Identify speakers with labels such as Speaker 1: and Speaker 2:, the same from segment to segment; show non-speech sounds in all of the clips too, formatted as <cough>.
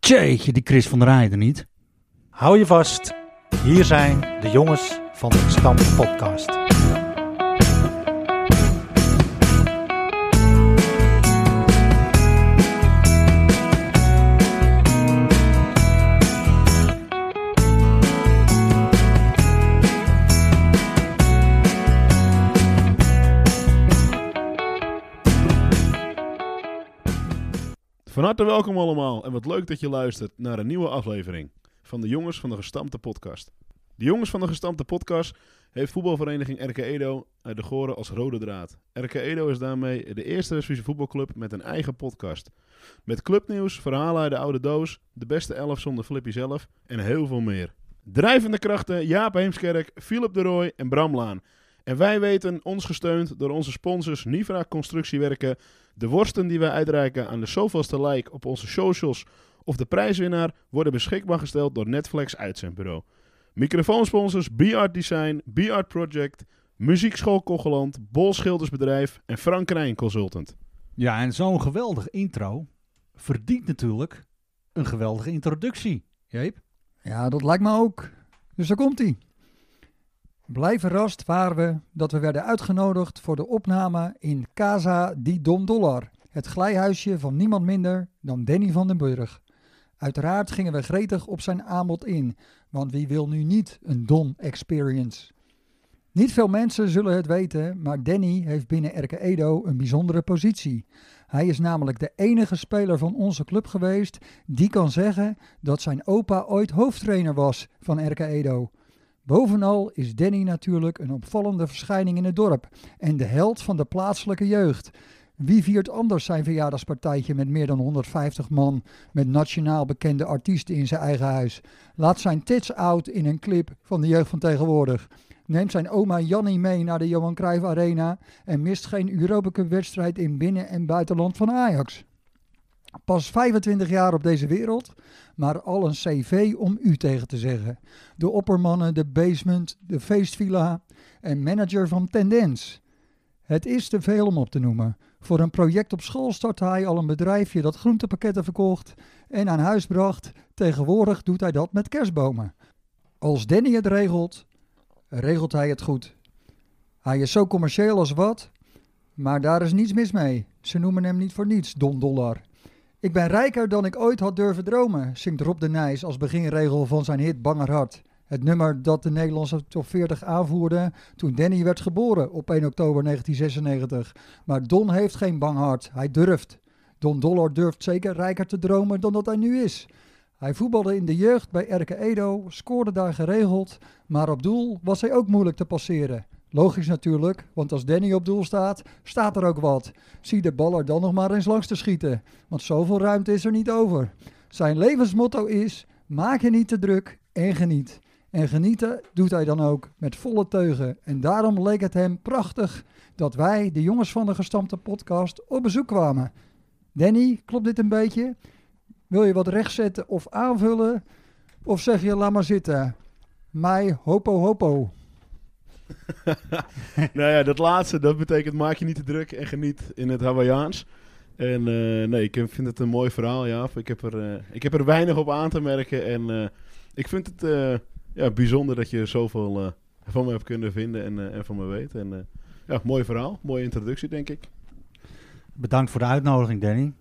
Speaker 1: Tjeetje, die Chris van der Heijden niet.
Speaker 2: Hou je vast. Hier zijn de jongens van de Stam Podcast.
Speaker 3: Van harte welkom allemaal en wat leuk dat je luistert naar een nieuwe aflevering van de Jongens van de Gestampte Podcast. De Jongens van de Gestampte Podcast heeft voetbalvereniging RK Edo uit de Goren als rode draad. RK Edo is daarmee de eerste Westfriese voetbalclub met een eigen podcast. Met clubnieuws, verhalen uit de oude doos, de beste elf zonder Flippy zelf en heel veel meer. Drijvende krachten Jaap Heemskerk, Philip de Rooij en Bram Laan. En wij weten, ons gesteund door onze sponsors Nivra Constructiewerken, de worsten die wij uitreiken aan de zoveelste like op onze socials of de prijswinnaar worden beschikbaar gesteld door Netflix Uitzendbureau. Microfoonsponsors B-Art Design, B-Art Project, Muziekschool Kocheland, Bol Schildersbedrijf en Frank Rijn Consultant.
Speaker 1: Ja, en zo'n geweldige intro verdient natuurlijk een geweldige introductie. Jeep?
Speaker 4: Ja, dat lijkt me ook. Dus daar komt ie. Blij verrast waren we dat we werden uitgenodigd voor de opname in Casa di Dom Dollar. Het glijhuisje van niemand minder dan Danny van den Burg. Uiteraard gingen we gretig op zijn aanbod in, want wie wil nu niet een Don experience? Niet veel mensen zullen het weten, maar Danny heeft binnen RK Edo een bijzondere positie. Hij is namelijk de enige speler van onze club geweest die kan zeggen dat zijn opa ooit hoofdtrainer was van RK Edo. Bovenal is Danny natuurlijk een opvallende verschijning in het dorp en de held van de plaatselijke jeugd. Wie viert anders zijn verjaardagspartijtje met meer dan 150 man met nationaal bekende artiesten in zijn eigen huis? Laat zijn tits out in een clip van de jeugd van tegenwoordig. Neemt zijn oma Jannie mee naar de Johan Cruijff Arena en mist geen Europa Cup wedstrijd in binnen- en buitenland van Ajax. Pas 25 jaar op deze wereld, maar al een cv om u tegen te zeggen. De oppermannen, de basement, de feestvilla en manager van Tendens. Het is te veel om op te noemen. Voor een project op school startte hij al een bedrijfje dat groentepakketten verkocht en aan huis bracht. Tegenwoordig doet hij dat met kerstbomen. Als Danny het regelt, regelt hij het goed. Hij is zo commercieel als wat, maar daar is niets mis mee. Ze noemen hem niet voor niets Don Dollar. Ik ben rijker dan ik ooit had durven dromen, zingt Rob de Nijs als beginregel van zijn hit Banger Hart. Het nummer dat de Nederlandse top 40 aanvoerde toen Danny werd geboren op 1 oktober 1996. Maar Don heeft geen bang hart, hij durft. Don Dollar durft zeker rijker te dromen dan dat hij nu is. Hij voetbalde in de jeugd bij Erke Edo, scoorde daar geregeld, maar op doel was hij ook moeilijk te passeren. Logisch natuurlijk, want als Danny op doel staat, staat er ook wat. Zie de baller dan nog maar eens langs te schieten, want zoveel ruimte is er niet over. Zijn levensmotto is: maak je niet te druk en geniet. En genieten doet hij dan ook met volle teugen. En daarom leek het hem prachtig dat wij, de jongens van de gestampte podcast, op bezoek kwamen. Danny, klopt dit een beetje? Wil je wat rechtzetten of aanvullen? Of zeg je laat maar zitten? Mij hopo hopo.
Speaker 3: nou ja, dat laatste, dat betekent maak je niet te druk en geniet in het Hawaiiaans. En eh, nee, ik vind het een mooi verhaal, Jaap. Ik heb er, eh, ik heb er weinig op aan te merken. En eh, ik vind het eh, ja, bijzonder dat je zoveel eh, van me hebt kunnen vinden en, eh, en van me weet. En eh, ja, mooi verhaal. Mooie introductie, denk ik.
Speaker 1: Bedankt voor de uitnodiging, Danny.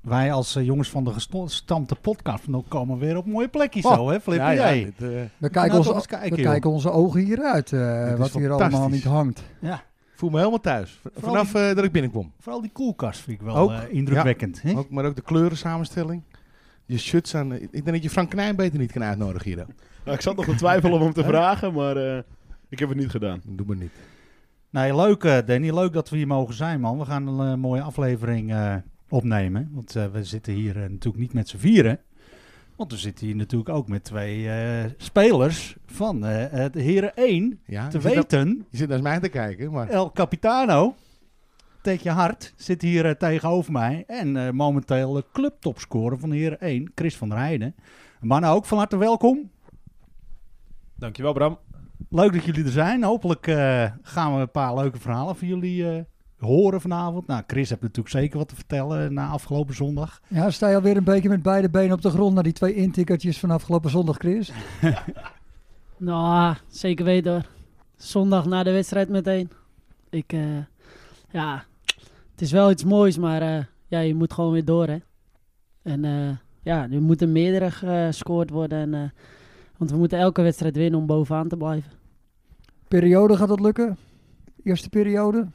Speaker 1: Wij als eh, jongens van de gestampte podcast nou komen weer op mooie plekjes
Speaker 2: Oh,
Speaker 1: zo, hè Flippy?
Speaker 2: ja, ja,
Speaker 1: Hey.
Speaker 2: dit, eh,
Speaker 4: We
Speaker 1: Nou,
Speaker 4: kijken,
Speaker 1: toch
Speaker 4: onze,
Speaker 1: eens kijken,
Speaker 4: we
Speaker 1: joh.
Speaker 4: kijken onze ogen hieruit, eh,
Speaker 1: Dit is
Speaker 4: wat hier allemaal
Speaker 1: fantastisch.
Speaker 4: niet hangt.
Speaker 1: Ja,
Speaker 2: voel me helemaal thuis. V-
Speaker 1: Vooral
Speaker 2: Vanaf eh, dat ik binnenkwom.
Speaker 1: vooral die koelkast vind ik wel
Speaker 2: Ook,
Speaker 1: eh, indrukwekkend. hè?
Speaker 2: Ook, maar ook de kleurensamenstelling. Je shirts aan. eh, ik denk dat je Frank Knijn beter niet kan uitnodigen hier. dan.
Speaker 3: Nou, ik zat nog te twijfelen om hem
Speaker 2: <laughs>
Speaker 3: te vragen, maar eh, ik heb het niet gedaan.
Speaker 2: Doe maar niet.
Speaker 1: Nee, leuk eh, Danny. Leuk dat we hier mogen zijn, man. We gaan een eh, mooie aflevering eh, opnemen. Want eh, we zitten hier eh, natuurlijk niet met z'n vieren. Want we zitten hier natuurlijk ook met twee eh, spelers van eh, het Heren 1.
Speaker 2: Ja,
Speaker 1: Te
Speaker 2: je zit
Speaker 1: weten,
Speaker 2: na- je zit naast mij te kijken, maar
Speaker 1: El Capitano, Teetje Hart, zit hier eh, tegenover mij. En eh, momenteel de clubtopscorer van Heren 1, Chris van der Heijden. Mannen, ook van harte welkom.
Speaker 5: Dankjewel Bram.
Speaker 1: Leuk dat jullie er zijn. Hopelijk eh, gaan we een paar leuke verhalen van jullie eh, horen vanavond. Nou, Chris heeft natuurlijk zeker wat te vertellen eh, na afgelopen zondag.
Speaker 4: Ja, sta je alweer een beetje met beide benen op de grond naar die twee intikkertjes van afgelopen zondag, Chris?
Speaker 5: Nou, zeker weten hoor. Zondag na de wedstrijd meteen. Ik, eh, ja, het is wel iets moois, maar eh, ja, je moet gewoon weer door, hè. En eh, ja, nu moeten meerdere gescoord worden. En, eh, want we moeten elke wedstrijd winnen om bovenaan te blijven.
Speaker 4: Periode gaat dat lukken? Eerste periode?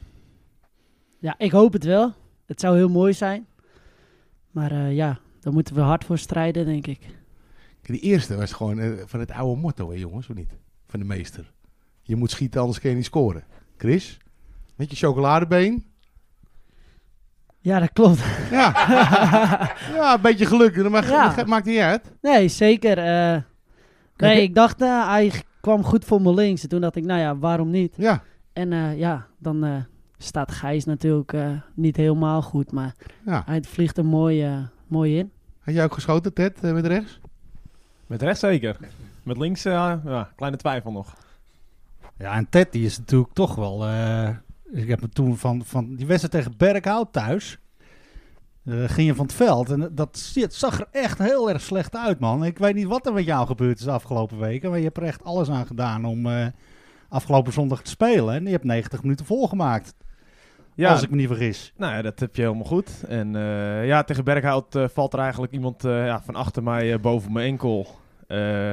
Speaker 5: Ja, ik hoop het wel. Het zou heel mooi zijn. Maar eh, ja, daar moeten we hard voor strijden, denk ik.
Speaker 2: Die eerste was gewoon eh, van het oude motto, hè, jongens, of niet? Van de meester. Je moet schieten, anders kun je niet scoren. Chris, met je chocoladebeen.
Speaker 5: Ja, dat klopt. <laughs>
Speaker 2: Ja, ja een beetje geluk, maar ge-
Speaker 5: Ja.
Speaker 2: dat maakt niet uit.
Speaker 5: Nee, zeker. eh,
Speaker 4: Kijk,
Speaker 5: nee,
Speaker 4: ik-
Speaker 5: ik dacht, eh, hij g- kwam goed voor mijn links. En toen dacht ik, nou ja, waarom niet?
Speaker 2: Ja,
Speaker 5: En eh, ja, dan eh, staat Gijs natuurlijk eh, niet helemaal goed. Maar
Speaker 2: ja.
Speaker 5: hij vliegt er mooi, eh, mooi in.
Speaker 2: Had jij ook geschoten, Ted, eh, met rechts?
Speaker 6: Met rechts zeker. Met links, eh, ja, kleine twijfel nog.
Speaker 1: Ja, en Ted die is natuurlijk toch wel... eh, ik heb me toen van, van die wedstrijd tegen Berkhout thuis... eh, ging je van het veld en dat shit zag er echt heel erg slecht uit, man. Ik weet niet wat er met jou gebeurd is de afgelopen weken, maar je hebt er echt alles aan gedaan om eh, afgelopen zondag te spelen. En je hebt 90 minuten volgemaakt,
Speaker 6: Ja,
Speaker 1: als ik me niet vergis.
Speaker 6: nou ja, dat heb je helemaal goed. En eh, ja, tegen Berghout eh, valt er eigenlijk iemand eh, ja, van achter mij eh, boven mijn enkel. Eh,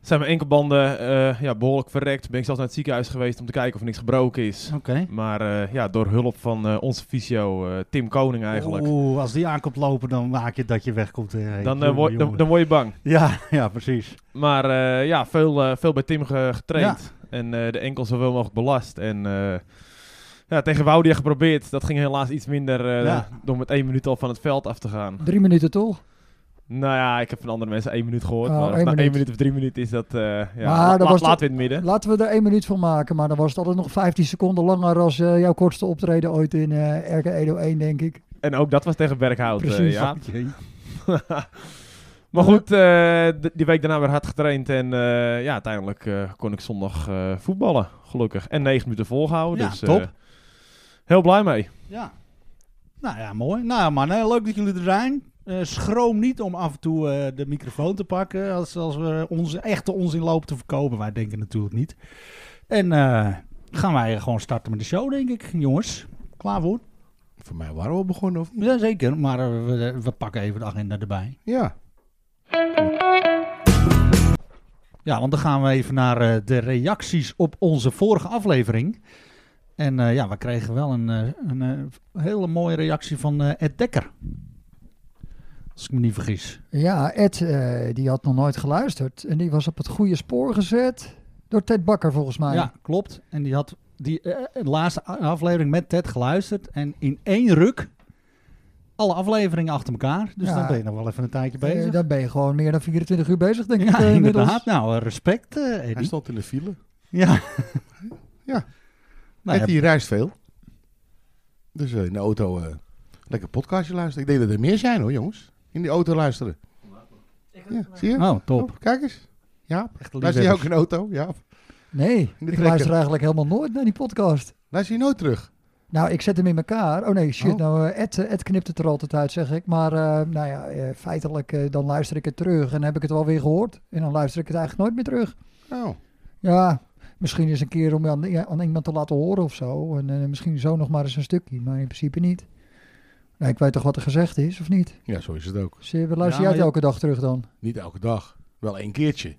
Speaker 6: zijn mijn enkelbanden eh, ja, behoorlijk verrekt. Ben ik zelfs naar het ziekenhuis geweest om te kijken of er niks gebroken is.
Speaker 1: Oké.
Speaker 6: Maar eh, ja, door hulp van eh, onze fysio eh, Tim Koning eigenlijk.
Speaker 1: Oeh, als die aankomt lopen, dan maak je dat je wegkomt. eh.
Speaker 6: dan, eh,
Speaker 1: Jongen,
Speaker 6: word, dan,
Speaker 1: jongen.
Speaker 6: dan word je bang.
Speaker 1: Ja, <laughs> ja, precies.
Speaker 6: Maar eh, ja, veel, eh, veel bij Tim ge- getraind. En eh, de enkel zoveel mogelijk belast. En eh, ja, tegen Woudia geprobeerd. Dat ging helaas iets minder eh,
Speaker 1: Ja.
Speaker 6: door met één minuut al van het veld af te gaan.
Speaker 4: Drie minuten toch?
Speaker 6: Nou ja, ik heb van andere mensen één minuut gehoord.
Speaker 4: Oh,
Speaker 6: maar of
Speaker 4: één
Speaker 6: het nou één
Speaker 4: minuut
Speaker 6: minuut of drie minuten is dat... eh ja,
Speaker 4: Maar
Speaker 6: la-
Speaker 4: dat
Speaker 6: la-
Speaker 4: was
Speaker 6: laat
Speaker 4: toch-
Speaker 6: weer in het midden.
Speaker 4: Laten we er één minuut van maken, maar dan was het altijd nog 15 seconden langer als eh, jouw kortste optreden ooit in eh RK Edo 1, denk ik.
Speaker 6: En ook dat was tegen Berghout. eh,
Speaker 4: Precies.
Speaker 6: ja. <laughs> maar goed, eh, d- die week daarna weer hard getraind. En eh, ja, uiteindelijk eh, kon ik zondag eh, voetballen, gelukkig. En negen minuten volgehouden.
Speaker 1: Ja,
Speaker 6: dus, eh,
Speaker 1: top.
Speaker 6: heel blij mee.
Speaker 1: Ja. Nou ja, mooi. Nou ja, man, hè, leuk dat jullie er zijn. Eh, schroom niet om af en toe eh, de microfoon te pakken. Als, als we onze echte onzin lopen te verkopen. Wij denken natuurlijk niet. En eh, gaan wij gewoon starten met de show, denk ik, jongens. Klaar voor?
Speaker 2: Voor mij waren we al begonnen, of niet?
Speaker 1: Jazeker, maar eh, we, we pakken even de agenda erbij.
Speaker 2: Ja.
Speaker 1: Ja, want dan gaan we even naar eh, de reacties op onze vorige aflevering. En eh, ja, we kregen wel een, eh, een eh, hele mooie reactie van eh, Ed Dekker. Als ik me niet vergis.
Speaker 4: Ja, Ed, eh, die had nog nooit geluisterd. En die was op het goede spoor gezet door Ted Bakker, volgens mij. Eh,
Speaker 1: Ja, klopt. En die had die eh, de laatste a- aflevering met Ted geluisterd. En in één ruk alle afleveringen achter elkaar. Dus
Speaker 4: Ja.
Speaker 1: dan ben je nog wel even een tijdje
Speaker 4: Eh,
Speaker 1: bezig.
Speaker 4: dan ben je gewoon meer dan 24 uur bezig, denk ik.
Speaker 1: ja,
Speaker 4: eh, inmiddels.
Speaker 1: inderdaad. Nou, eh, respect, eh
Speaker 2: Hij
Speaker 1: Eddie.
Speaker 2: stond in de file.
Speaker 1: Ja.
Speaker 2: Ja.
Speaker 1: Nou,
Speaker 2: en die reist veel. Dus eh, in de auto eh, lekker podcastje luisteren. Ik denk dat er meer zijn hoor, jongens. In die auto luisteren. Ja, zie je?
Speaker 1: ja. Oh, top.
Speaker 2: Oh, kijk eens. Ja,
Speaker 1: Echt
Speaker 2: luister je
Speaker 1: liefhebbers.
Speaker 2: ook in de auto? Ja.
Speaker 4: Nee, ik
Speaker 2: trekker.
Speaker 4: luister eigenlijk helemaal nooit naar die podcast.
Speaker 2: Luister je nooit terug?
Speaker 4: Nou, ik zet hem in elkaar. Oh nee, shit.
Speaker 2: Oh.
Speaker 4: Nou, eh, Ed, eh, Ed knipt het er altijd uit, zeg ik. Maar eh, nou ja, eh, feitelijk eh, dan luister ik het terug en heb ik het wel weer gehoord. En dan luister ik het eigenlijk nooit meer terug.
Speaker 2: Oh,
Speaker 4: Ja, misschien eens een keer om aan, ja, aan iemand te laten horen of zo. En eh, misschien zo nog maar eens een stukje, maar in principe niet. Nou, ik weet toch wat er gezegd is, of niet?
Speaker 2: ja, zo is het ook.
Speaker 4: Dus, eh, luister
Speaker 1: Ja,
Speaker 4: jij
Speaker 1: maar
Speaker 4: het
Speaker 1: je-
Speaker 4: elke dag terug dan?
Speaker 2: Niet elke dag. Wel één keertje.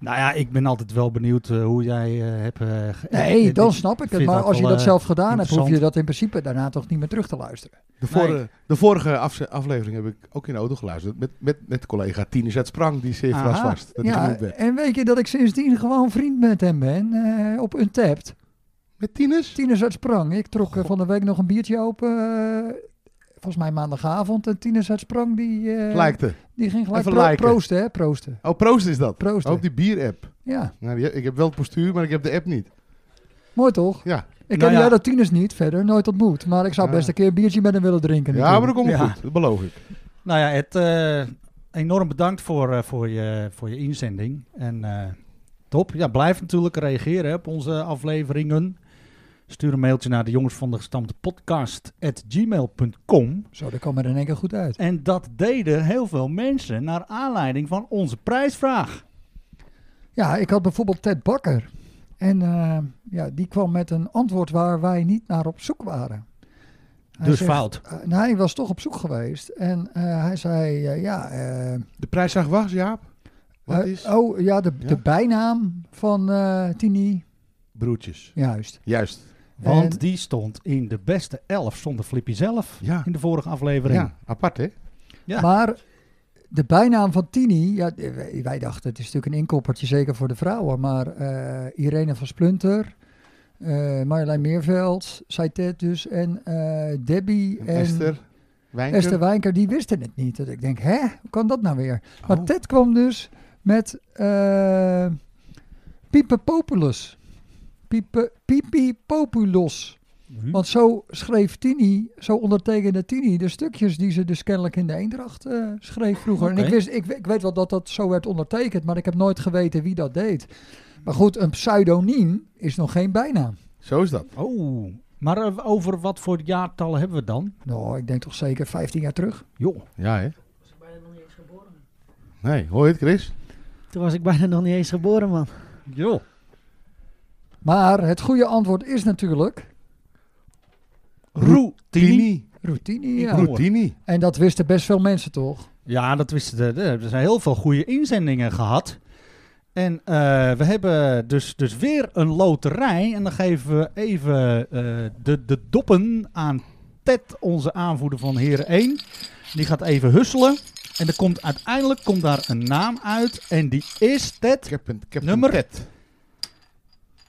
Speaker 1: Nou ja, ik ben altijd wel benieuwd eh, hoe jij eh, hebt... eh, ge-
Speaker 4: Nee,
Speaker 1: eh,
Speaker 4: dan
Speaker 1: dit-
Speaker 4: snap ik het.
Speaker 1: vind
Speaker 4: Maar
Speaker 1: dat
Speaker 4: als je
Speaker 1: wel,
Speaker 4: dat
Speaker 1: eh,
Speaker 4: zelf gedaan hebt, hoef je
Speaker 1: interessant.
Speaker 4: dat in principe daarna toch niet meer terug te luisteren.
Speaker 2: De, vorige- de vorige afze- aflevering heb ik ook in de auto geluisterd. Met, met, met collega Tinus uit Sprang, die zeer
Speaker 1: Aha.
Speaker 2: verrast was. Dat ik
Speaker 4: ja,
Speaker 2: genoemd werd.
Speaker 4: en weet je dat ik sindsdien gewoon vriend met hem ben eh, op Untapped?
Speaker 2: Met Tinus?
Speaker 4: Tinus uit Sprang. Ik trok eh, van de week nog een biertje open. eh, volgens mij maandagavond. En Tinus uit Sprang die, eh,
Speaker 2: Lijkt er.
Speaker 4: die ging gelijk
Speaker 2: Even
Speaker 4: pro-
Speaker 2: liken.
Speaker 4: proosten. Hè? Proosten.
Speaker 2: Oh, proost is dat.
Speaker 4: Proosten.
Speaker 2: Ook die bier-app.
Speaker 4: Ja,
Speaker 2: Nou, die- ik heb wel het postuur, maar ik heb de app niet.
Speaker 4: mooi toch?
Speaker 2: Ja,
Speaker 1: Nou
Speaker 4: Ik ken
Speaker 1: ja.
Speaker 4: jou dat Tinus niet verder, nooit ontmoet. Maar ik zou
Speaker 2: Ja.
Speaker 4: best een keer een biertje met hem willen drinken.
Speaker 2: ja maar dat
Speaker 4: natuurlijk.
Speaker 2: komt wel
Speaker 1: Ja.
Speaker 2: goed. Dat beloof ik.
Speaker 1: Nou ja, Ed, eh, enorm bedankt voor, eh, voor, je, voor je inzending. En eh, top. Ja, blijf natuurlijk reageren hè, op onze afleveringen. Stuur een mailtje naar de jongens van de gestampte podcast at gmail.com.
Speaker 4: Zo, dat kwam er in één keer goed uit.
Speaker 1: En dat deden heel veel mensen naar aanleiding van onze prijsvraag.
Speaker 4: Ja, ik had bijvoorbeeld Ted Bakker. En eh, ja, die kwam met een antwoord waar wij niet naar op zoek waren. Hij
Speaker 1: dus
Speaker 4: zegt,
Speaker 1: fout.
Speaker 4: eh, nou, hij was toch op zoek geweest. En eh, hij zei, eh, ja... eh,
Speaker 2: De prijsvraag was, Jaap. Wat
Speaker 4: eh,
Speaker 2: is?
Speaker 4: Oh, ja de,
Speaker 2: Ja?
Speaker 4: de bijnaam van eh, Tini.
Speaker 2: Broertjes.
Speaker 4: Juist.
Speaker 2: Juist.
Speaker 1: Want
Speaker 4: En-
Speaker 1: die stond in de beste elf zonder Flippy zelf
Speaker 2: Ja.
Speaker 1: in de vorige aflevering.
Speaker 2: ja. Apart, hè?
Speaker 1: Ja.
Speaker 4: Maar de bijnaam van Tini, ja, eh, wij- wij dachten het is natuurlijk een inkoppertje, zeker voor de vrouwen. Maar eh, Irene van Splunter, eh Marjolein Meerveld, zei Ted dus, en eh, Debbie
Speaker 2: En
Speaker 4: en,
Speaker 2: Esther. Wijnker.
Speaker 4: Esther Wijnker, die wisten het niet. Dat ik denk, hè, hoe kan dat nou weer? Maar
Speaker 2: Oh.
Speaker 4: Ted kwam dus met eh Piepe Populus. Piepe, Pipi Populus.
Speaker 1: Mhm.
Speaker 4: Want zo schreef Tini, zo ondertekende Tini de stukjes die ze dus kennelijk in de Eendracht eh, schreef vroeger. En
Speaker 1: Oké.
Speaker 4: ik, wist, ik, ik weet wel dat dat zo werd ondertekend, maar ik heb nooit geweten wie dat deed. Maar goed, een pseudoniem is nog geen bijnaam.
Speaker 2: Zo is dat.
Speaker 1: Oh, maar eh, over wat voor jaartallen hebben we dan?
Speaker 4: Nou, ik denk toch zeker 15 jaar terug.
Speaker 1: Joh,
Speaker 2: Ja, hè? Nee, hoor je het, Chris?
Speaker 5: Toen was ik bijna nog niet eens geboren, man.
Speaker 1: joh.
Speaker 4: Maar het goede antwoord is natuurlijk
Speaker 1: Routini.
Speaker 4: routine.
Speaker 1: Ik
Speaker 4: Ja.
Speaker 1: roet-
Speaker 2: Routini.
Speaker 4: En dat wisten best veel mensen toch?
Speaker 1: Ja, dat wisten de, de- Er zijn heel veel goede inzendingen gehad. En eh, we hebben dus, dus weer een loterij. En dan geven we even eh, de, de doppen aan Ted, onze aanvoerder van Heren 1. Die gaat even husselen. En er komt, uiteindelijk komt daar een naam uit. En die is Ted
Speaker 2: Captain, Captain
Speaker 1: Nummer-
Speaker 2: Ted.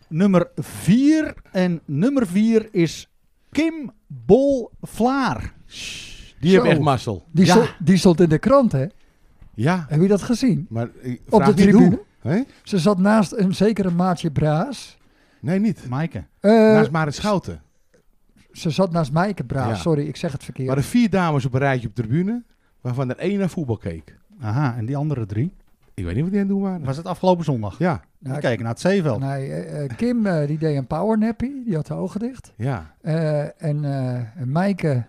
Speaker 1: nummer 4. En nummer 4 is Kim Bol Vlaar.
Speaker 2: Die
Speaker 4: Zo.
Speaker 2: hebben echt mazzel.
Speaker 4: Die,
Speaker 1: Ja.
Speaker 4: stond, die stond in de krant, hè?
Speaker 2: Ja.
Speaker 4: Heb je dat gezien?
Speaker 2: Maar ik
Speaker 4: Op
Speaker 2: vraag
Speaker 4: de
Speaker 2: niet
Speaker 4: tribune.
Speaker 2: hoe. Hè?
Speaker 4: Ze zat naast een zekere maatje Braas.
Speaker 2: Nee, niet.
Speaker 1: Maaike.
Speaker 4: Eh,
Speaker 2: Naast Marit Schouten.
Speaker 4: Ze zat naast Maaike Braas,
Speaker 2: Ja.
Speaker 4: sorry, ik zeg het verkeerd.
Speaker 2: Er waren vier dames op een rijtje op de tribune, waarvan er één naar voetbal keek.
Speaker 1: Aha, en die andere drie.
Speaker 2: Ik weet niet wat die aan het doen waren.
Speaker 1: Was het afgelopen zondag?
Speaker 2: Ja,
Speaker 1: We
Speaker 4: Nou, ik-
Speaker 1: keken naar het zeeveld.
Speaker 4: nee, eh, eh, Kim eh, die deed een powernappy, die had de ogen dicht.
Speaker 2: ja.
Speaker 4: Eh, en eh, en Maaike,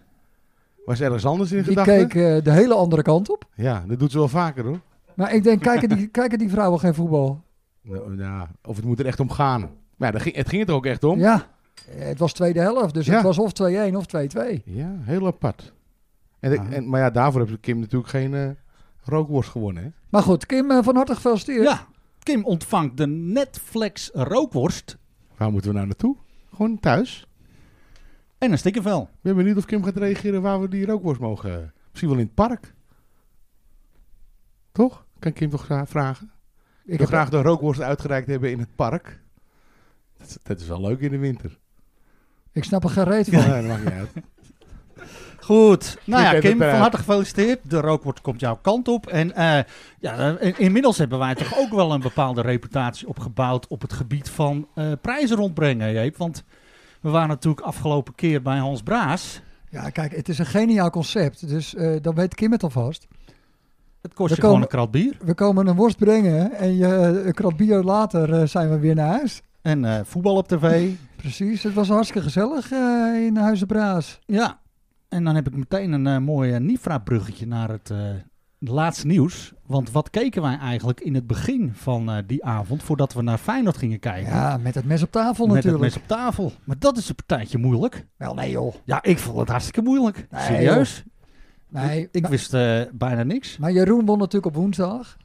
Speaker 2: Was ergens anders in
Speaker 4: die
Speaker 2: gedachten?
Speaker 4: keek eh, de hele andere kant op.
Speaker 2: Ja, dat doet ze wel vaker hoor.
Speaker 4: Maar ik denk, kijken
Speaker 2: <laughs>
Speaker 4: die, kijken die vrouwen geen voetbal?
Speaker 2: Nou, ja, of het moet er echt om gaan. Maar ja, daar ging, het ging het er ook echt om. Ja,
Speaker 4: Ja, eh, het was tweede helft, dus
Speaker 2: Ja.
Speaker 4: het was of 2-1 of 2-2.
Speaker 2: heel apart. En,
Speaker 1: Ah.
Speaker 2: en, maar ja, daarvoor heeft Kim natuurlijk geen eh, rookworst gewonnen. Hè?
Speaker 4: Maar goed, Kim, eh, van harte gefeliciteerd.
Speaker 1: Ja, Kim ontvangt de Netflix rookworst
Speaker 2: Waar moeten we nou naartoe? Gewoon thuis.
Speaker 1: en een stikkervel.
Speaker 2: Ik ben benieuwd of Kim gaat reageren waar we die rookworst mogen. eh, Misschien wel in het park. Toch? Kan Kim toch gra- vragen? Ik
Speaker 4: ik
Speaker 2: wil
Speaker 4: heb
Speaker 2: graag de rookworst uitgereikt hebben in het park. Dat, is- dat is wel leuk in de winter.
Speaker 4: Ik snap er geen reet van.
Speaker 2: Ja, dat maakt niet uit.
Speaker 1: Goed. Nou ja,
Speaker 2: Oké,
Speaker 1: Kim,
Speaker 2: dat,
Speaker 1: van
Speaker 2: eh,
Speaker 1: harte gefeliciteerd. De rookworst komt jouw kant op. En eh, ja, eh, in- inmiddels hebben wij toch ook wel een bepaalde reputatie opgebouwd op het gebied van eh, prijzen rondbrengen, Jeep. Want we waren natuurlijk afgelopen keer bij Hans Braas.
Speaker 4: Ja, kijk, het is een geniaal concept, dus eh, dan weet Kim het alvast.
Speaker 1: Het kost
Speaker 4: We
Speaker 1: je gewoon
Speaker 4: komen-
Speaker 1: een krat bier
Speaker 4: We komen een worst brengen en je, eh, een krat bier later eh, zijn we weer naar huis.
Speaker 1: en eh, voetbal op tv.
Speaker 4: Precies, het was hartstikke gezellig eh, in Huizen Braas.
Speaker 1: Ja, en dan heb ik meteen een eh, mooi Nifra-bruggetje naar het eh, laatste nieuws. Want wat keken wij eigenlijk in het begin van eh, die avond, voordat we naar Feyenoord gingen kijken?
Speaker 4: Ja, met het mes op tafel
Speaker 1: Met het
Speaker 4: natuurlijk.
Speaker 1: mes op tafel. Maar dat is een partijtje moeilijk.
Speaker 4: Wel nee joh.
Speaker 1: Ja, ik vond het hartstikke moeilijk.
Speaker 4: Nee,
Speaker 1: Serieus?
Speaker 4: Nee, nou-
Speaker 1: Ik, ik
Speaker 4: maar,
Speaker 1: wist eh, bijna niks.
Speaker 4: maar Jeroen won natuurlijk op woensdag.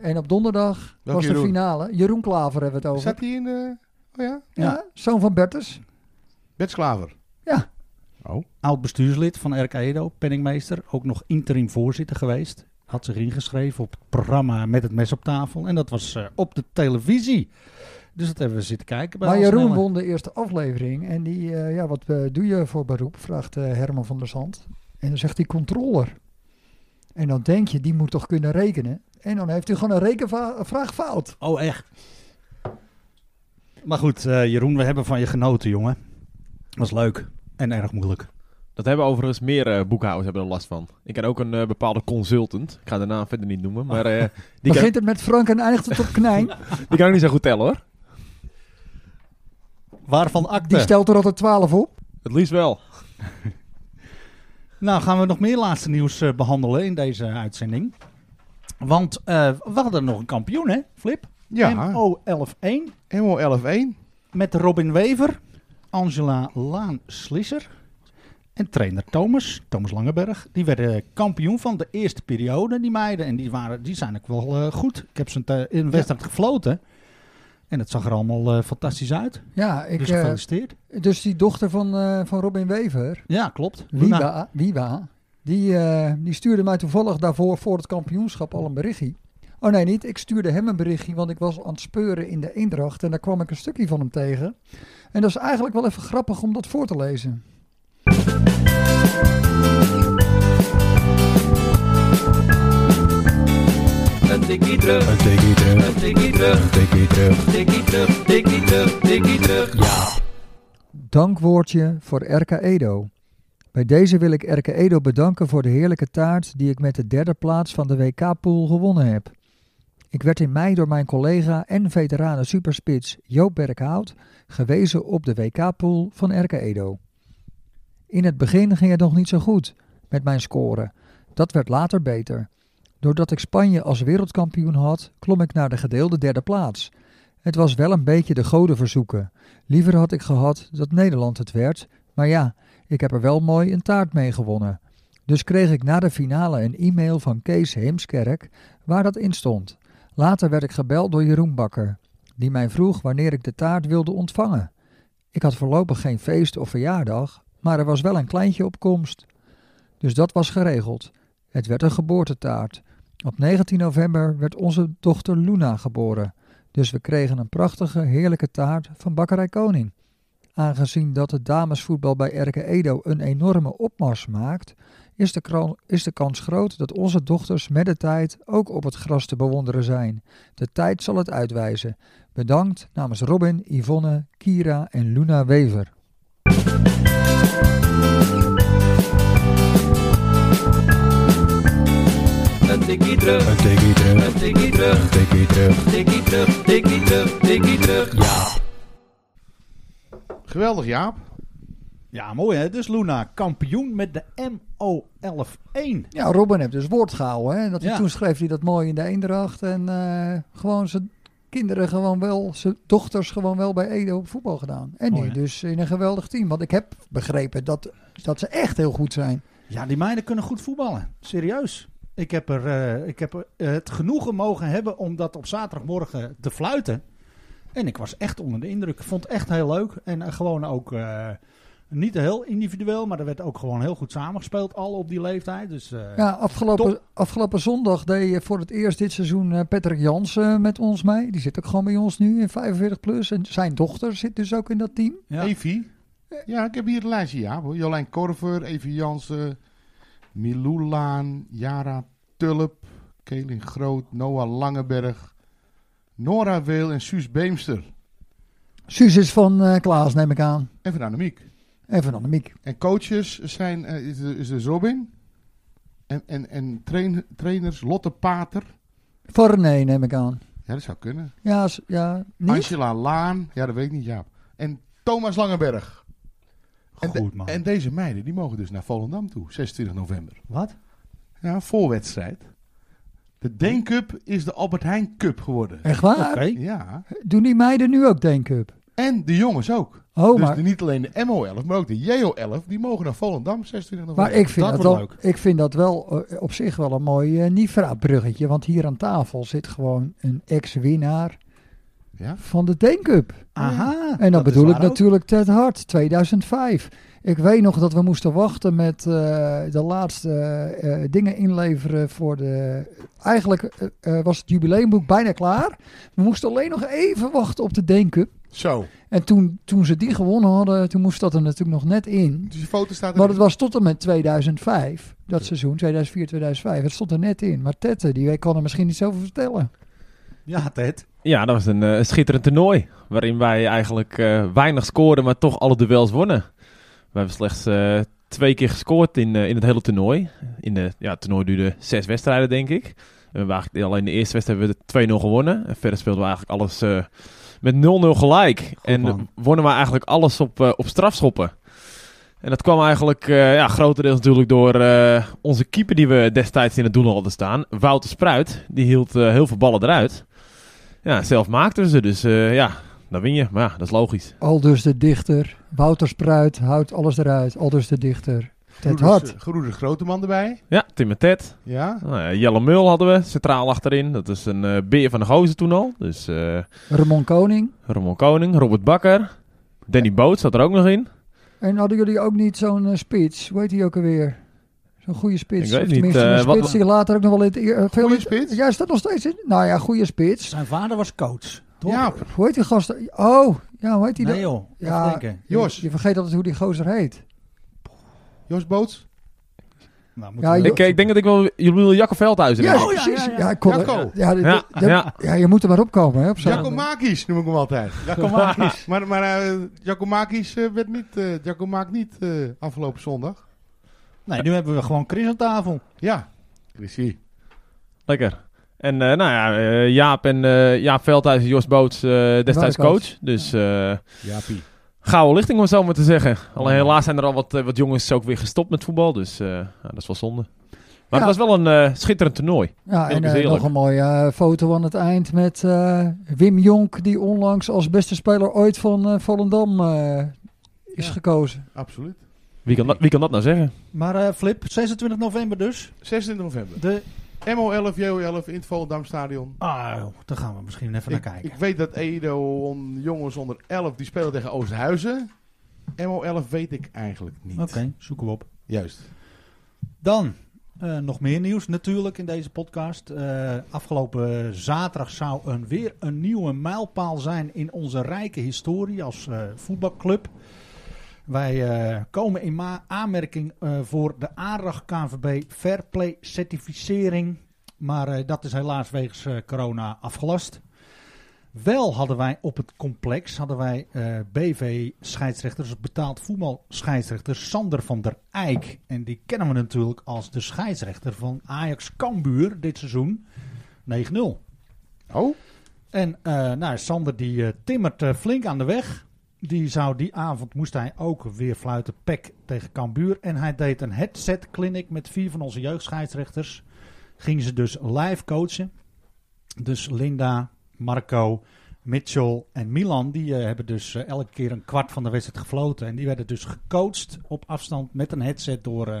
Speaker 4: En op donderdag
Speaker 2: Welke
Speaker 4: was
Speaker 2: Jeroen?
Speaker 4: de finale. Jeroen Klaver hebben we het over.
Speaker 2: Zat hij in de... Oh ja?
Speaker 4: ja, zoon van Bertus.
Speaker 2: Bert Slaver.
Speaker 4: Ja.
Speaker 2: Oh.
Speaker 1: Oud bestuurslid van RK Edo, penningmeester. Ook nog interim voorzitter geweest. Had zich ingeschreven op het programma Met het mes op tafel. En dat was eh, op de televisie. Dus dat hebben we zitten kijken. Bij
Speaker 4: Maar
Speaker 1: ons
Speaker 4: Jeroen
Speaker 1: snelle.
Speaker 4: won de eerste aflevering. En die, eh, ja, wat eh, doe je voor beroep? Vraagt eh, Herman van der Zand. En dan zegt hij controller. En dan denk je, die moet toch kunnen rekenen? En dan heeft hij gewoon een rekenvraag fout.
Speaker 1: Oh, echt? Maar goed, eh, Jeroen, we hebben van je genoten, jongen. Was leuk en erg moeilijk.
Speaker 6: Dat hebben overigens meer eh, boekhouders hebben er last van. Ik ken ook een eh, bepaalde consultant. Ik ga de naam verder niet noemen.
Speaker 2: <laughs>
Speaker 6: Maar eh, die, kan,
Speaker 4: Begint
Speaker 1: <laughs>
Speaker 4: het met Frank en eindigt het op Knijn.
Speaker 6: die kan ook niet zo goed tellen hoor.
Speaker 1: Waarvan
Speaker 4: Die
Speaker 1: acte?
Speaker 4: stelt er altijd 12 op.
Speaker 6: Het liefst wel.
Speaker 1: Nou, gaan we nog meer laatste nieuws eh, behandelen in deze uitzending. Want eh, we hadden nog een kampioen, hè, Flip?
Speaker 2: Ja,
Speaker 1: MO11-1
Speaker 2: MO 11-1.
Speaker 1: met Robin Wever, Angela Laan-Slisser en trainer Thomas, Thomas Langeberg. Die werden kampioen van de eerste periode, die meiden. En die, waren, die zijn ook wel eh, goed. Ik heb ze een te- in een wedstrijd gefloten. En het zag er allemaal eh, fantastisch uit.
Speaker 4: Ja, ik,
Speaker 1: dus
Speaker 4: eh,
Speaker 1: gefeliciteerd.
Speaker 4: dus die dochter van, eh, van Robin Wever,
Speaker 1: Ja, klopt. Luna.
Speaker 4: Wiwa, Wiwa die, eh, die stuurde mij toevallig daarvoor voor het kampioenschap al een berichtje. Oh nee, niet. Ik stuurde hem een berichtje, want ik was aan het speuren in de Eendracht. En daar kwam ik een stukje van hem tegen. En dat is eigenlijk wel even grappig om dat voor te lezen. Dankwoordje voor RK Edo. Bij deze wil ik RK Edo bedanken voor de heerlijke taart die ik met de derde plaats van de WK-pool gewonnen heb. Ik werd in mei door mijn collega en veteranen superspits Joop Berkhout gewezen op de WK-pool van RK Edo. In het begin ging het nog niet zo goed met mijn score. Dat werd later beter. Doordat ik Spanje als wereldkampioen had, klom ik naar de gedeelde derde plaats. Het was wel een beetje de goden verzoeken. Liever had ik gehad dat Nederland het werd, maar ja, ik heb er wel mooi een taart mee gewonnen. Dus kreeg ik na de finale een e-mail van Kees Heemskerk waar dat in stond. Later werd ik gebeld door Jeroen Bakker, die mij vroeg wanneer ik de taart wilde ontvangen. Ik had voorlopig geen feest of verjaardag, maar er was wel een kleintje op komst. Dus dat was geregeld. Het werd een geboortetaart. Op 19 november werd onze dochter Luna geboren. Dus we kregen een prachtige, heerlijke taart van Bakkerij Koning. Aangezien dat het damesvoetbal bij Erke Edo een enorme opmars maakt, is de, kran- is de kans groot dat onze dochters met de tijd ook op het gras te bewonderen zijn. De tijd zal het uitwijzen. Bedankt namens Robin, Yvonne, Kira en Luna Wever.
Speaker 2: Geweldig, Jaap.
Speaker 1: Ja, mooi hè. Dus Luna, kampioen met de MO11-1.
Speaker 4: Ja, Robin heeft dus woord gehouden. Hè? Dat hij
Speaker 1: Ja.
Speaker 4: Toen schreef hij dat mooi in de Eendracht. En eh, gewoon zijn kinderen gewoon wel, zijn dochters gewoon wel bij Edo op voetbal gedaan. En
Speaker 1: Mooi,
Speaker 4: nu
Speaker 1: hè?
Speaker 4: dus in een geweldig team. Want ik heb begrepen dat, dat ze echt heel goed zijn.
Speaker 1: Ja, die meiden kunnen goed voetballen. Serieus. Ik heb, er, eh, ik heb er, eh, het genoegen mogen hebben om dat op zaterdagmorgen te fluiten. En ik was echt onder de indruk. Ik vond het echt heel leuk. En eh, gewoon ook eh, niet heel individueel, maar er werd ook gewoon heel goed samengespeeld. Al op die leeftijd. Dus eh,
Speaker 4: Ja, afgelopen, afgelopen zondag deed eh, voor het eerst dit seizoen eh, Patrick Jansen met ons mee. Die zit ook gewoon bij ons nu in 45 plus. En zijn dochter zit dus ook in dat team.
Speaker 1: ja.
Speaker 2: Evie. Ja, ik heb hier het lijstje, Jaap. hoor. Jolijn Korver, Evie Jansen, Milou Laan, Jara Tulp, Kelin Groot, Noah Langeberg, Nora Weel en Suus Beemster.
Speaker 4: Suus is van eh, Klaas, neem ik aan.
Speaker 2: En van Annemiek.
Speaker 4: Even aan de miek.
Speaker 2: En coaches zijn, eh, is, is dus Robin. En, en, en train- trainers Lotte Pater.
Speaker 4: Van René, neem ik aan.
Speaker 2: Ja, dat zou kunnen.
Speaker 4: Ja, s- ja niet?
Speaker 2: Angela Laan. Ja, dat weet ik niet, Jaap. En Thomas Langeberg. En, de-
Speaker 1: goed
Speaker 4: Oh.
Speaker 1: man.
Speaker 2: en deze meiden, die mogen dus naar Volendam toe, 26 november.
Speaker 1: Wat?
Speaker 2: Ja, voorwedstrijd. De Deen Cup is de Albert Heijn Cup geworden.
Speaker 4: Echt waar?
Speaker 1: Oké.
Speaker 2: Ja.
Speaker 4: Doen die meiden nu ook Deencup?
Speaker 2: En de jongens ook.
Speaker 4: Oh,
Speaker 2: dus
Speaker 4: maar,
Speaker 2: de- niet alleen de MO11, maar ook de JO11. Die mogen naar Volendam 26 november.
Speaker 4: maar ik, vind
Speaker 1: Dat
Speaker 4: dat
Speaker 1: wordt
Speaker 4: wel, ik vind dat wel eh, op zich wel een mooi uh, Nifra-bruggetje. Want hier aan tafel zit gewoon een ex-winnaar
Speaker 2: Ja?
Speaker 4: van de Deencup.
Speaker 1: Aha.
Speaker 4: En dan
Speaker 1: dat is
Speaker 4: bedoel ik
Speaker 1: waar ook.
Speaker 4: natuurlijk Ted Hart, 2005. Ik weet nog dat we moesten wachten met eh, de laatste eh, eh, dingen inleveren voor de... Eigenlijk eh, eh, was het jubileumboek bijna klaar. We moesten alleen nog even wachten op de Deencup.
Speaker 2: Zo.
Speaker 4: En toen, toen ze die gewonnen hadden, toen moest dat er natuurlijk nog net in.
Speaker 2: Dus die foto staat er
Speaker 4: Maar het was tot en met 2005, dat seizoen, 2004, 2005. Het stond er net in. Maar Tette, die kan er misschien iets over vertellen.
Speaker 1: Ja, Ted.
Speaker 6: Ja, dat was een eh, schitterend toernooi. Waarin wij eigenlijk eh, weinig scoorden, maar toch alle duels wonnen. We hebben slechts eh, twee keer gescoord in, eh, in het hele toernooi. In de, ja, het toernooi duurde zes wedstrijden, denk ik. En we hebben eigenlijk alleen de eerste wedstrijd hebben we de 2-0 gewonnen. En verder speelden we eigenlijk alles eh, met 0-0 gelijk. en
Speaker 2: man.
Speaker 6: wonnen we eigenlijk alles op, eh, op strafschoppen. En dat kwam eigenlijk eh, ja, grotendeels natuurlijk door eh, onze keeper die we destijds in het doel hadden staan. Wouter Spruit, die hield eh, heel veel ballen eruit. Ja, zelf maakten ze, dus eh, ja, dan win je. Maar ja, dat is logisch.
Speaker 4: Al dus de dichter. Wouter Spruit houdt alles eruit. Al dus de dichter. Ted
Speaker 1: eh,
Speaker 4: Hart.
Speaker 2: Groede Groteman erbij.
Speaker 6: Ja, Tim en Ted.
Speaker 2: Ja.
Speaker 6: Nou ja, Jelle Meul hadden we centraal achterin. Dat is een eh, beer van de gozer toen al. Dus eh
Speaker 4: Ramon Koning.
Speaker 6: Ramon Koning, Robert Bakker. Danny Boot zat er ook nog in.
Speaker 4: En hadden jullie ook niet zo'n eh, spits? Hoe heet die ook alweer? Zo'n goede spits.
Speaker 6: Ik weet
Speaker 4: Of
Speaker 6: niet,
Speaker 4: tenminste,
Speaker 6: eh,
Speaker 4: een
Speaker 6: wat-
Speaker 4: spits die later ook nog wel in het... eer- eh, veel
Speaker 2: Goeie
Speaker 4: in-
Speaker 2: spits?
Speaker 4: Ja, is dat nog steeds in? Nou ja, goede spits.
Speaker 1: Zijn vader was coach, toch?
Speaker 2: Ja,
Speaker 4: Hoe heet die gast? Oh, ja, hoe heet die dan?
Speaker 1: nee joh, even
Speaker 4: Ja.
Speaker 1: denken.
Speaker 2: Jos.
Speaker 4: Je, je vergeet altijd hoe die gozer heet.
Speaker 2: Jos Boots.
Speaker 1: Nou, moeten
Speaker 4: Ja,
Speaker 1: we-
Speaker 4: joh.
Speaker 6: Ik, eh, ik denk dat ik wel Juliel Jacco Veldhuis in
Speaker 4: Ja,
Speaker 6: heb.
Speaker 1: Oh, ja,
Speaker 4: precies.
Speaker 1: ja, ja.
Speaker 4: Ja, ik kon-
Speaker 2: Jacco.
Speaker 4: ja, dit-
Speaker 6: Ja,
Speaker 4: dit-
Speaker 6: ja.
Speaker 4: ja, je moet er maar opkomen, hè, op zo'n-
Speaker 2: Giacomakis noem ik hem altijd. Giacomakis. maar maar eh, Giacomakis eh, werd niet, eh Giacomak niet eh, afgelopen zondag.
Speaker 1: Nee, nu hebben we gewoon Chris op tafel.
Speaker 2: Ja. Chrissy.
Speaker 6: Lekker. En eh, nou ja, eh, Jaap en eh, Jaap Veldhuis en Jos Boots eh, destijds
Speaker 4: coach.
Speaker 6: coach. Dus eh
Speaker 2: Jaapie.
Speaker 6: gouden lichting om het zo maar te zeggen. Alleen helaas zijn er al wat, eh, wat jongens ook weer gestopt met voetbal. Dus eh, ja, dat is wel zonde. Maar
Speaker 4: Ja.
Speaker 6: het was wel een eh, schitterend toernooi.
Speaker 4: Ja,
Speaker 6: Dat
Speaker 4: en
Speaker 6: is
Speaker 4: eh,
Speaker 6: heerlijk.
Speaker 4: nog een mooie eh, foto aan het eind met eh, Wim Jonk, die onlangs als beste speler ooit van eh, Volendam eh, is
Speaker 2: Ja.
Speaker 4: gekozen.
Speaker 2: Absoluut.
Speaker 6: Wie kan dat, wie kan dat nou zeggen?
Speaker 1: Maar eh, Flip, 26 november dus.
Speaker 2: 26 november.
Speaker 1: De...
Speaker 2: MO11, JO11 in het Volendam Stadion.
Speaker 1: Ah, joh, daar gaan we misschien even
Speaker 2: Ik,
Speaker 1: naar kijken.
Speaker 2: ik weet dat Edo on- jongens onder 11 die spelen tegen Oosthuizen. MO11 weet ik eigenlijk niet.
Speaker 1: Oké, zoeken we op.
Speaker 2: Juist.
Speaker 1: Dan eh, nog meer nieuws natuurlijk in deze podcast. Eh, afgelopen zaterdag zou een, weer een nieuwe mijlpaal zijn in onze rijke historie als eh, voetbalclub. Wij eh, komen in ma- aanmerking eh, voor de ARAG KNVB Fairplay certificering. Maar eh, dat is helaas wegens eh, corona afgelast. Wel hadden wij op het complex hadden wij, eh, BV scheidsrechters, betaald voetbal scheidsrechter Sander van der Eijk. En die kennen we natuurlijk als de scheidsrechter van Ajax Cambuur dit seizoen 9-0.
Speaker 2: Oh?
Speaker 1: En eh, nou, Sander die eh, timmert eh, flink aan de weg. Die zou die avond moest hij ook weer fluiten pek tegen Cambuur. En hij deed een headset clinic met vier van onze jeugdscheidsrechters. Gingen ze dus live coachen. Dus Linda, Marco, Mitchell en Milan, die eh, hebben dus eh, elke keer een kwart van de wedstrijd gefloten. En die werden dus gecoacht op afstand met een headset door eh,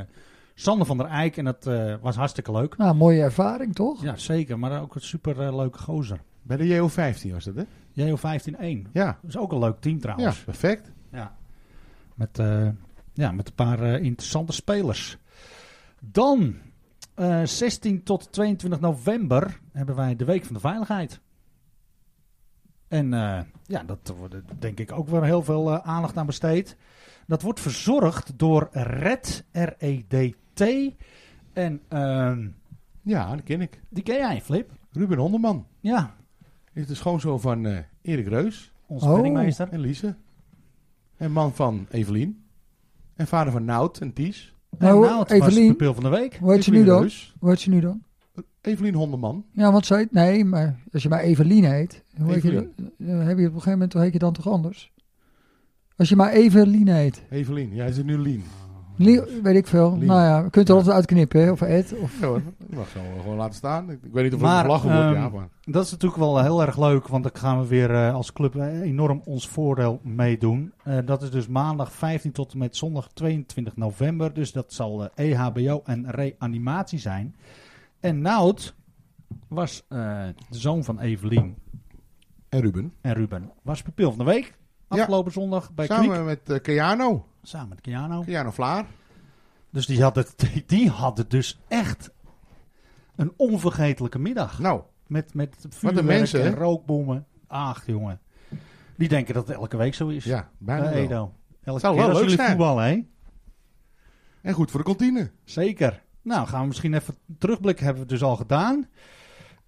Speaker 1: Sander van der Eijk. En dat eh, was hartstikke leuk.
Speaker 4: Nou, mooie ervaring toch?
Speaker 1: Ja, zeker. Maar ook een super eh, leuke gozer.
Speaker 2: Bij de JO15 was dat, hè?
Speaker 1: JO 15-1.
Speaker 2: Ja.
Speaker 1: Dat is ook een leuk team trouwens.
Speaker 2: Ja, perfect.
Speaker 1: Met, eh, ja, met een paar eh, interessante spelers. Dan, eh, 16 tot 22 november, hebben wij de Week van de Veiligheid. En eh, ja, dat wordt eh, denk ik ook weer heel veel eh, aandacht aan besteed. Dat wordt verzorgd door RED, R-E-D-T. En ehm,
Speaker 2: Ja, dat ken ik.
Speaker 1: die ken jij, Flip.
Speaker 2: Ruben Honderman
Speaker 1: Ja,
Speaker 2: is de schoonzoon van eh, Erik Reus
Speaker 1: onze
Speaker 4: Oh.
Speaker 1: penningmeester.
Speaker 2: en Lise. En man van Evelien. En vader van Nout en Ties.
Speaker 1: En
Speaker 4: hoe-
Speaker 1: nou, het was
Speaker 4: Evelien?
Speaker 1: pupil van de week.
Speaker 4: Hoe heet je nu
Speaker 2: Evelien
Speaker 4: dan?
Speaker 2: Reus.
Speaker 4: Hoe heet je nu dan?
Speaker 2: Evelien Honderman.
Speaker 4: Ja, want ze heet... Nee, maar als je maar Evelien heet, hoe heet je,
Speaker 2: Evelien.
Speaker 4: dan- eh, heb je op een gegeven moment hoe heet je dan toch anders? Als je maar Evelien heet.
Speaker 2: Evelien, jij zit nu Lien.
Speaker 4: Lie- weet ik veel.
Speaker 2: Lien.
Speaker 4: Nou ja, je kunt er altijd uitknippen, hè? Of Ed, of...
Speaker 2: Ja hoor, dat mag zo gewoon laten staan. Ik, ik weet niet of het
Speaker 1: Maar,
Speaker 2: gelachen wordt,
Speaker 1: ehm,
Speaker 2: ja, maar...
Speaker 1: Dat is natuurlijk wel heel erg leuk, want dan gaan we weer eh, als club eh, enorm ons voordeel meedoen. Eh, dat is dus maandag 15 tot en met zondag 22 november. Dus dat zal eh, EHBO en reanimatie zijn. En Nout was eh, de zoon van Evelien
Speaker 2: En Ruben.
Speaker 1: en Ruben. Was pupil van de week
Speaker 2: Ja.
Speaker 1: afgelopen zondag bij
Speaker 2: Samen
Speaker 1: Kwiek.
Speaker 2: met eh, Keanu.
Speaker 1: Samen met Keanu.
Speaker 2: Keanu Vlaar.
Speaker 1: Dus die hadden, die hadden dus echt een onvergetelijke middag.
Speaker 2: Nou,
Speaker 1: Met, met vuurwerk
Speaker 2: mensen,
Speaker 1: en
Speaker 2: hè?
Speaker 1: rookbommen. Ach, jongen. Die denken dat het elke week zo is.
Speaker 2: ja, bijna
Speaker 1: bij
Speaker 2: wel.
Speaker 1: Edo. Elke
Speaker 2: Zou
Speaker 1: keer
Speaker 2: wel
Speaker 1: als
Speaker 2: leuk
Speaker 1: jullie
Speaker 2: zijn.
Speaker 1: voetballen, hè?
Speaker 2: En goed voor de kantine.
Speaker 1: Zeker. Nou, gaan we misschien even terugblik hebben we dus al gedaan.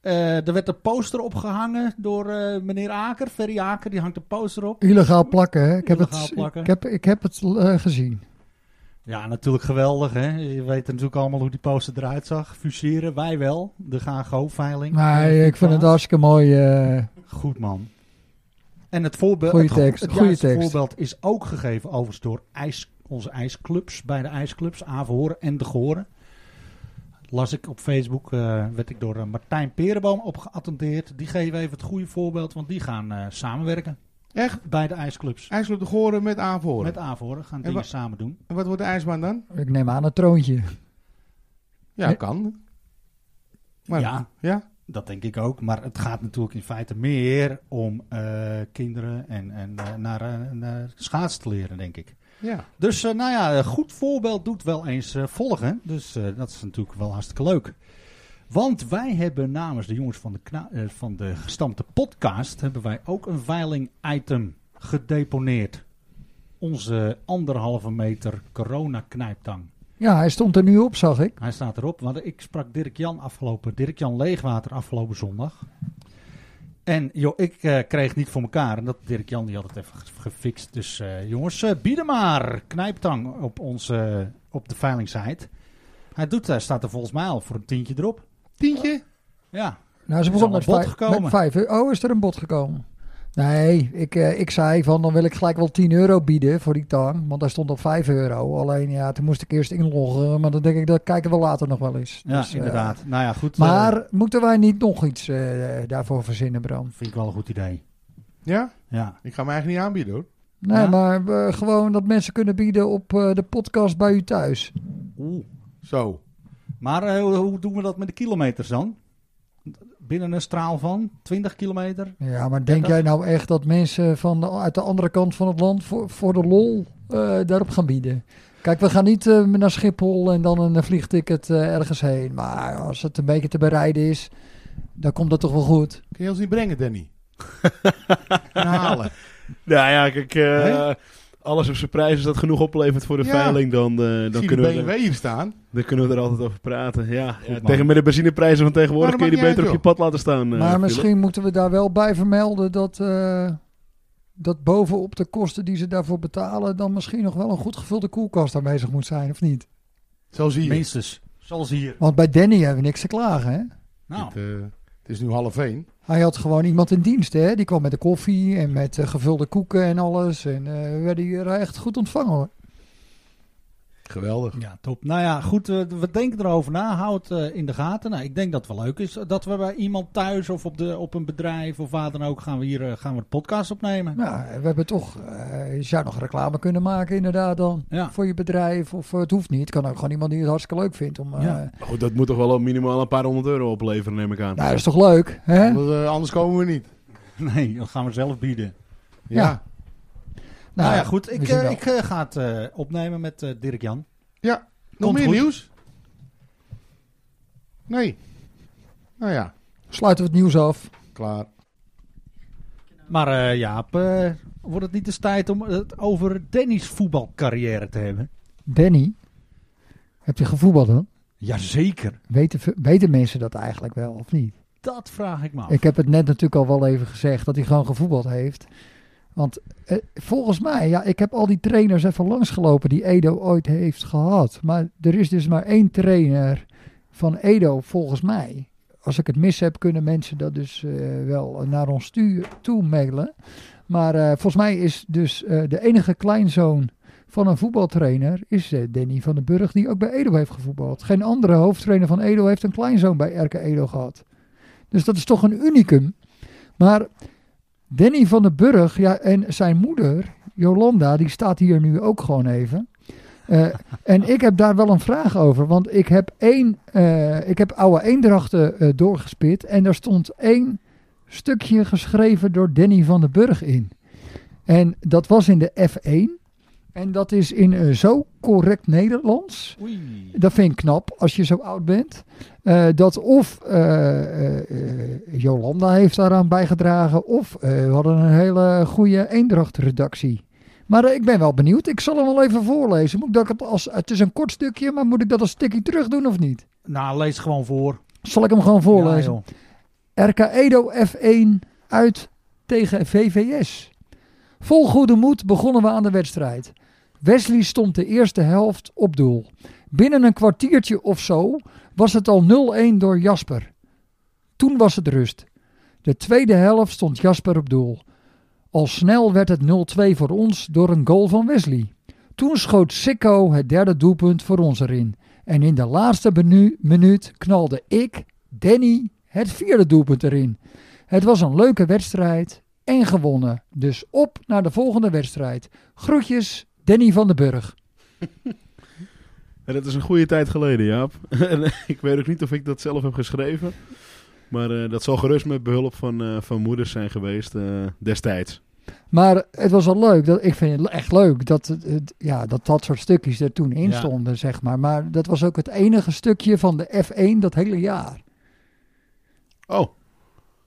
Speaker 1: Eh, er werd een poster opgehangen door eh, meneer Aker, Ferry Aker, die hangt een poster op.
Speaker 4: Illegaal plakken, hè? Ik heb
Speaker 1: Illegaal
Speaker 4: het,
Speaker 1: plakken.
Speaker 4: ik heb, ik heb het eh, gezien.
Speaker 1: Ja, natuurlijk geweldig, hè? Je weet natuurlijk allemaal hoe die poster eruit zag. Fuseren, wij wel. De GAGO-veiling.
Speaker 4: Nee, ik vind het hartstikke mooi. eh,
Speaker 1: Goed, man. En het, voorbeeld,
Speaker 4: Goeie
Speaker 1: het, go-
Speaker 4: tekst,
Speaker 1: het
Speaker 4: goeie
Speaker 1: juiste
Speaker 4: tekst.
Speaker 1: voorbeeld is ook gegeven overigens door ijs, onze ijsclubs. Bij de ijsclubs, Averhoren en De Goren. Las ik op Facebook, eh, werd ik door eh, Martijn Perenboom op geattendeerd. Die geven even het goede voorbeeld, want die gaan eh, samenwerken.
Speaker 2: Echt?
Speaker 1: Bij de ijsclubs.
Speaker 2: IJsselop de Goren met Aanvoren.
Speaker 1: Met Averhoren gaan dingen
Speaker 2: wa-
Speaker 1: samen doen.
Speaker 2: En wat wordt de ijsbaan dan?
Speaker 4: Ik neem aan een troontje.
Speaker 2: Ja,
Speaker 4: Nee.
Speaker 2: kan. Maar,
Speaker 1: Ja.
Speaker 2: ja.
Speaker 1: Dat denk ik ook, maar het gaat natuurlijk in feite meer om eh, kinderen en, en eh, naar, eh, naar schaats te leren, denk ik.
Speaker 2: Ja.
Speaker 1: Dus eh, nou ja, een goed voorbeeld doet wel eens eh, volgen. Dus eh, dat is natuurlijk wel hartstikke leuk. Want wij hebben namens de jongens van de, kna- eh, van de gestampte podcast... hebben wij ook een veiling-item gedeponeerd. Onze anderhalve meter corona-knijptang.
Speaker 4: Ja, hij stond er nu op, zag ik.
Speaker 1: Hij staat erop, want ik sprak Dirk Jan afgelopen, Dirk Jan Leegwater afgelopen zondag. En joh, ik eh, kreeg niet voor elkaar. En dat Dirk Jan die had het even ge- gefixt. Dus eh, jongens, eh bieden maar knijptang op, onze, op de veilingsite. Hij doet, hij staat er volgens mij al voor een tientje erop.
Speaker 2: Tientje?
Speaker 1: Ja,
Speaker 4: Nou, ze
Speaker 1: Is
Speaker 4: begon
Speaker 1: al
Speaker 4: met,
Speaker 1: een bod
Speaker 4: vijf-
Speaker 1: gekomen?
Speaker 4: met vijf euro. Oh, is er een bod gekomen? Nee, ik, eh, ik zei van dan wil ik gelijk wel 10 euro bieden voor die tang. Want hij stond op 5 euro. Alleen ja, toen moest ik eerst inloggen. Maar dan denk ik, dat kijken we later nog wel eens.
Speaker 1: ja
Speaker 4: Dus, eh,
Speaker 1: inderdaad. nou ja, goed.
Speaker 4: maar
Speaker 1: eh,
Speaker 4: moeten wij niet nog iets eh, daarvoor verzinnen, Bram?
Speaker 1: vind ik wel een goed idee.
Speaker 2: Ja?
Speaker 1: Ja.
Speaker 2: Ik ga me eigenlijk niet aanbieden hoor.
Speaker 4: Nee,
Speaker 1: Ja.
Speaker 4: maar eh, gewoon dat mensen kunnen bieden op eh, de podcast bij u thuis.
Speaker 2: Zo.
Speaker 1: Maar eh, hoe- hoe doen we dat met de kilometers dan? Binnen een straal van 20 kilometer?
Speaker 4: Ja, maar denk jij nou echt dat mensen van de- uit de andere kant van het land voor, voor de lol eh, daarop gaan bieden? Kijk, we gaan niet eh, naar Schiphol en dan een eh, vliegticket eh, ergens heen. Maar als het een beetje te bereiden is, dan komt dat toch wel goed.
Speaker 2: Kun je ons niet brengen, Danny? En halen.
Speaker 3: Nou ja, kijk, eh,
Speaker 2: Hè?
Speaker 3: alles op zijn prijs is dat genoeg oplevert voor de
Speaker 2: Ja.
Speaker 3: veiling. Dan, eh,
Speaker 2: Ik
Speaker 3: dan,
Speaker 2: zie de
Speaker 3: kunnen we
Speaker 2: BMW
Speaker 3: er,
Speaker 2: hier staan.
Speaker 3: dan kunnen we er altijd over praten. Ja, ja,
Speaker 1: man.
Speaker 3: tegen met de benzineprijzen van tegenwoordig
Speaker 2: Maar
Speaker 3: kun
Speaker 2: dat
Speaker 3: je die
Speaker 2: maakt
Speaker 3: beter op
Speaker 2: niet
Speaker 3: je
Speaker 2: uit,
Speaker 3: pad laten staan. eh,
Speaker 4: maar
Speaker 3: Philip.
Speaker 4: misschien moeten we daar wel bij vermelden dat, eh, dat bovenop de kosten die ze daarvoor betalen, dan misschien nog wel een goed gevulde koelkast aanwezig moet zijn, of niet?
Speaker 2: Zo zie je.
Speaker 1: Minstens. Zoals hier.
Speaker 4: Want bij Danny hebben we niks te klagen, hè?
Speaker 1: Nou,
Speaker 2: Het, eh, het is nu half één.
Speaker 4: Hij had gewoon iemand in dienst, hè? Die kwam met de koffie en met eh, gevulde koeken en alles. En eh, we werden hier echt goed ontvangen, hoor.
Speaker 2: Geweldig.
Speaker 1: ja, top. Nou ja, goed. eh, we denken erover na. Hou het eh, in de gaten. Nou, ik denk dat het wel leuk is eh, dat we bij iemand thuis of op, de, op een bedrijf of waar dan ook gaan we hier eh, gaan we de podcast opnemen.
Speaker 4: Nou, we hebben toch... eh, je zou nog reclame kunnen maken, inderdaad, dan.
Speaker 1: Ja.
Speaker 4: Voor je bedrijf. Of eh, het hoeft niet. Het kan ook gewoon iemand die het hartstikke leuk vindt. Om, eh,
Speaker 1: Ja.
Speaker 3: Maar Goed, dat moet toch wel minimaal een paar honderd euro opleveren, neem ik aan.
Speaker 4: Nou, dat is toch leuk, hè?
Speaker 2: Want, eh, anders komen we niet.
Speaker 1: <laughs> Nee, dat gaan we zelf bieden.
Speaker 4: Ja.
Speaker 2: Ja.
Speaker 1: Nou, ja, goed.
Speaker 4: we
Speaker 1: Ik,
Speaker 4: zien
Speaker 1: eh,
Speaker 4: wel.
Speaker 1: ik eh, ga het eh, opnemen met eh, Dirk Jan.
Speaker 2: Nog
Speaker 1: Komt
Speaker 2: meer
Speaker 1: goed.
Speaker 2: nieuws? Nee. Nou ja,
Speaker 4: Sluiten we het nieuws af.
Speaker 2: klaar.
Speaker 1: Maar eh, Jaap, eh, wordt het niet eens tijd om het over Danny's voetbalcarrière te hebben?
Speaker 4: Danny, heb je gevoetbald dan?
Speaker 1: Jazeker.
Speaker 4: Weten, ve- weten mensen dat eigenlijk wel, of niet?
Speaker 1: Dat vraag ik me af.
Speaker 4: Ik heb het net natuurlijk al wel even gezegd dat hij gewoon gevoetbald heeft. Want eh, volgens mij, ja, ik heb al die trainers even langsgelopen die Edo ooit heeft gehad. Maar er is dus maar één trainer van Edo, volgens mij. Als ik het mis heb, kunnen mensen dat dus eh, wel naar ons stu- toe mailen. Maar eh, volgens mij is dus eh, de enige kleinzoon van een voetbaltrainer is eh, Danny van den Burg, die ook bij Edo heeft gevoetbald. Geen andere hoofdtrainer van Edo heeft een kleinzoon bij RK Edo gehad. Dus dat is toch een unicum. Maar Danny van den Burg ja, en zijn moeder, Jolanda, die staat hier nu ook gewoon even. Eh, en ik heb daar wel een vraag over, want ik heb, één, eh, ik heb oude eendrachten eh, doorgespit en daar stond één stukje geschreven door Danny van den Burg in. En dat was in de F1 en dat is in eh, zo correct Nederlands
Speaker 1: Oei.
Speaker 4: dat vind ik knap als je zo oud bent. Eh, dat of eh, eh, eh, Jolanda heeft daaraan bijgedragen, of eh, we hadden een hele goede Eendracht-redactie. Maar eh, ik ben wel benieuwd. Ik zal hem wel even voorlezen. Moet ik dat als, het is een kort stukje, maar moet ik dat als stikkie terug doen of niet?
Speaker 1: Nou, lees gewoon voor.
Speaker 4: Zal ik hem gewoon
Speaker 1: Ja,
Speaker 4: voorlezen?
Speaker 1: joh.
Speaker 4: RK Edo F1 uit tegen VVS. Vol goede moed begonnen we aan de wedstrijd. Wesley stond de eerste helft op doel. Binnen een kwartiertje of zo was het al 0-1 door Jasper. Toen was het rust. De tweede helft stond Jasper op doel. Al snel werd het 0-2 voor ons door een goal van Wesley. Toen schoot Sikko het derde doelpunt voor ons erin. En in de laatste benu- minuut knalde ik, Danny, het vierde doelpunt erin. Het was een leuke wedstrijd en gewonnen. Dus op naar de volgende wedstrijd. Groetjes, Danny van den Burg.
Speaker 3: En dat is een goede tijd geleden, Jaap. <laughs> En ik weet ook niet of ik dat zelf heb geschreven. Maar eh, dat zal gerust met behulp van, eh, van moeders zijn geweest eh, destijds.
Speaker 4: Maar het was wel leuk. Dat, ik vind het echt leuk dat, het- het- ja, dat dat soort stukjes er toen in
Speaker 1: Ja.
Speaker 4: stonden, zeg maar. Maar dat was ook het enige stukje van de F1 dat hele jaar.
Speaker 3: Oh,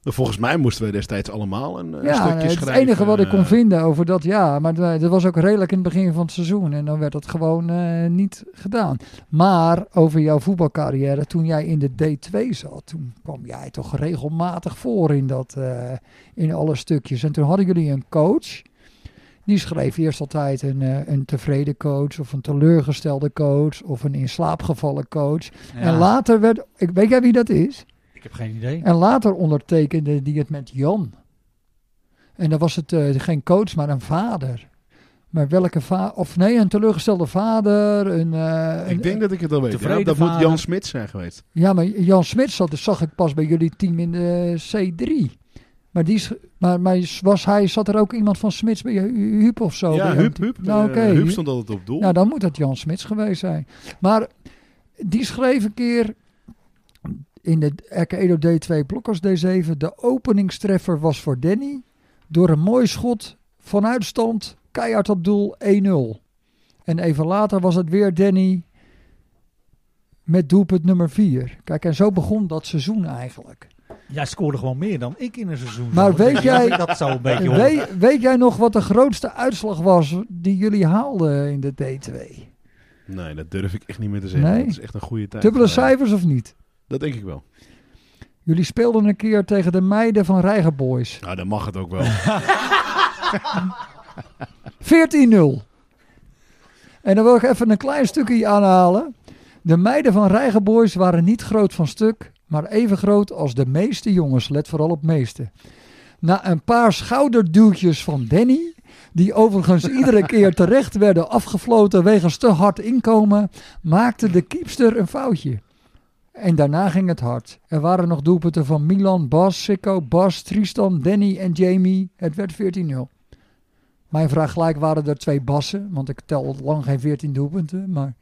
Speaker 3: nou, volgens mij moesten we destijds allemaal een, eh,
Speaker 4: ja,
Speaker 3: stukje
Speaker 4: het is
Speaker 3: schrijven.
Speaker 4: het enige wat ik kon
Speaker 3: eh,
Speaker 4: vinden over dat jaar. Maar eh, dat dat was ook redelijk in het begin van het seizoen. En dan werd dat gewoon eh, niet gedaan. Maar over jouw voetbalcarrière, toen jij in de D2 zat, toen kwam jij toch regelmatig voor in, dat, eh, in alle stukjes. En toen hadden jullie een coach. Die schreef eerst altijd een, eh, een tevreden coach of een teleurgestelde coach of een in slaap gevallen coach. En later werd, ik weet jij wie dat is?
Speaker 1: Ik heb geen idee.
Speaker 4: En later ondertekende die het met Jan. En dan was het eh, geen coach, maar een vader. Maar welke vader? Of nee, een teleurgestelde vader. Een, eh, een-
Speaker 3: Ik denk dat ik het al weet. Ja,
Speaker 1: Tevreden
Speaker 3: dat moet
Speaker 1: vader.
Speaker 3: Jan Smit zijn geweest.
Speaker 4: Ja, maar Jan Smit zat, dat zag ik pas bij jullie team in de C3. Maar, die, is- maar, maar was hij, zat er ook iemand van Smits bij Hu- Huub of zo?
Speaker 3: ja,
Speaker 4: bij
Speaker 3: Huub,
Speaker 4: jou?
Speaker 3: Huub.
Speaker 4: Nou,
Speaker 3: Eh,
Speaker 4: oké.
Speaker 3: Huub stond altijd op doel.
Speaker 4: Nou, dan moet het Jan Smits geweest zijn. Maar die schreef een keer in de E Edo D2 Blokkers D7... de openingstreffer was voor Danny... door een mooi schot vanuit stand, keihard op doel, 1-0. En even later was het weer Danny met doelpunt nummer 4. Kijk, en zo begon dat seizoen eigenlijk.
Speaker 1: Jij scoorde gewoon meer dan ik in een seizoen.
Speaker 4: Maar
Speaker 1: Zo,
Speaker 4: weet
Speaker 1: dat
Speaker 4: jij-
Speaker 1: ik dat zo een beetje hoor.
Speaker 4: Weet, weet jij nog wat de grootste uitslag was die jullie haalden in de D2?
Speaker 3: Nee, dat durf ik echt niet meer te zeggen.
Speaker 4: Nee.
Speaker 3: Dat is echt een goede tijd.
Speaker 4: Dubbele
Speaker 3: geleden.
Speaker 4: cijfers of niet?
Speaker 3: Dat denk ik wel.
Speaker 4: Jullie speelden een keer tegen de meiden van Reiger Boys. 14-0.
Speaker 3: Nou, dan mag het ook wel.
Speaker 4: <laughs> En dan wil ik even een klein stukje aanhalen. De meiden van Reiger Boys waren niet groot van stuk, maar even groot als de meeste jongens. Let vooral op meeste. Na een paar schouderduwtjes van Danny, die overigens iedere keer terecht werden afgefloten wegens te hard inkomen, maakte de keepster een foutje. En daarna ging het hard. Er waren nog doelpunten van Milan, Bas, Sikko, Bas, Tristan, Danny en Jamie. Het werd 14-0. Mijn vraag gelijk waren er twee bassen, want ik tel al lang geen 14 doelpunten. Maar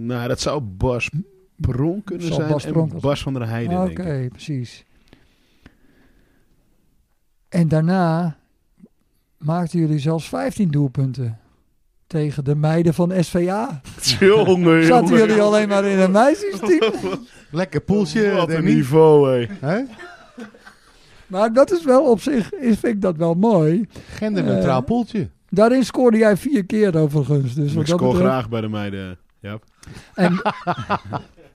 Speaker 3: nou, dat zou Bas Pron kunnen
Speaker 4: Zal
Speaker 3: zijn
Speaker 4: Bas Pronk
Speaker 3: en
Speaker 4: wel Ah,
Speaker 3: Bas van der Heijden,
Speaker 4: oké,
Speaker 3: denk ik. <laughs>
Speaker 4: precies. En daarna maakten jullie zelfs 15 doelpunten tegen de meiden van SVA.
Speaker 3: Jongen,
Speaker 4: <laughs> Zaten
Speaker 3: jongen.
Speaker 4: jullie alleen maar in een
Speaker 3: <laughs>
Speaker 4: meisjesteam?
Speaker 2: Lekker poeltje,
Speaker 3: Wat een
Speaker 2: Danny.
Speaker 3: niveau, Dus hé.
Speaker 2: Hè?
Speaker 4: Maar dat is wel op zich, is- vind ik dat wel mooi.
Speaker 2: Genderneutraal
Speaker 4: Eh.
Speaker 2: poeltje.
Speaker 4: Daarin scoorde jij vier keer overigens. Dus
Speaker 3: ik
Speaker 4: wat dat
Speaker 3: scoor
Speaker 4: betreft-
Speaker 3: graag bij de meiden. <laughs>
Speaker 4: En,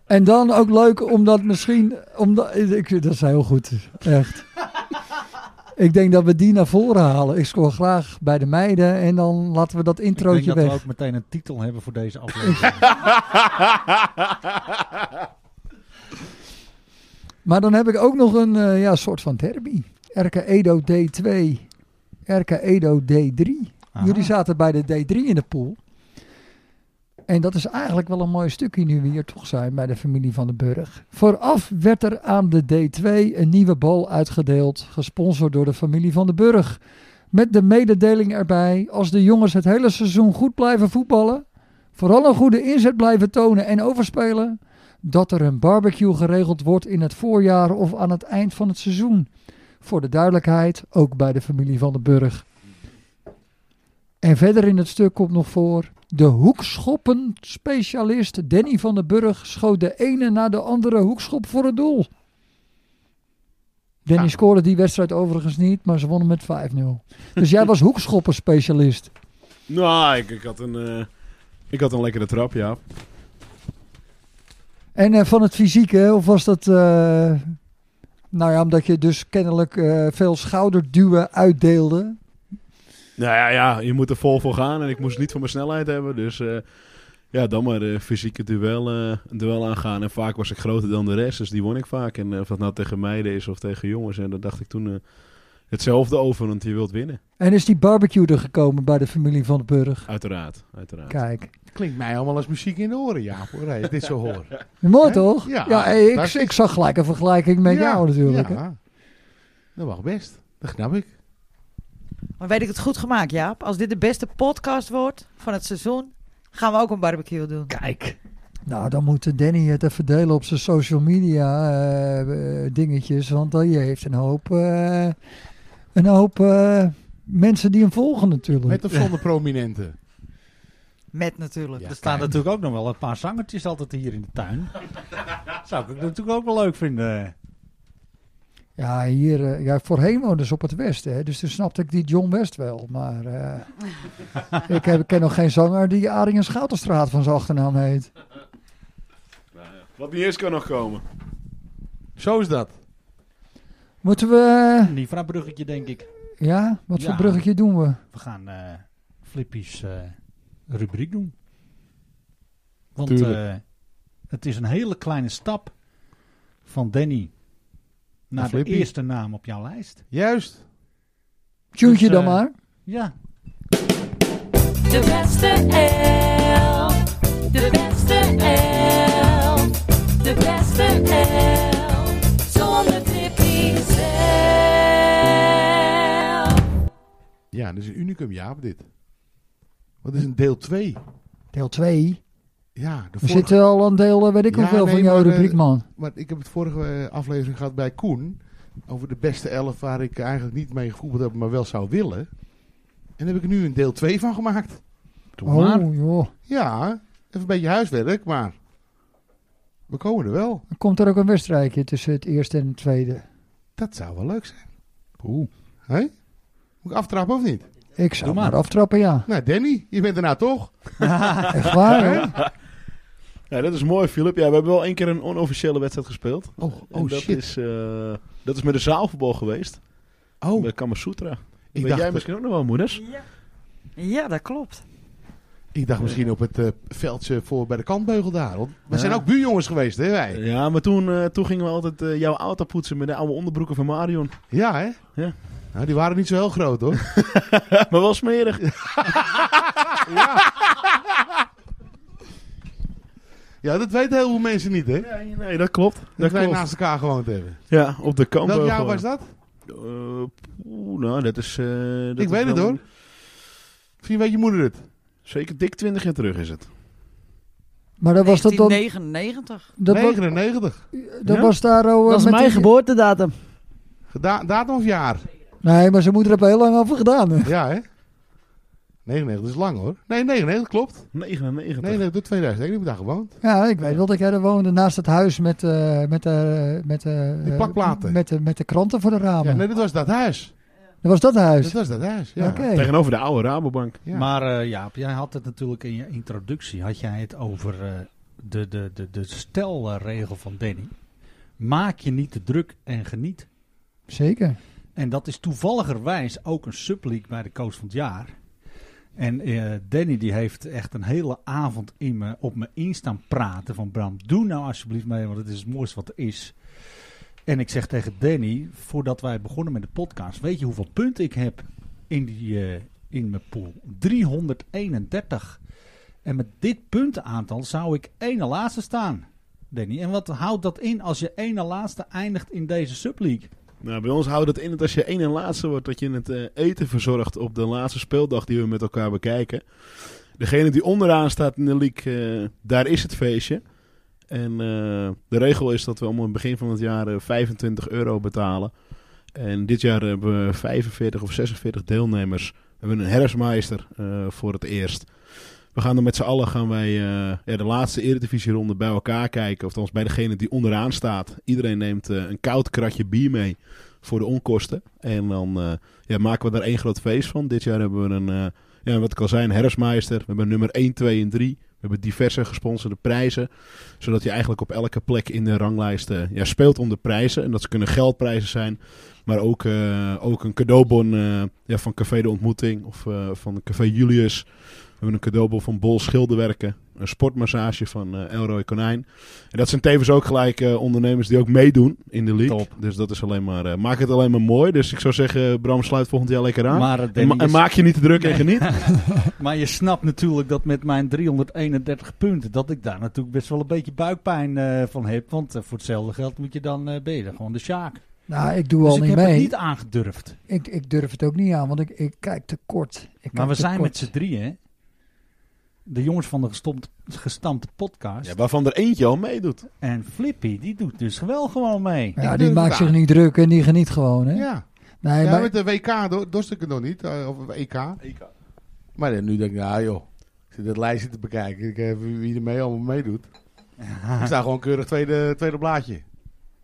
Speaker 4: en dan ook leuk omdat misschien. Omdat, ik, dat is heel goed, echt. Ik denk dat we die naar voren halen. Ik scoor graag bij de meiden en dan laten we dat
Speaker 1: Ik denk
Speaker 4: introotje
Speaker 1: dat
Speaker 4: weg.
Speaker 1: we ook meteen een titel hebben voor deze aflevering.
Speaker 4: Maar dan heb ik ook nog een eh, ja, soort van derby. RK Edo D2, RK Edo D3.
Speaker 1: Aha.
Speaker 4: Jullie zaten bij de D3 in de pool. En dat is eigenlijk wel een mooi stukje nu we hier toch zijn bij de familie van de Burg. Vooraf werd er aan de D2 een nieuwe bal uitgedeeld, gesponsord door de familie van de Burg. Met de mededeling erbij, als de jongens het hele seizoen goed blijven voetballen, vooral een goede inzet blijven tonen en overspelen, dat er een barbecue geregeld wordt in het voorjaar of aan het eind van het seizoen. Voor de duidelijkheid, ook bij de familie van de Burg. En verder in het stuk komt nog voor. De hoekschoppen-specialist Danny van den Burg schoot de ene na de andere hoekschop voor het doel. Danny
Speaker 2: Ja.
Speaker 4: scoorde die wedstrijd overigens niet, maar ze wonnen met 5-0. Dus jij was hoekschoppen-specialist.
Speaker 3: Nou, ik, ik, had een, eh, ik had een lekkere trap, ja.
Speaker 4: En eh, van het fysieke, of was dat... eh, nou ja, omdat je dus kennelijk eh, veel schouderduwen uitdeelde.
Speaker 3: Nou ja, ja, je moet er vol voor gaan. En ik moest het niet voor mijn snelheid hebben. Dus eh, ja, dan maar eh fysieke duel, eh, een duel aangaan. En vaak was ik groter dan de rest. Dus die won ik vaak. En eh, of dat nou tegen meiden is of tegen jongens. En dat dacht ik toen... eh, Hetzelfde over, want je wilt winnen.
Speaker 4: En is die barbecue er gekomen bij de familie van de Burg?
Speaker 3: Uiteraard, uiteraard.
Speaker 4: Kijk.
Speaker 2: Klinkt mij allemaal als muziek in de oren, Jaap. Hoor. Hey, dit zo hoor.
Speaker 4: Mooi
Speaker 2: Hè?
Speaker 4: toch?
Speaker 2: Ja,
Speaker 4: hey, ik,
Speaker 2: fantastisch.
Speaker 4: ik zag gelijk een vergelijking <laughs> met jou natuurlijk. hè.
Speaker 2: Ja. Dat mag best. Dat knap ik.
Speaker 7: Maar weet ik het goed gemaakt, Jaap? Als dit de beste podcast wordt van het seizoen, gaan we ook een barbecue doen.
Speaker 2: Kijk.
Speaker 4: Nou, dan moet Danny het even delen op zijn social media eh, eh, dingetjes. Want die heeft een hoop, eh, een hoop eh, mensen die hem volgen natuurlijk.
Speaker 2: Met
Speaker 4: <laughs>
Speaker 2: of zonder prominenten.
Speaker 7: Met natuurlijk.
Speaker 2: Ja.
Speaker 7: Dus
Speaker 1: Er staan natuurlijk ook nog wel een paar zangertjes altijd hier in de tuin. <laughs> Zou ik natuurlijk ook wel leuk vinden.
Speaker 4: Ja, hier, eh, ja, voorheen woonden ze op het Westen. Hè, dus toen snapte ik die John West wel. Maar eh, ik heb, ken nog geen zanger die Aringen Schouterstraat van zijn achternaam heet.
Speaker 3: Wat niet eens kan nog komen.
Speaker 2: Zo is dat.
Speaker 4: Moeten we... eh,
Speaker 1: Een Nivra-bruggetje, denk ik.
Speaker 4: Ja, wat voor
Speaker 1: Ja.
Speaker 4: bruggetje doen we?
Speaker 1: We gaan eh Flippy's eh, rubriek doen. Want
Speaker 2: Tuurlijk.
Speaker 1: eh, het is een hele kleine stap van Danny naar de
Speaker 2: Flippy.
Speaker 1: eerste naam op jouw lijst.
Speaker 2: Juist.
Speaker 4: Tune je
Speaker 1: Dus,
Speaker 4: dan
Speaker 1: eh,
Speaker 4: maar.
Speaker 1: Ja,
Speaker 8: De beste elf. De beste elf. De beste elf. Zonder Tippy zelf.
Speaker 2: Ja, dat is een unicum, Jaap, dit. Wat is een deel 2?
Speaker 4: Deel 2.
Speaker 2: Ja, de
Speaker 4: We
Speaker 2: vorige...
Speaker 4: zitten al aan deel, eh, weet ik
Speaker 2: Ja,
Speaker 4: hoeveel
Speaker 2: nee,
Speaker 4: van jouw
Speaker 2: maar, eh,
Speaker 4: rubriek, man.
Speaker 2: Maar ik heb het vorige eh, aflevering gehad bij Koen. Over de beste elf waar ik eigenlijk niet mee gevoeld heb, maar wel zou willen. En daar heb ik er nu een deel 2 van gemaakt.
Speaker 4: Oh, joh.
Speaker 2: Ja, even een beetje huiswerk, maar we komen er wel.
Speaker 4: Dan Komt er ook een wedstrijdje tussen het eerste en het tweede?
Speaker 2: Dat zou wel leuk zijn. Oeh. Hé? Moet ik aftrappen of niet?
Speaker 4: Ik zou
Speaker 1: Doe
Speaker 4: maar.
Speaker 1: maar.
Speaker 4: aftrappen, ja.
Speaker 2: Nou, Danny, je bent er nou toch?
Speaker 4: Echt waar, hè?
Speaker 3: Ja, dat is mooi, Philip. Ja, we hebben wel één keer een onofficiële wedstrijd gespeeld.
Speaker 2: Oh,
Speaker 3: En
Speaker 2: oh
Speaker 3: dat
Speaker 2: shit.
Speaker 3: Is, eh, dat is met de zaalvoetbal geweest.
Speaker 2: Oh,
Speaker 3: Bij Kamasutra.
Speaker 2: ik
Speaker 3: Weet
Speaker 2: dacht,
Speaker 3: jij misschien ook nog wel, moeders?
Speaker 7: Ja, dat klopt.
Speaker 2: ik dacht misschien op het eh, veldje voor bij de kantbeugel daar. Want we
Speaker 3: Ja.
Speaker 2: zijn ook buurjongens geweest, hè wij?
Speaker 3: Ja, maar toen, eh, toen gingen we altijd eh, jouw auto poetsen met de oude onderbroeken van Marion.
Speaker 2: Ja, hè?
Speaker 3: Ja.
Speaker 2: Nou, die waren niet zo heel groot, hoor.
Speaker 3: maar wel smerig.
Speaker 2: Ja, dat weten heel veel mensen niet, hè?
Speaker 3: Nee, nee, dat klopt. Dat,
Speaker 2: Dat wij
Speaker 3: klopt.
Speaker 2: naast elkaar gewoond hebben.
Speaker 3: Ja, op de kamp.
Speaker 2: Welk jaar was dat?
Speaker 3: nou, dat is... eh, dat
Speaker 2: Ik
Speaker 3: is
Speaker 2: weet het,
Speaker 3: wel-
Speaker 2: hoor. Misschien weet je moeder het.
Speaker 3: Zeker dik 20 jaar terug is het.
Speaker 4: Maar dat was dat dan...
Speaker 7: 1999.
Speaker 4: Dat, was,
Speaker 2: 99.
Speaker 4: dat
Speaker 3: Ja?
Speaker 4: was daar al... eh,
Speaker 5: Dat is
Speaker 4: met
Speaker 5: mijn
Speaker 4: die-
Speaker 5: geboortedatum.
Speaker 2: Geda- datum of jaar?
Speaker 4: Nee, maar zijn moeder heeft er heel lang over gedaan. hè.
Speaker 2: Ja, hè? 99 is lang, hoor. Nee, 99 klopt.
Speaker 3: 99.
Speaker 2: 99 tot 2001 heb ik daar gewoond.
Speaker 4: Ja, ik weet wel dat jij er woonde naast het huis met, eh met, de met, de
Speaker 2: Die
Speaker 4: eh,
Speaker 2: plakplaten.
Speaker 4: Met, de met de kranten voor de
Speaker 2: Ja,
Speaker 4: ramen.
Speaker 2: nee, dat was dat huis.
Speaker 4: Dat was dat
Speaker 2: Dat
Speaker 4: huis.
Speaker 2: was dat huis,
Speaker 4: Dus-
Speaker 2: ja.
Speaker 4: Oké.
Speaker 3: Tegenover de oude Rabobank.
Speaker 2: Ja.
Speaker 1: maar eh, Jaap, jij had het natuurlijk in je introductie, had jij het over eh, de, de, de, de stelregel van Danny. Maak je niet te druk en geniet.
Speaker 4: Zeker.
Speaker 1: En dat is toevalligerwijs ook een subleague bij de coach van het jaar. En eh, Danny die heeft echt een hele avond in me, op me in staan praten van Bram, doe nou alsjeblieft mee, want het is het mooiste wat er is. En ik zeg tegen Danny, voordat wij begonnen met de podcast, weet je hoeveel punten ik heb in, die, eh, in mijn pool? 331. En met dit puntenaantal zou ik ene laatste staan, Danny. En wat houdt dat in als je ene laatste eindigt in deze subleague?
Speaker 3: Nou, bij ons houdt het in dat als je één en laatste wordt, dat je het eh, eten verzorgt op de laatste speeldag die we met elkaar bekijken. Degene die onderaan staat in de league, eh, daar is het feestje. En eh, de regel is dat we om het begin van het jaar eh, 25 euro betalen. En dit jaar hebben we 45 of 46 deelnemers. We hebben een herfstmeister eh, voor het eerst. We gaan er met z'n allen gaan wij, eh, ja, de laatste eredivisieronde bij elkaar kijken. Of althans bij degene die onderaan staat. Iedereen neemt eh, een koud kratje bier mee voor de onkosten. En dan eh, ja, maken we daar één groot feest van. Dit jaar hebben we een, eh, ja, wat ik al zei, een herfstmeister. We hebben nummer 1, 2 en 3. We hebben diverse gesponsorde prijzen. Zodat je eigenlijk op elke plek in de ranglijst eh, ja, speelt om de prijzen. En dat kunnen geldprijzen zijn. Maar ook, eh, ook een cadeaubon eh, ja, van Café de Ontmoeting of eh, van Café Julius. hebben een cadeaubon van Bol Schilderwerken. Een sportmassage van eh, Elroy Konijn. En dat zijn tevens ook gelijk eh, ondernemers die ook meedoen in de league.
Speaker 6: Top.
Speaker 3: Dus dat is alleen maar, eh, maak het alleen maar mooi. Dus ik zou zeggen, Bram, sluit volgend jaar lekker aan.
Speaker 1: Maar, eh,
Speaker 3: en,
Speaker 1: Danny,
Speaker 3: ma- en
Speaker 1: je-
Speaker 3: maak je niet te druk en
Speaker 1: Nee.
Speaker 3: geniet.
Speaker 1: maar je snapt natuurlijk dat met mijn 331 punten, dat ik daar natuurlijk best wel een beetje buikpijn eh, van heb. Want eh, voor hetzelfde geld moet je dan eh beter gewoon de sjaak.
Speaker 4: Nou, ik doe
Speaker 1: Dus
Speaker 4: al
Speaker 1: ik
Speaker 4: niet
Speaker 1: heb
Speaker 4: mee.
Speaker 1: het niet aangedurfd.
Speaker 4: Ik, ik durf het ook niet aan, want ik, ik kijk te kort. Ik
Speaker 1: Maar
Speaker 4: kijk
Speaker 1: we
Speaker 4: te
Speaker 1: zijn
Speaker 4: kort.
Speaker 1: met z'n drieën. hè? De jongens van de gestompt, gestampte podcast.
Speaker 3: Ja, waarvan er eentje al meedoet.
Speaker 1: En Flippy, die doet dus wel gewoon mee.
Speaker 4: Ja,
Speaker 2: Ik
Speaker 4: die
Speaker 2: durf
Speaker 4: maakt
Speaker 2: het
Speaker 4: zich
Speaker 2: aan.
Speaker 4: niet druk en die geniet gewoon, hè?
Speaker 2: Ja.
Speaker 4: Nee,
Speaker 2: ja,
Speaker 4: maar-
Speaker 2: met de WK do- dorst ik het nog niet. eh, of EK. Maar dan nu denk ik, nou joh. Ik zit het lijstje te bekijken. Ik heb wie er mee allemaal
Speaker 4: <laughs>
Speaker 2: meedoet. Ik sta gewoon keurig tweede, tweede blaadje.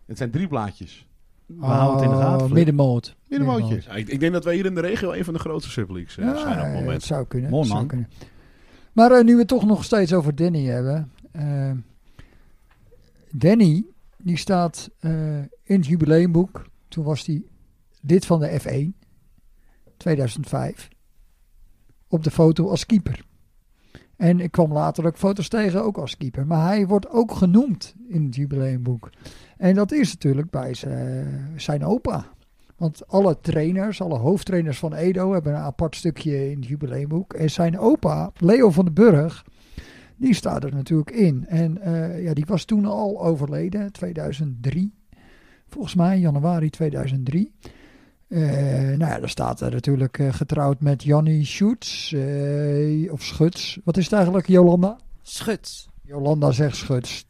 Speaker 2: Het zijn drie blaadjes.
Speaker 1: We houden het in de gaten,
Speaker 4: Oh,
Speaker 1: Flip.
Speaker 4: Middenmoot.
Speaker 2: Middenmootje.
Speaker 3: Ja, ik, ik denk dat wij hier in de regio een van de grootste subleagues eh, zijn op het
Speaker 4: eh,
Speaker 3: moment.
Speaker 4: het zou kunnen.
Speaker 1: Mooi,
Speaker 4: het zou
Speaker 1: man.
Speaker 4: kunnen. Maar eh, nu we het toch nog steeds over Danny hebben. eh, Danny, die staat eh, in het jubileumboek. Toen was hij lid van de F1, 2005. Op de foto als keeper. En ik kwam later ook foto's tegen, ook als keeper. Maar hij wordt ook genoemd in het jubileumboek. En dat is natuurlijk bij zijn, zijn opa. Want alle trainers, alle hoofdtrainers van Edo hebben een apart stukje in het jubileumboek. En zijn opa, Leo van den Burg, die staat er natuurlijk in. En eh, ja, die was toen al overleden, 2003. Volgens mij januari 2003. Eh, nou ja, daar staat er natuurlijk eh, getrouwd met Jannie Schutz. eh, of Schuts. Wat is het eigenlijk, Jolanda?
Speaker 7: Schuts.
Speaker 4: Jolanda zegt schuts.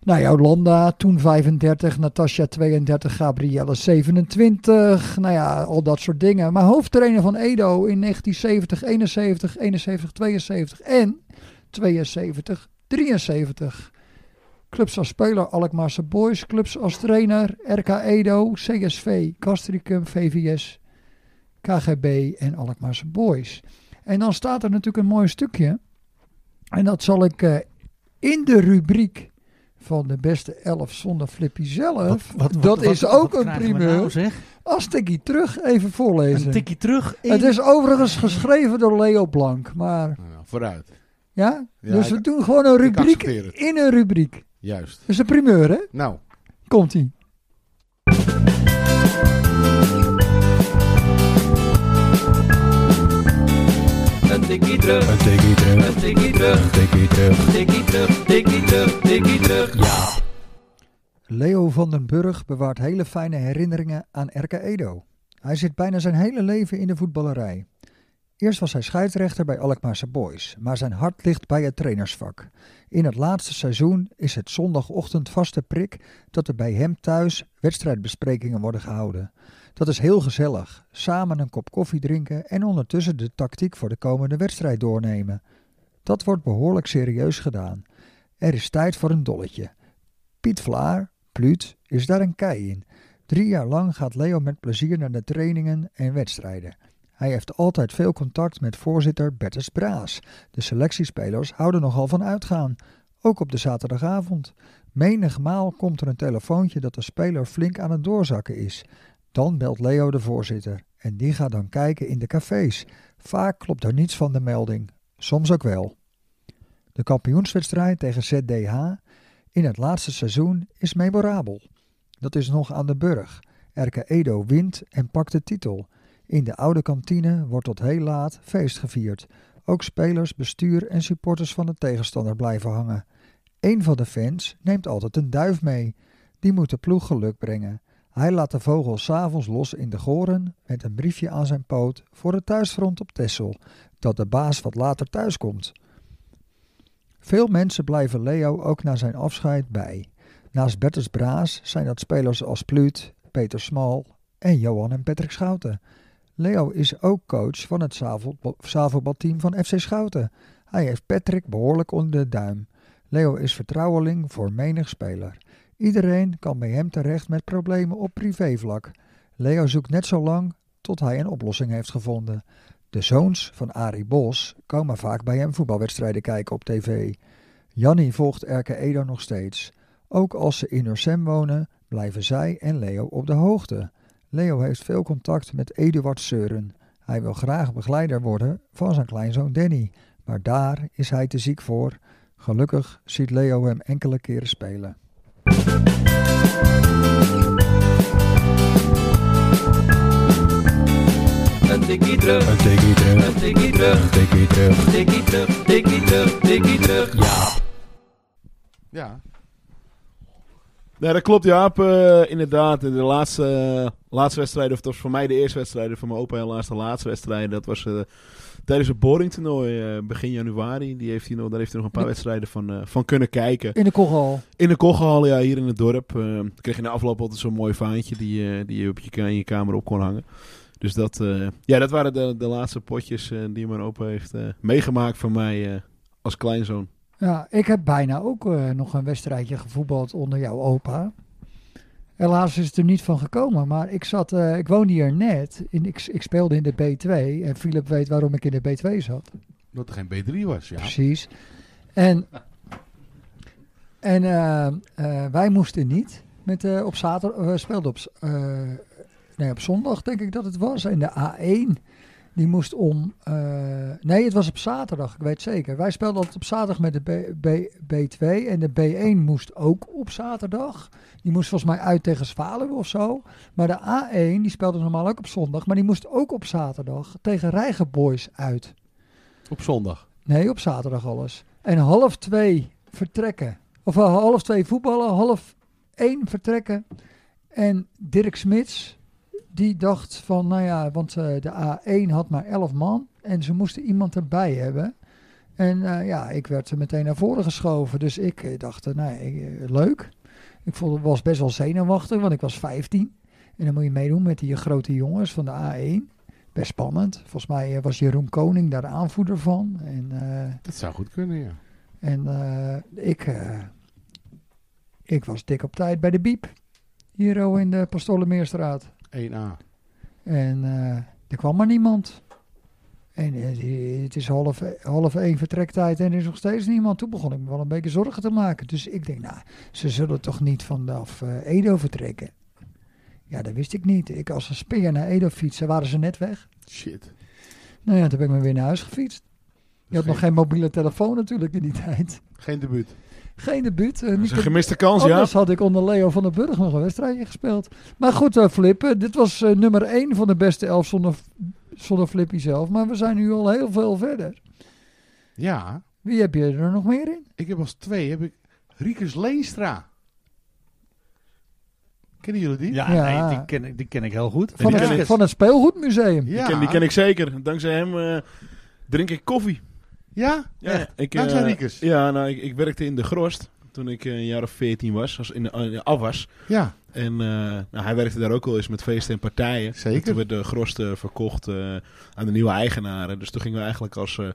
Speaker 4: Nou, Jolanda, toen 35, Natasja 32, Gabrielle 27. Nou ja, al dat soort dingen. Maar hoofdtrainer van Edo in 1970, 71, 71, 72 en 72, 73. Clubs als speler Alkmaarse Boys, clubs als trainer RK Edo, CSV, Castricum, VVS, KGB en Alkmaarse Boys. En dan staat er natuurlijk een mooi stukje. En dat zal ik eh, in de rubriek van de beste elf zonder Flippy zelf. dat is ook
Speaker 1: wat
Speaker 4: een
Speaker 1: krijgen we
Speaker 4: primeur.
Speaker 1: Nou, zeg?
Speaker 4: Als tikkie terug even voorlezen.
Speaker 1: Een tikkie terug.
Speaker 4: Het is overigens geschreven door Leo Blank, maar
Speaker 2: Nou, vooruit.
Speaker 4: ja.
Speaker 2: Ja,
Speaker 4: dus
Speaker 2: ik-
Speaker 4: we doen gewoon een
Speaker 2: ik
Speaker 4: rubriek
Speaker 2: accepteer het.
Speaker 4: in een rubriek.
Speaker 2: Juist.
Speaker 4: Dus een primeur, hè?
Speaker 2: Nou,
Speaker 4: Komt-ie. Leo van den Burg bewaart hele fijne herinneringen aan RK Edo. Hij zit bijna zijn hele leven in de voetballerij. Eerst was hij scheidsrechter bij Alkmaarse Boys, maar zijn hart ligt bij het trainersvak. In het laatste seizoen is het zondagochtend vaste prik dat er bij hem thuis wedstrijdbesprekingen worden gehouden. Dat is heel gezellig, samen een kop koffie drinken en ondertussen de tactiek voor de komende wedstrijd doornemen. Dat wordt behoorlijk serieus gedaan. Er is tijd voor een dolletje. Piet Vlaar, Pluut, is daar een kei in. Drie jaar lang gaat Leo met plezier naar de trainingen en wedstrijden. Hij heeft altijd veel contact met voorzitter Bertus Braas. De selectiespelers houden nogal van uitgaan, ook op de zaterdagavond. Menigmaal komt er een telefoontje dat de speler flink aan het doorzakken is. Dan belt Leo de voorzitter en die gaat dan kijken in de cafés. Vaak klopt er niets van de melding, soms ook wel. De kampioenswedstrijd tegen ZDH in het laatste seizoen is memorabel. Dat is nog aan de burg. RK Edo wint en pakt de titel. In de oude kantine wordt tot heel laat feest gevierd. Ook spelers, bestuur en supporters van de tegenstander blijven hangen. Eén van de fans neemt altijd een duif mee. Die moet de ploeg geluk brengen. Hij laat de vogel s'avonds los in de goren met een briefje aan zijn poot voor het thuisfront op Tessel, dat de baas wat later thuiskomt. Veel mensen blijven Leo ook na zijn afscheid bij. Naast Bertus Braas zijn dat spelers als Pluut, Peter Smal en Johan en Patrick Schouten. Leo is ook coach van het zaalvoetbal- zaalvoetbalteam van FC Schouten. Hij heeft Patrick behoorlijk onder de duim. Leo is vertrouweling voor menig speler. Iedereen kan bij hem terecht met problemen op privévlak. Leo zoekt net zo lang tot hij een oplossing heeft gevonden. De zoons van Arie Bos komen vaak bij hem voetbalwedstrijden kijken op tv. Jannie volgt RK Edo nog steeds. Ook als ze in Ursem wonen, blijven zij en Leo op de hoogte. Leo heeft veel contact met Eduard Seuren. Hij wil graag begeleider worden van zijn kleinzoon Danny, Maar daar is hij te ziek voor. Gelukkig ziet Leo hem enkele keren spelen.
Speaker 9: Een tikkie terug,
Speaker 10: Een tikkie terug,
Speaker 9: een tikkie terug,
Speaker 10: een tikkie terug.
Speaker 9: tikkie terug, tikkie terug, tikkie terug.
Speaker 10: Ja.
Speaker 2: Ja,
Speaker 3: Nee, dat klopt, Jaap. Eh, inderdaad, de laatste, eh, laatste wedstrijd, of dat was voor mij de eerste wedstrijd, voor mijn opa helaas de laatste wedstrijd. Dat was eh, tijdens het boringtoernooi eh, begin januari. Die heeft hij nog, daar heeft hij nog een paar wedstrijden van, eh, van kunnen kijken.
Speaker 4: In de kogel.
Speaker 3: In de Kochal, ja, hier in het dorp. eh, kreeg je in de afloop altijd zo'n mooi vaantje die, eh, die je op je, ka- in je kamer op kon hangen. Dus dat, eh, ja, dat waren de, de laatste potjes eh, die mijn opa heeft eh, meegemaakt van mij eh, als kleinzoon.
Speaker 4: Ja, ik heb bijna ook eh, nog een wedstrijdje gevoetbald onder jouw opa. Helaas is het er niet van gekomen, maar ik, zat, eh, ik woonde hier net. In, ik, ik speelde in de B2 en Philip weet waarom ik in de B2 zat.
Speaker 2: dat er geen B3 was, ja.
Speaker 4: Precies. En, en eh, eh, wij moesten niet met, eh, op zaterdag. We speelden op, z- eh, nee, op zondag, denk ik dat het was. En de A1, die moest om. eh, nee, het was op zaterdag, ik weet het zeker. Wij speelden altijd op zaterdag met de B, B, B2. En de B1 moest ook op zaterdag. Die moest volgens mij uit tegen Zwaluwe of zo. Maar de A1, die speelde normaal ook op zondag. Maar die moest ook op zaterdag tegen Rijgenboys uit.
Speaker 2: Op zondag.
Speaker 4: Nee, op zaterdag alles. En half twee vertrekken. Of eh, half twee voetballen, half één vertrekken. En Dirk Smits, die dacht van, nou ja, want eh, de A1 had maar elf man. En ze moesten iemand erbij hebben. En eh, ja, ik werd er meteen naar voren geschoven. Dus ik eh, dacht, eh, nou, eh, leuk. Ik vond, was best wel zenuwachtig, want ik was 15. En dan moet je meedoen met die grote jongens van de A1. Best spannend. Volgens mij eh, was Jeroen Koning daar aanvoerder van. En eh,
Speaker 2: Dat zou goed kunnen, ja.
Speaker 4: en eh, ik, eh, ik was dik op tijd bij de Biep. Hier oh, in de Pastolemeerstraat.
Speaker 2: 1A.
Speaker 4: En eh, er kwam maar niemand. En eh, het is half, half één vertrektijd en er is nog steeds niemand. Toen begon ik me wel een beetje zorgen te maken. Dus ik denk, nou, ze zullen toch niet vanaf eh, Edo vertrekken? Ja, dat wist ik niet. Ik als een speer naar Edo fietsen, waren ze net weg.
Speaker 2: Shit.
Speaker 4: Nou ja, toen ben ik maar weer naar huis gefietst. Je had
Speaker 2: Geen-
Speaker 4: nog geen mobiele telefoon natuurlijk in die tijd.
Speaker 2: Geen debuut.
Speaker 4: Geen debuut. eh,
Speaker 3: Dat
Speaker 4: niet
Speaker 3: is een
Speaker 4: een-
Speaker 3: gemiste kans, ja.
Speaker 4: Anders had ik onder Leo van den Burg nog een wedstrijdje gespeeld. Maar goed, eh, Flip, eh, dit was eh, nummer 1 van de beste elf zonder, zonder Flippy zelf. Maar we zijn nu al heel veel verder.
Speaker 2: Ja,
Speaker 4: Wie heb je er nog meer in?
Speaker 2: ik heb als twee, heb ik Riekers Leenstra. Kennen jullie die?
Speaker 1: Ja,
Speaker 4: Ja.
Speaker 1: Nee, die, ken, ik- die ken ik heel goed.
Speaker 4: Van,
Speaker 3: die ken
Speaker 4: het,
Speaker 3: ik.
Speaker 4: van het Speelgoedmuseum.
Speaker 3: Die,
Speaker 2: Ja.
Speaker 3: ken, die ken ik zeker. Dankzij hem eh, drink ik koffie.
Speaker 2: Ja? Echt?
Speaker 3: ik,
Speaker 2: Dankzij
Speaker 3: eh,
Speaker 2: Riekers?
Speaker 3: Ja, nou, ik, ik werkte in de Grost toen ik eh, een jaar of 14 was, als in de, in de afwas.
Speaker 2: Ja.
Speaker 3: En eh, nou, hij werkte daar ook al eens met feesten en partijen.
Speaker 2: Zeker.
Speaker 3: En toen werd de Grost eh, verkocht eh, aan de nieuwe eigenaren. Dus toen gingen we eigenlijk als, eh,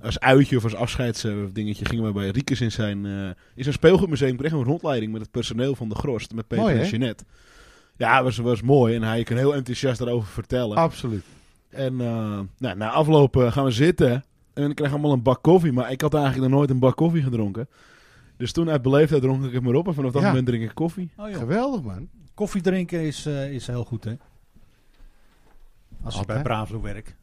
Speaker 3: als uitje of als afscheidsdingetje... gingen we bij Riekes in zijn, eh, in zijn speelgoedmuseum... kregen we een rondleiding met het personeel van de Grost. Met Peter
Speaker 2: Mooi,
Speaker 3: en
Speaker 2: hè?
Speaker 3: Jeanette. Ja, was, was mooi. En hij kan heel enthousiast daarover vertellen.
Speaker 2: Absoluut.
Speaker 3: En eh, nou, na afloop eh, gaan we zitten. En ik krijg allemaal een bak koffie. Maar ik had eigenlijk nog nooit een bak koffie gedronken. Dus toen uit beleefdheid dronk ik het maar op. En vanaf dat
Speaker 2: Ja.
Speaker 3: moment drink ik koffie.
Speaker 1: Oh, joh.
Speaker 2: Geweldig, man.
Speaker 1: Koffie drinken is, eh, is heel goed, hè? Als je
Speaker 2: Altijd.
Speaker 1: bij Bravelo werkt.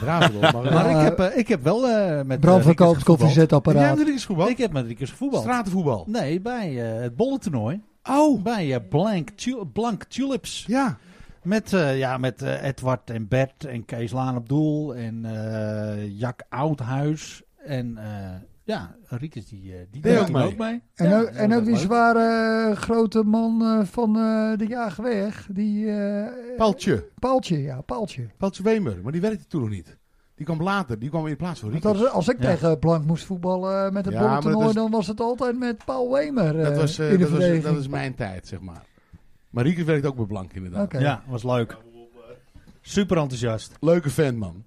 Speaker 2: Braaf wel. <laughs> Maar
Speaker 1: Maar
Speaker 4: Ja.
Speaker 1: ik, heb, eh, ik heb wel eh met...
Speaker 4: Bram
Speaker 1: eh, Riekers
Speaker 4: verkoopt
Speaker 1: gevoetbald.
Speaker 2: Jij
Speaker 4: koffiezetapparaat.
Speaker 2: hebt Riekers voetbal?
Speaker 1: Ik heb met Riekers gevoetbald.
Speaker 2: Stratenvoetbal.
Speaker 1: Nee, bij eh, het bollentoernooi. Oh! Bij eh, Blank, Tu- Blank Tulips.
Speaker 2: Ja.
Speaker 1: Met, eh, ja, met eh, Edward en Bert en Kees Laan op doel en eh Jack Oudhuis. En eh, ja, Riekers die, eh, die
Speaker 2: Deed
Speaker 1: deed
Speaker 2: ook
Speaker 1: toen
Speaker 2: mee.
Speaker 4: En,
Speaker 1: Ja,
Speaker 4: ook, en ook die
Speaker 1: leuk.
Speaker 4: zware eh, grote man eh, van eh, de Jaagweg. Die, eh,
Speaker 2: Paltje.
Speaker 4: Paaltje, ja, Paaltje.
Speaker 2: Paltje Wemer. Maar die werkte toen nog niet. Die kwam later. Die kwam in plaats van
Speaker 4: Want
Speaker 2: Riekers.
Speaker 4: als- als ik
Speaker 1: Ja.
Speaker 4: tegen Blank moest voetballen eh, met het
Speaker 2: Dus, Ja,
Speaker 4: ja,
Speaker 2: maar dat is-
Speaker 4: dan was het altijd met Paul Wemer eh,
Speaker 2: Dat, was, eh,
Speaker 4: in de
Speaker 2: dat, was,
Speaker 4: verdediging.
Speaker 2: dat is mijn tijd, zeg maar. Maar Riekers werkt ook bij Blank, inderdaad.
Speaker 4: Oké.
Speaker 1: Ja, was leuk. Super enthousiast.
Speaker 2: Leuke fan, man.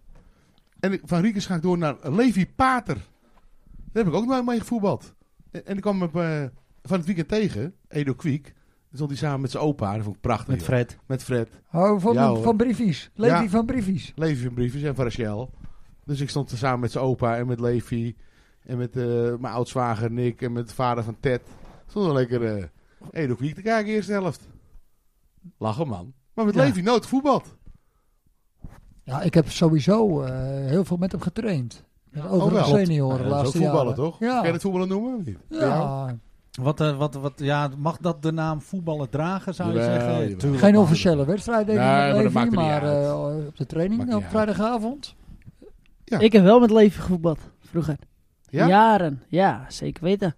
Speaker 2: En ik- van Riekers ga ik door naar Levi Pater. Daar heb ik ook nog mee gevoetbald. En, en ik kwam hem eh, van het weekend tegen, Edo Kwiek. Dan stond hij samen met zijn opa. Dat vond ik prachtig.
Speaker 1: Met
Speaker 2: joh.
Speaker 1: Fred.
Speaker 2: Met Fred.
Speaker 4: Oh, van,
Speaker 2: Ja, hoor.
Speaker 4: van Briefies. Levi
Speaker 2: Ja.
Speaker 4: van Briefies.
Speaker 2: Levi van Briefjes en van Rachel. Dus ik stond er samen met zijn opa en met Levi. En met eh, mijn oudzwager Nick en met de vader van Ted. Stonden we lekker eh Edo Kwiek te kijken, eerste helft. Lachen, man. Maar met
Speaker 1: Ja.
Speaker 2: Levi nooit voetbald.
Speaker 4: Ja, ik heb sowieso eh, heel veel met hem getraind. Met
Speaker 2: Oh, wel.
Speaker 4: overal
Speaker 2: Klopt.
Speaker 4: senioren
Speaker 2: Ja,
Speaker 4: de
Speaker 2: dat is
Speaker 4: laatste
Speaker 2: ook voetballen,
Speaker 4: jaren.
Speaker 2: toch?
Speaker 4: Ja.
Speaker 2: Kan
Speaker 1: Oh.
Speaker 2: je het voetballen noemen? of niet?
Speaker 4: Ja.
Speaker 1: Wat, eh, wat, wat, ja, mag dat de naam voetballen dragen, zou je
Speaker 2: Jawel,
Speaker 1: zeggen?
Speaker 2: jawel.
Speaker 1: Tuurlijk
Speaker 4: Geen
Speaker 1: mag
Speaker 4: officiële wedstrijd denk ik
Speaker 2: Nee,
Speaker 4: nog
Speaker 2: maar dat
Speaker 4: even,
Speaker 2: maakt er niet
Speaker 4: maar
Speaker 2: uit.
Speaker 4: eh, op de
Speaker 2: Maakt
Speaker 4: training
Speaker 2: niet
Speaker 4: op
Speaker 2: uit.
Speaker 4: vrijdagavond.
Speaker 2: Ja.
Speaker 5: Ik heb wel met Levi gevoetbald, vroeger.
Speaker 2: Ja?
Speaker 5: Jaren, ja, zeker weten.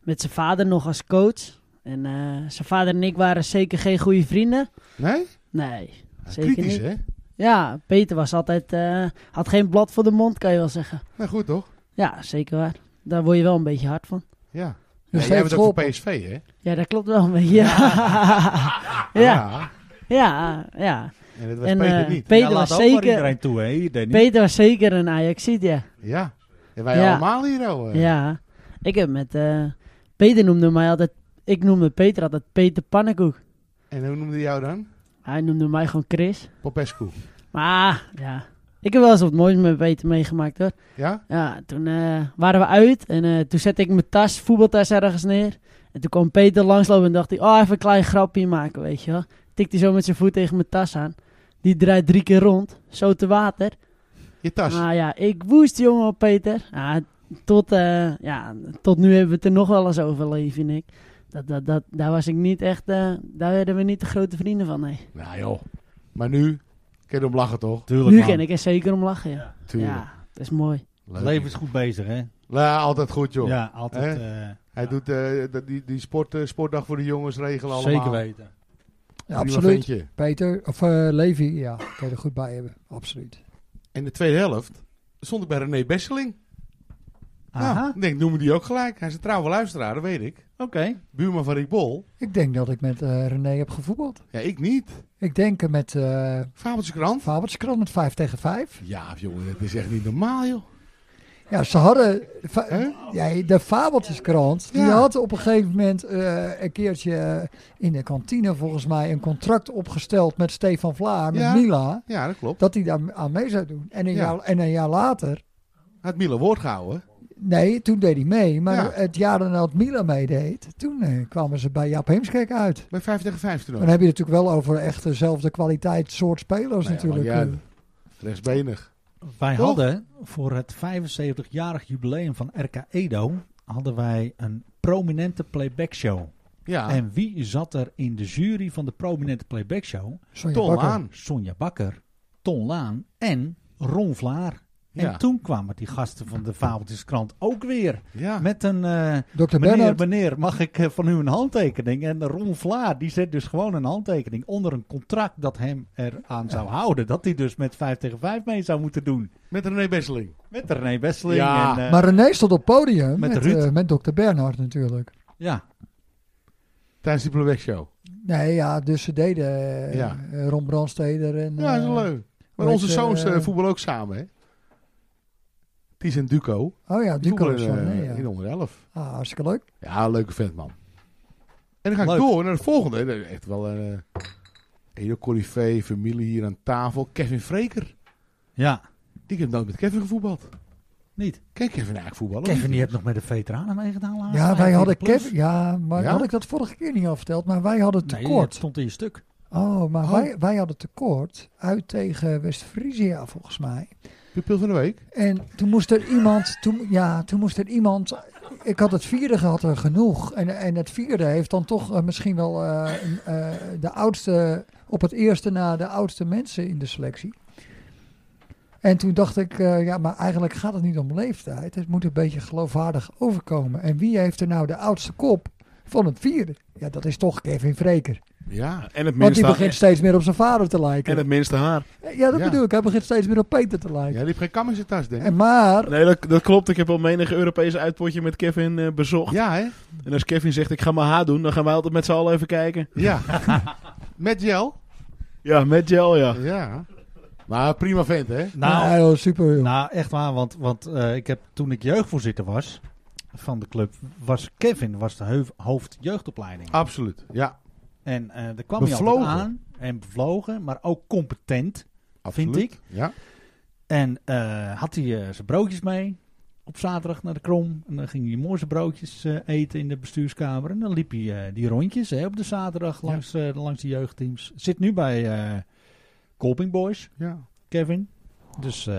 Speaker 5: Met zijn vader nog als coach. En eh, zijn vader en ik waren zeker geen goede vrienden.
Speaker 2: Nee?
Speaker 5: Nee, zeker
Speaker 2: Kritisch,
Speaker 5: niet.
Speaker 2: hè?
Speaker 5: Ja, Peter was altijd, eh, had geen blad voor de mond, kan je wel zeggen.
Speaker 2: Nou, goed toch?
Speaker 5: Ja, zeker waar. Daar word je wel een beetje hard van.
Speaker 2: Ja.
Speaker 4: Dus
Speaker 2: ja
Speaker 4: hij heeft
Speaker 2: jij bent ook voor
Speaker 4: geholpen.
Speaker 2: PSV, hè?
Speaker 5: Ja, dat klopt wel een beetje. Ja, <laughs> ja, ja. ja.
Speaker 2: En dat was
Speaker 5: En,
Speaker 2: Peter
Speaker 5: eh,
Speaker 2: niet.
Speaker 1: Ja,
Speaker 5: Peter
Speaker 1: laat
Speaker 5: was
Speaker 1: ook maar
Speaker 5: zeker...
Speaker 1: iedereen toe, hè, Danny?
Speaker 5: Peter was zeker een Ajaxiet, ja.
Speaker 2: Ja. En wij
Speaker 5: eh, Ja.
Speaker 2: allemaal hier al. eh.
Speaker 5: Ja, ik heb met... eh, Peter noemde mij altijd... Ik noemde Peter altijd Peter Pannenkoek.
Speaker 2: En hoe noemde hij jou dan?
Speaker 5: Hij noemde mij gewoon Chris.
Speaker 2: Popescu.
Speaker 5: Maar ja, ik heb wel eens wat moois met Peter meegemaakt hoor.
Speaker 2: Ja?
Speaker 5: Ja, toen eh, waren we uit en eh, toen zette ik mijn tas, voetbaltas ergens neer. En toen kwam Peter langslopen en dacht hij, oh even een klein grapje maken, weet je wel. Tikte hij zo met zijn voet tegen mijn tas aan. Die draait drie keer rond, zo te water.
Speaker 2: Je tas.
Speaker 5: Nou ja, ik woest jongen op Peter. Ja, tot, eh, ja, tot nu hebben we het er nog wel eens over, Levi en ik. Dat, dat, dat, daar was ik niet echt, eh, daar werden we niet de grote vrienden van, nee.
Speaker 2: Nou joh. Maar nu kun je hem lachen toch?
Speaker 1: Tuurlijk,
Speaker 5: Nu
Speaker 1: man.
Speaker 5: ken ik er zeker om lachen, ja.
Speaker 2: Tuurlijk.
Speaker 5: Ja, dat is mooi.
Speaker 2: Leuk.
Speaker 1: Leven is goed bezig, hè?
Speaker 2: Ja, altijd goed joh.
Speaker 1: Ja, altijd. eh,
Speaker 2: Hij doet eh, dat- die, die sport, eh, sportdag voor de jongens regelen allemaal.
Speaker 1: zeker weten.
Speaker 4: Ja,
Speaker 2: Prima
Speaker 4: absoluut.
Speaker 2: ventje.
Speaker 4: Peter, of eh, Levi, ja, kan je er goed bij hebben. Absoluut.
Speaker 2: In de tweede helft stond ik bij René Besseling.
Speaker 1: Aha,
Speaker 2: Nou, ik denk, noemen die ook gelijk. Hij is een trouwe luisteraar, dat weet ik.
Speaker 1: oké.
Speaker 2: Buurman van Rick Bol.
Speaker 4: Ik denk dat ik met eh, René heb gevoetbald.
Speaker 2: Ja, ik niet.
Speaker 4: Ik denk eh, met eh
Speaker 2: Fabeltje krant.
Speaker 4: Fabertskran met 5 tegen 5.
Speaker 2: Ja, jongen, dat is echt niet normaal, joh.
Speaker 4: Ja, ze hadden. fa-
Speaker 2: Hè?
Speaker 4: ja, de Fabeltjeskrant. Die
Speaker 2: Ja.
Speaker 4: had op een gegeven moment eh, een keertje eh, in de kantine volgens mij een contract opgesteld met Stefan Vlaar, met
Speaker 2: Ja.
Speaker 4: Mila.
Speaker 2: Ja, dat klopt.
Speaker 4: Dat hij daar aan mee zou doen. En een,
Speaker 2: Ja.
Speaker 4: jaar, en een jaar later.
Speaker 2: Hij had Miele woord gehouden.
Speaker 4: Nee, toen deed hij mee. Maar
Speaker 2: Ja.
Speaker 4: het jaar dat Mila meedeed, toen eh, kwamen ze bij Jaap Heemskerk uit.
Speaker 2: Bij 5 tegen 5 toen
Speaker 4: Dan
Speaker 2: ook.
Speaker 4: heb je het natuurlijk wel over echt dezelfde kwaliteit soort spelers
Speaker 2: Nou ja,
Speaker 4: natuurlijk. eh,
Speaker 2: maar ja, Rechtsbenig.
Speaker 1: Wij
Speaker 2: Toch?
Speaker 1: hadden voor het 75-jarig jubileum van RK Edo... hadden wij een prominente playback show.
Speaker 2: Ja,
Speaker 1: En wie zat er in de jury van de prominente playback show?
Speaker 4: Sonja
Speaker 2: Ton
Speaker 4: Bakker.
Speaker 1: Hm.
Speaker 2: aan.
Speaker 1: Sonja Bakker, Ton Laan en Ron Vlaar.
Speaker 2: Ja.
Speaker 1: En toen kwamen die gasten van de Fabeltjeskrant ook weer
Speaker 2: Ja.
Speaker 1: met een... eh,
Speaker 4: Dr.
Speaker 1: Meneer,
Speaker 4: Bernhard.
Speaker 1: meneer, mag ik eh, van u een handtekening? En Ron Vlaar, die zet dus gewoon een handtekening onder een contract dat hem eraan zou houden. Dat hij dus met 5 tegen 5 mee zou moeten doen.
Speaker 2: Met René Besseling.
Speaker 1: Met René Wesseling.
Speaker 2: Ja.
Speaker 1: en, eh,
Speaker 4: Maar René stond op het podium
Speaker 1: Met
Speaker 4: met,
Speaker 1: Ruud.
Speaker 4: eh, met Dr. Bernhard natuurlijk.
Speaker 1: ja.
Speaker 2: Tijdens die Playback Show.
Speaker 4: Nee, ja, dus ze deden eh,
Speaker 2: Ja.
Speaker 4: eh, Ron Brandsteder en...
Speaker 2: Ja, dat
Speaker 4: eh,
Speaker 2: is leuk. Maar
Speaker 4: weet
Speaker 2: onze
Speaker 4: je,
Speaker 2: zoons eh,
Speaker 4: eh,
Speaker 2: voetballen ook samen, hè? Ties en Duco.
Speaker 4: Oh ja,
Speaker 2: Die
Speaker 4: Duco is
Speaker 2: voetballen,
Speaker 4: van,
Speaker 2: eh,
Speaker 4: nee, ja.
Speaker 2: in onder 11.
Speaker 4: Ah, hartstikke leuk.
Speaker 2: Ja, leuke vent, man. En dan ga ik
Speaker 1: Leuk.
Speaker 2: door naar de volgende. Dat is Echt wel een hele corifee, familie hier aan tafel. Kevin Freker.
Speaker 1: ja,
Speaker 2: Ik heb nooit met Kevin gevoetbald.
Speaker 1: niet.
Speaker 2: Ken je Kevin eigenlijk voetballen?
Speaker 1: Kevin, die hebt nog met de veteranen meegedaan.
Speaker 2: Ah,
Speaker 1: laatst.
Speaker 4: Ja, wij
Speaker 1: 25
Speaker 4: hadden
Speaker 1: plus.
Speaker 4: Kevin... Ja, maar
Speaker 2: Ja?
Speaker 4: had ik dat vorige keer niet al verteld. Maar wij hadden
Speaker 1: Nee, het
Speaker 4: tekort.
Speaker 1: stond in je stuk.
Speaker 4: Oh, maar
Speaker 2: Oh.
Speaker 4: Wij, wij hadden tekort uit tegen West-Friesia volgens mij.
Speaker 2: Pupil van de week.
Speaker 4: En toen moest er iemand, toen, ja, toen moest er iemand. Ik had het vierde gehad er genoeg. En, en het vierde heeft dan toch eh, misschien wel eh, een, eh, de oudste, op het eerste na de oudste mensen in de selectie. En toen dacht ik, eh, ja, maar eigenlijk gaat het niet om leeftijd. Het moet een beetje geloofwaardig overkomen. En wie heeft er nou de oudste kop van het vierde? Ja, dat is toch Kevin Vreker.
Speaker 2: Ja.
Speaker 3: En het
Speaker 4: Want Oh, die
Speaker 3: minste,
Speaker 4: begint steeds meer op zijn vader te
Speaker 3: en
Speaker 4: lijken.
Speaker 3: het minste haar.
Speaker 4: ja, dat
Speaker 2: Ja.
Speaker 4: bedoel ik. Hij begint steeds meer op Peter te
Speaker 2: Ja,
Speaker 4: lijken.
Speaker 2: die heeft geen kam in zijn tas, denk ik.
Speaker 4: En maar
Speaker 3: Nee, dat, dat klopt. Ik heb al menig Europese uitpotje met Kevin eh, bezocht.
Speaker 2: Ja, hè?
Speaker 3: En als Kevin zegt, ik ga mijn haar doen, dan gaan wij altijd met z'n allen even kijken.
Speaker 4: <laughs>
Speaker 2: Ja. met gel.
Speaker 3: Ja, met gel, ja.
Speaker 2: Ja. Maar prima vent, hè?
Speaker 1: Nou,
Speaker 4: Ja, joh, super. joh.
Speaker 1: Nou, echt waar, want, want eh, ik heb, toen ik jeugdvoorzitter was van de club, was Kevin was de heuf- hoofdjeugdopleiding.
Speaker 2: Absoluut. Ja.
Speaker 1: En eh daar kwam
Speaker 2: Bevlogen.
Speaker 1: hij altijd aan en bevlogen, maar ook competent,
Speaker 2: Absoluut.
Speaker 1: vind ik.
Speaker 2: Ja.
Speaker 1: En eh, had hij eh, zijn broodjes mee op zaterdag naar de krom. En dan ging hij mooi zijn broodjes eh, eten in de bestuurskamer. En dan liep hij eh, die rondjes hè, op de zaterdag
Speaker 2: Ja.
Speaker 1: langs, eh, langs de jeugdteams. Zit nu bij eh Colping Boys,
Speaker 2: Ja.
Speaker 1: Kevin. Dus eh,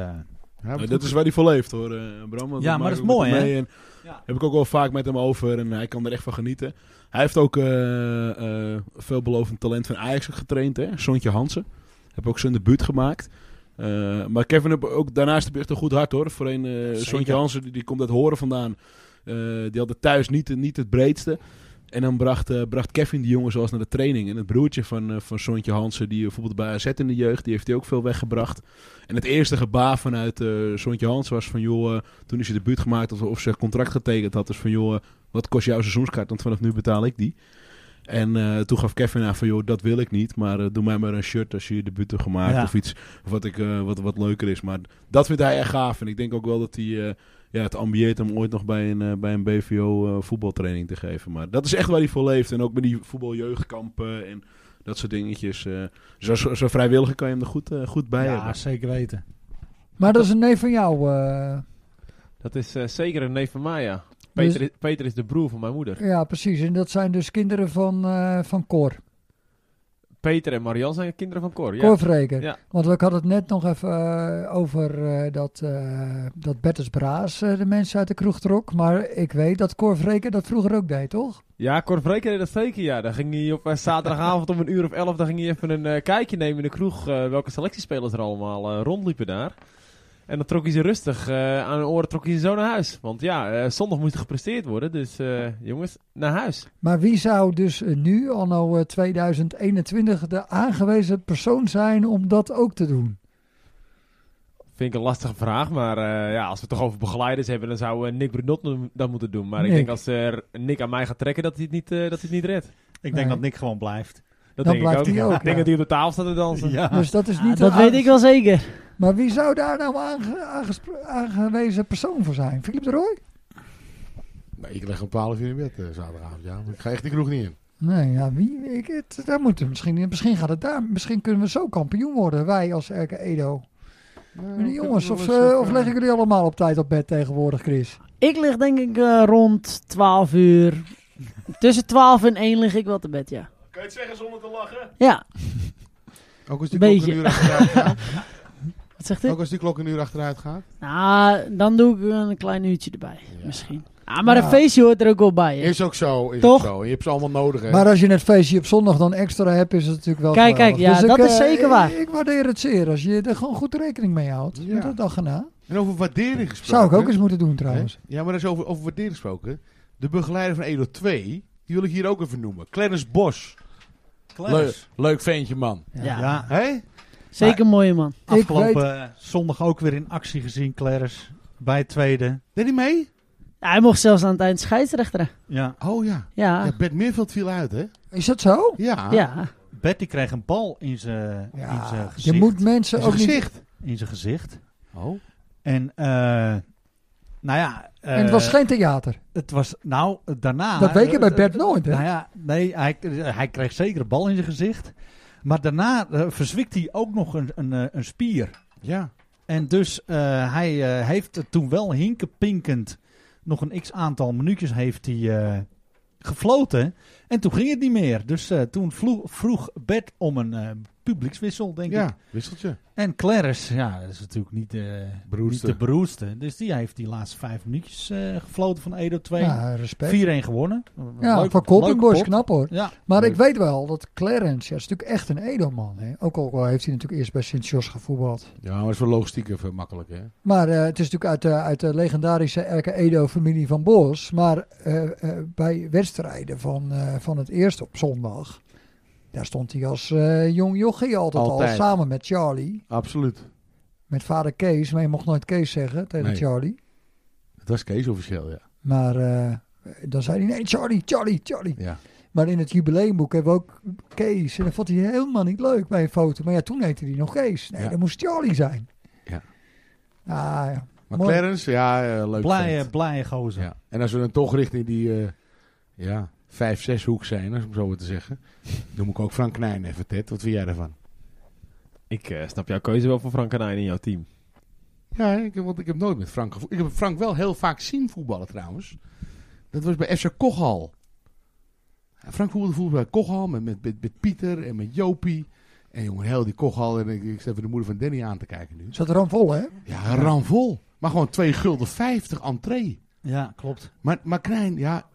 Speaker 2: Ja,
Speaker 3: Nee, dat is waar hij voor leeft hoor, eh, Bram. Want
Speaker 10: Ja, maar dat
Speaker 3: we maken
Speaker 10: is
Speaker 3: ook met
Speaker 10: mooi,
Speaker 3: hem
Speaker 10: hè?
Speaker 3: mee en
Speaker 10: Ja.
Speaker 3: Heb ik ook wel vaak met hem over en hij kan er echt van genieten. Hij heeft ook eh, eh, veelbelovend talent van Ajax ook getraind, hè? Sontje Hansen. Heb ook zijn debuut gemaakt. Eh, maar Kevin, heb ook, daarnaast heb je echt een goed hart hoor. Voor een eh, Sontje Hansen, die, die komt uit Horen vandaan. Eh, die had het thuis niet, niet het breedste. En dan bracht, eh, bracht Kevin die jongens zoals naar de training. En het broertje van, eh, van Sontje Hansen, die bijvoorbeeld bij AZ in de jeugd, die heeft hij ook veel weggebracht. En het eerste gebaar vanuit eh Sontje Hansen was van, joh, eh, toen is hij de buurt gemaakt of, of ze contract getekend had. Dus van, joh, eh, wat kost jouw seizoenskaart? Want vanaf nu betaal ik die. En eh, toen gaf Kevin aan van, joh, dat wil ik niet. Maar eh, doe mij maar een shirt als je je debuut hebt gemaakt.
Speaker 10: Ja.
Speaker 3: Of iets wat, ik, eh, wat, wat leuker is. Maar dat vindt hij echt gaaf. En ik denk ook wel dat hij... eh, ja, het ambieert hem ooit nog bij een, eh, bij een BVO eh, voetbaltraining te geven. Maar dat is echt waar hij voor leeft. En ook met die voetbaljeugdkampen en dat soort dingetjes. eh. dus als, als een vrijwilliger kan je hem er goed, eh, goed bij
Speaker 1: Ja,
Speaker 3: hebben.
Speaker 1: zeker weten.
Speaker 4: Maar dat is een neef van jou. eh.
Speaker 6: Dat is eh, zeker een neef van mij, ja. Peter,
Speaker 4: Dus-
Speaker 6: is, Peter is de broer van mijn moeder.
Speaker 4: ja, precies. En dat zijn dus kinderen van, eh, van Cor.
Speaker 6: Peter en Marian zijn kinderen van Cor, ja.
Speaker 4: Cor Vreker.
Speaker 6: Ja.
Speaker 4: Want ik had het net nog even eh, over eh, dat, eh dat Bertus Braas eh, de mensen uit de kroeg trok. Maar ik weet dat Cor Vreker dat vroeger ook deed, toch?
Speaker 6: Ja, Cor Vreker deed dat zeker, ja. Dan ging hij op eh, zaterdagavond om een uur of elf... dan ging hij even een eh, kijkje nemen in de kroeg... eh, welke selectiespelers er allemaal eh, rondliepen daar. En dan trok hij ze rustig eh, aan hun oren trok hij ze zo naar huis. Want ja, eh, zondag moest er gepresteerd worden. Dus eh, jongens, naar huis.
Speaker 4: Maar wie zou dus eh, nu, anno eh, 2021, de aangewezen persoon zijn om dat ook te
Speaker 6: <laughs>
Speaker 4: doen?
Speaker 6: Vind ik een lastige vraag, maar eh, ja, als we het toch over begeleiders hebben... dan zou eh, Nick Brunot nu- dat moeten doen. Maar
Speaker 4: Nick.
Speaker 6: ik denk als eh, Nick aan mij gaat trekken... dat hij het niet, eh, dat hij het niet redt.
Speaker 1: Ik denk
Speaker 4: Nee.
Speaker 1: dat Nick gewoon blijft.
Speaker 6: Dat
Speaker 4: Dan
Speaker 6: denk ik
Speaker 4: blijft
Speaker 6: ook.
Speaker 4: hij ook,
Speaker 6: ik denk
Speaker 4: ja.
Speaker 6: dat hij op de tafel staat te dansen.
Speaker 1: Ja.
Speaker 4: Dus dat is
Speaker 5: Ah,
Speaker 4: niet de
Speaker 5: dat
Speaker 4: aan-
Speaker 5: weet ik wel zeker.
Speaker 4: Maar wie zou daar nou aange- aangesp- aangewezen persoon voor zijn? Philip de Roy?
Speaker 2: Nee, ik leg om 12 uur in bed eh, zaterdagavond, ja. Maar ik ga echt die kroeg niet in.
Speaker 4: Nee, ja, wie? Ik, het, daar moeten we misschien, misschien gaat het daar. Misschien kunnen we zo kampioen worden, wij als RK Edo. Meneer jongens, of, eh, of leggen jullie allemaal op tijd op bed tegenwoordig, Chris?
Speaker 5: Ik lig denk ik eh, rond 12 uur. Tussen 12 en 1 lig ik wel te bed, ja.
Speaker 3: Kan je het zeggen zonder te lachen?
Speaker 5: Ja,
Speaker 2: Ook als die
Speaker 5: Beetje.
Speaker 2: klok een uur achteruit gaat.
Speaker 4: <laughs>
Speaker 5: wat zegt u?
Speaker 2: Ook als die klok een uur achteruit gaat.
Speaker 5: Nou, dan doe ik een klein uurtje erbij,
Speaker 2: Ja.
Speaker 5: misschien. Ah, maar
Speaker 4: Ja.
Speaker 5: een feestje hoort er ook wel bij, hè.
Speaker 2: Is ook zo, is
Speaker 5: Toch?
Speaker 2: ook zo. Je hebt ze allemaal nodig, hè.
Speaker 4: Maar als je het feestje op zondag dan extra hebt, is het natuurlijk wel
Speaker 5: Kijk,
Speaker 4: geweldig.
Speaker 5: kijk, ja, dat
Speaker 4: ik,
Speaker 5: is
Speaker 4: eh,
Speaker 5: zeker waar.
Speaker 4: Ik, ik waardeer het zeer als je er gewoon goed rekening mee houdt.
Speaker 2: Ja.
Speaker 4: Met dat dag erna.
Speaker 2: En over waardering gesproken.
Speaker 4: Zou ik ook eens moeten doen trouwens.
Speaker 2: Hè? Ja, maar dat is over, over waardering gesproken. De begeleider van Edo 2, die wil ik hier ook even noemen. Clarence Bos.
Speaker 1: Leuk.
Speaker 9: Leuk, leuk ventje, man.
Speaker 5: Ja,
Speaker 1: Ja.
Speaker 2: Hé?
Speaker 5: zeker een mooie man.
Speaker 1: Afgelopen zondag ook weer in actie gezien, Clarence. Bij het tweede.
Speaker 2: Deed hij mee?
Speaker 5: Ja, hij mocht zelfs aan het eind scheidsrechteren.
Speaker 1: Ja.
Speaker 2: Oh ja.
Speaker 4: Ah.
Speaker 5: Ja,
Speaker 2: ja Bert Meerveld viel uit, hè?
Speaker 4: Is dat zo?
Speaker 2: Ja.
Speaker 5: ja.
Speaker 1: Bert die kreeg een bal in zijn in zijn
Speaker 4: Ja, je
Speaker 1: eh, gezicht.
Speaker 4: moet mensen
Speaker 2: Zijn
Speaker 4: ook niet...
Speaker 2: gezicht.
Speaker 1: In zijn gezicht.
Speaker 2: Oh.
Speaker 1: En, eh, nou ja... eh,
Speaker 4: En het was geen theater.
Speaker 1: Het was, nou, daarna...
Speaker 4: Dat weet je bij
Speaker 1: eh,
Speaker 4: Bert nooit, hè?
Speaker 1: Nou ja, nee, hij, hij kreeg zeker een bal in zijn gezicht. Maar daarna eh, verzwikt hij ook nog een, een, eh, een spier.
Speaker 2: Ja.
Speaker 1: En dus eh, hij eh, heeft het toen wel hinkenpinkend... nog een x-aantal minuutjes heeft hij eh, gefloten. En toen ging het niet meer. Dus eh, toen vlo- vroeg Bert om een eh, publiekswissel, denk ik.
Speaker 2: Ja, wisseltje.
Speaker 1: En Clarence, ja, dat is natuurlijk niet, eh, niet
Speaker 2: Broerste.
Speaker 1: de beroerdste. Dus die heeft die laatste vijf minuutjes eh, gefloten van Edo 2.
Speaker 4: Ja, respect.
Speaker 1: 4-1 gewonnen.
Speaker 4: Ja,
Speaker 1: Leuk-
Speaker 4: voor Colping
Speaker 1: leuke
Speaker 4: Boys,
Speaker 1: pot.
Speaker 4: knap hoor.
Speaker 1: Ja,
Speaker 4: Maar ik
Speaker 2: Leuk.
Speaker 4: weet wel dat Clarence, ja, is natuurlijk echt een edelman. Hè? Ook al heeft hij natuurlijk eerst bij Sint-Jos gevoetbald.
Speaker 2: Ja, maar dat is voor logistiek even makkelijk, hè?
Speaker 4: Maar eh, het is natuurlijk uit, de- uit de legendarische Erke Edo-familie van Bos. Maar eh, eh, bij wedstrijden van, eh, van het eerste op zondag, daar stond hij als eh, jong jochie altijd, al.
Speaker 2: Altijd.
Speaker 4: Samen met Charlie,
Speaker 2: Absoluut.
Speaker 4: met vader Kees. Maar je mocht nooit Kees zeggen tegen
Speaker 2: Nee.
Speaker 4: Charlie.
Speaker 2: Dat was Kees officieel, ja.
Speaker 4: Maar eh, dan zei hij, nee Charlie, Charlie, Charlie.
Speaker 2: Ja.
Speaker 4: Maar in het jubileumboek hebben we ook Kees. En dat vond hij helemaal niet leuk bij een foto. Maar ja, toen heette hij nog Kees. Nee,
Speaker 2: Ja.
Speaker 4: dat moest Charlie zijn.
Speaker 2: Ja.
Speaker 4: Ah, ja.
Speaker 2: Maar
Speaker 4: Mooi.
Speaker 2: Clarence, ja, eh, leuk.
Speaker 1: blije,
Speaker 2: vent.
Speaker 1: blije gozer.
Speaker 2: Ja. En als we dan toch richting die eh, ja, 5-6 hoek zijn, om zo maar te zeggen. Noem ik ook Frank Knijn even, Ted. Wat vind jij daarvan?
Speaker 6: Ik eh, snap jouw keuze wel voor Frank Kanijn in jouw team.
Speaker 2: Ja, ik, heb- want ik heb nooit met Frank gevoeld. Ik heb Frank wel heel vaak zien voetballen trouwens. Dat was bij FC Kochal. Frank voelde voetbal bij Kochal met, met, met, met Pieter en met Jopie. En jongen, heel die kochal. En ik, ik zet even de moeder van Danny aan te kijken nu.
Speaker 4: Zat ramvol, hè?
Speaker 2: Ja, ramvol. Maar gewoon 2 gulden 50 entree.
Speaker 1: Ja, klopt.
Speaker 2: Maar, maar Krijn, ja,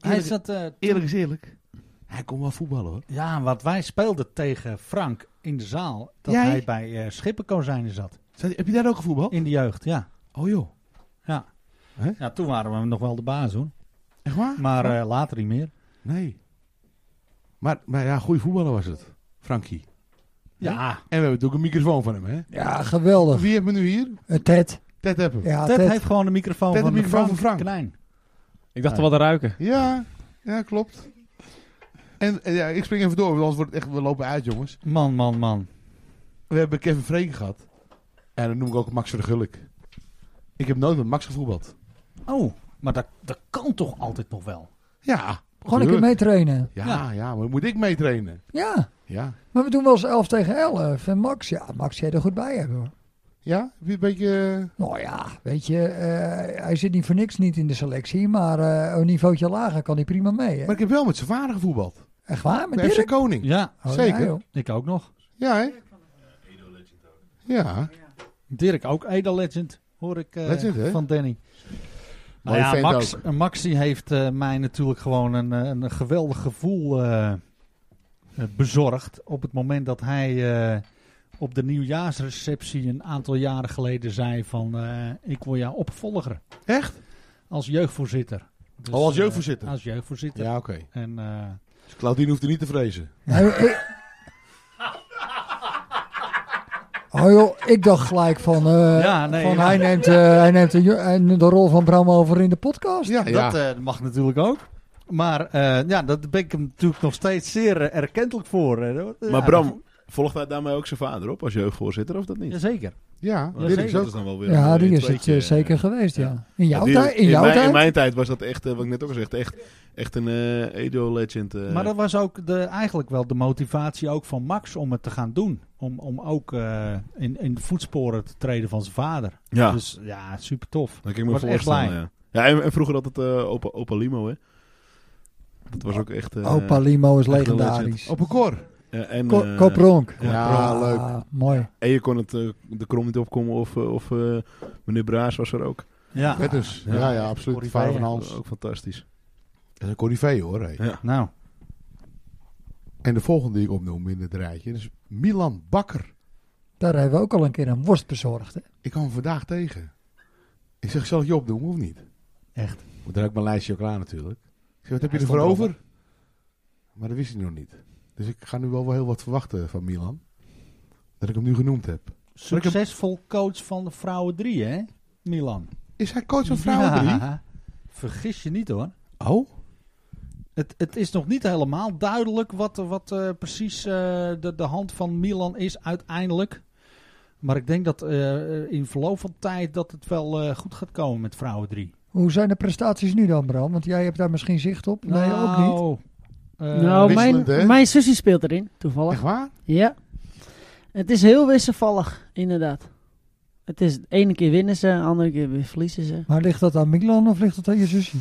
Speaker 1: Hij
Speaker 2: Eerlijk-
Speaker 1: zat, eh,
Speaker 2: eerlijk is eerlijk. Hij kon wel voetballen hoor.
Speaker 1: ja, wat wij speelden tegen Frank in de zaal, dat
Speaker 2: Jij?
Speaker 1: hij bij eh Schippenkozijnen zat.
Speaker 2: Zat- heb je daar ook gevoetbald?
Speaker 1: In de jeugd, ja.
Speaker 2: Oh joh,
Speaker 1: Ja, toen waren we nog wel de baas hoor.
Speaker 2: echt waar?
Speaker 1: Maar eh, later niet meer.
Speaker 2: Nee. Maar, maar ja, goede voetballer was het. Frankie.
Speaker 1: Ja,
Speaker 2: En we hebben natuurlijk een microfoon van hem hè.
Speaker 4: Ja, geweldig.
Speaker 2: Wie hebben we nu hier?
Speaker 4: Eh, Ted.
Speaker 2: Ted Appen.
Speaker 4: Ja,
Speaker 1: Ted,
Speaker 4: Ah, Ted.
Speaker 1: heeft gewoon de microfoon
Speaker 2: Ted
Speaker 1: van
Speaker 2: de microfoon
Speaker 1: Frank
Speaker 2: van Frank.
Speaker 1: Klein.
Speaker 6: Ik dacht er wat ruiken.
Speaker 2: Ja, ja klopt. En eh, ja, ik spring even door, want anders wordt het echt, we lopen uit jongens.
Speaker 1: Man, man, man.
Speaker 2: We hebben Kevin Freken gehad. En dan noem ik ook Max Vergulik. Ik heb nooit met Max gevoetbald.
Speaker 1: Oh, maar dat, dat kan toch altijd nog wel?
Speaker 2: Ja.
Speaker 4: Gewoon een keer
Speaker 2: tuurlijk.
Speaker 4: meetrainen.
Speaker 2: Ja, ja, maar moet ik meetrainen?
Speaker 4: Ja,
Speaker 2: Ja.
Speaker 4: maar we doen wel eens 11 tegen 11. En Max, ja, Max jij er goed bij hebben hoor.
Speaker 2: Ja? Heb je een beetje...
Speaker 4: Nou ja, weet je, eh, hij zit niet voor niks niet in de selectie. Maar eh, een niveautje lager kan hij prima mee. Hè?
Speaker 2: Maar ik heb wel eh, met zijn vader gevoetbald.
Speaker 4: Echt waar, met
Speaker 2: Bij FC
Speaker 4: Dirk?
Speaker 2: Koning. Ja,
Speaker 1: Ja,
Speaker 4: Oh,
Speaker 2: zeker.
Speaker 4: ja, joh.
Speaker 1: ik ook nog.
Speaker 2: hè? Ja.
Speaker 1: Dirk ook, Eda Legend, hoor ik eh,
Speaker 2: Legend, hè?
Speaker 1: van Danny. Nou
Speaker 2: Mooie
Speaker 1: ja,
Speaker 2: vent
Speaker 1: Max,
Speaker 2: ook.
Speaker 1: eh, Max die heeft eh, mij natuurlijk gewoon een, eh, een geweldig gevoel eh, eh, bezorgd. Op het moment dat hij eh, op de nieuwjaarsreceptie een aantal jaren geleden zei van... eh, ik wil jou opvolger.
Speaker 2: Echt?
Speaker 1: Als jeugdvoorzitter. Dus,
Speaker 2: Oh, als
Speaker 1: eh,
Speaker 2: jeugdvoorzitter?
Speaker 1: als jeugdvoorzitter.
Speaker 2: Ja, oké.
Speaker 1: En eh,
Speaker 2: Dus Claudine hoeft er niet te vrezen.
Speaker 4: Nee, ik- Oh joh, ik dacht gelijk van, eh,
Speaker 1: Ja, nee,
Speaker 4: van
Speaker 1: ja.
Speaker 4: hij neemt, eh, hij neemt de, jo- hij neemt de rol van Bram over in de podcast.
Speaker 2: Ja, ja.
Speaker 1: dat eh, mag natuurlijk ook. Maar eh, ja, daar ben ik hem natuurlijk nog steeds zeer eh, erkentelijk voor. eh. Ja,
Speaker 3: Maar Bram, volgt hij daarmee ook zijn vader op als jeugdvoorzitter of dat niet?
Speaker 1: Jazeker.
Speaker 2: ja,
Speaker 3: Want
Speaker 2: Dirk
Speaker 1: zeker.
Speaker 2: is
Speaker 3: Dat
Speaker 2: ook.
Speaker 3: is dan wel weer
Speaker 4: Ja,
Speaker 3: een
Speaker 4: die is het
Speaker 3: tweetje,
Speaker 4: eh,
Speaker 3: eh.
Speaker 4: zeker geweest, ja. In jouw
Speaker 3: Die-
Speaker 4: tijd? In jouw
Speaker 3: mijn,
Speaker 4: tijd?
Speaker 3: in mijn tijd was dat echt, eh, wat ik net ook al gezegd, echt, echt een eh Edo-legend. eh.
Speaker 1: Maar dat was ook de, eigenlijk wel de motivatie ook van Max om het te gaan doen. Om, om ook eh, in, in de voetsporen te treden van zijn vader.
Speaker 3: ja,
Speaker 1: Dus ja, super tof.
Speaker 3: dat kan ik me
Speaker 1: was echt
Speaker 3: voorstellen.
Speaker 1: blij.
Speaker 3: Ja, ja en, en vroeger altijd eh opa, opa Limo, hè? Dat was ook echt... eh,
Speaker 4: Opa Limo is
Speaker 3: echt een
Speaker 4: legendarisch.
Speaker 2: Op een kor.
Speaker 3: ja, en,
Speaker 4: Ko-
Speaker 3: eh,
Speaker 4: Kopronk.
Speaker 2: Ja, leuk.
Speaker 4: Mooi.
Speaker 3: En je kon het, eh, de krom niet opkomen of, eh, of eh, meneer Braas was er ook.
Speaker 1: Ja,
Speaker 2: Vet dus.
Speaker 3: Ja.
Speaker 2: Ja, ja, absoluut.
Speaker 1: Corrie
Speaker 2: vader van
Speaker 1: Verheyen.
Speaker 2: Hans.
Speaker 3: Ook fantastisch.
Speaker 2: Dat is een corrivee hoor. hé.
Speaker 3: Ja.
Speaker 1: nou.
Speaker 2: En de volgende die ik opnoem in het rijtje is Milan Bakker.
Speaker 4: Daar hebben we ook al een keer een worst bezorgd. Hè?
Speaker 2: Ik kwam hem vandaag tegen. Ik zeg, zal ik je opnoemen of niet?
Speaker 1: Echt.
Speaker 2: Want daar heb ik mijn lijstje ook klaar natuurlijk. Ik zeg, wat heb
Speaker 1: Hij
Speaker 2: je ervoor
Speaker 1: stond erop,
Speaker 2: over? Maar dat wist hij nog niet. Dus ik ga nu wel, wel heel wat verwachten van Milan. Dat ik hem nu genoemd heb.
Speaker 1: Succesvol coach van de vrouwen drie, hè? Milan.
Speaker 2: Is hij coach van vrouwen drie?
Speaker 1: Ja. Vergis je niet hoor.
Speaker 2: Oh?
Speaker 1: Het, het is nog niet helemaal duidelijk wat, wat eh, precies eh, de, de hand van Milan is uiteindelijk. Maar ik denk dat eh, in verloop van tijd dat het wel eh, goed gaat komen met vrouwen drie.
Speaker 4: Hoe zijn de prestaties nu dan, Bram? Want jij hebt daar misschien zicht op. Nee,
Speaker 1: Nou.
Speaker 4: ook niet.
Speaker 1: Eh,
Speaker 5: nou, mijn,
Speaker 2: wisselend, hè?
Speaker 5: mijn zusje speelt erin, toevallig.
Speaker 2: Echt waar?
Speaker 5: Ja. Het is heel wisselvallig, inderdaad. Het is de ene keer winnen ze, de andere keer weer verliezen ze.
Speaker 4: Maar ligt dat aan Milan of ligt dat aan je zusje?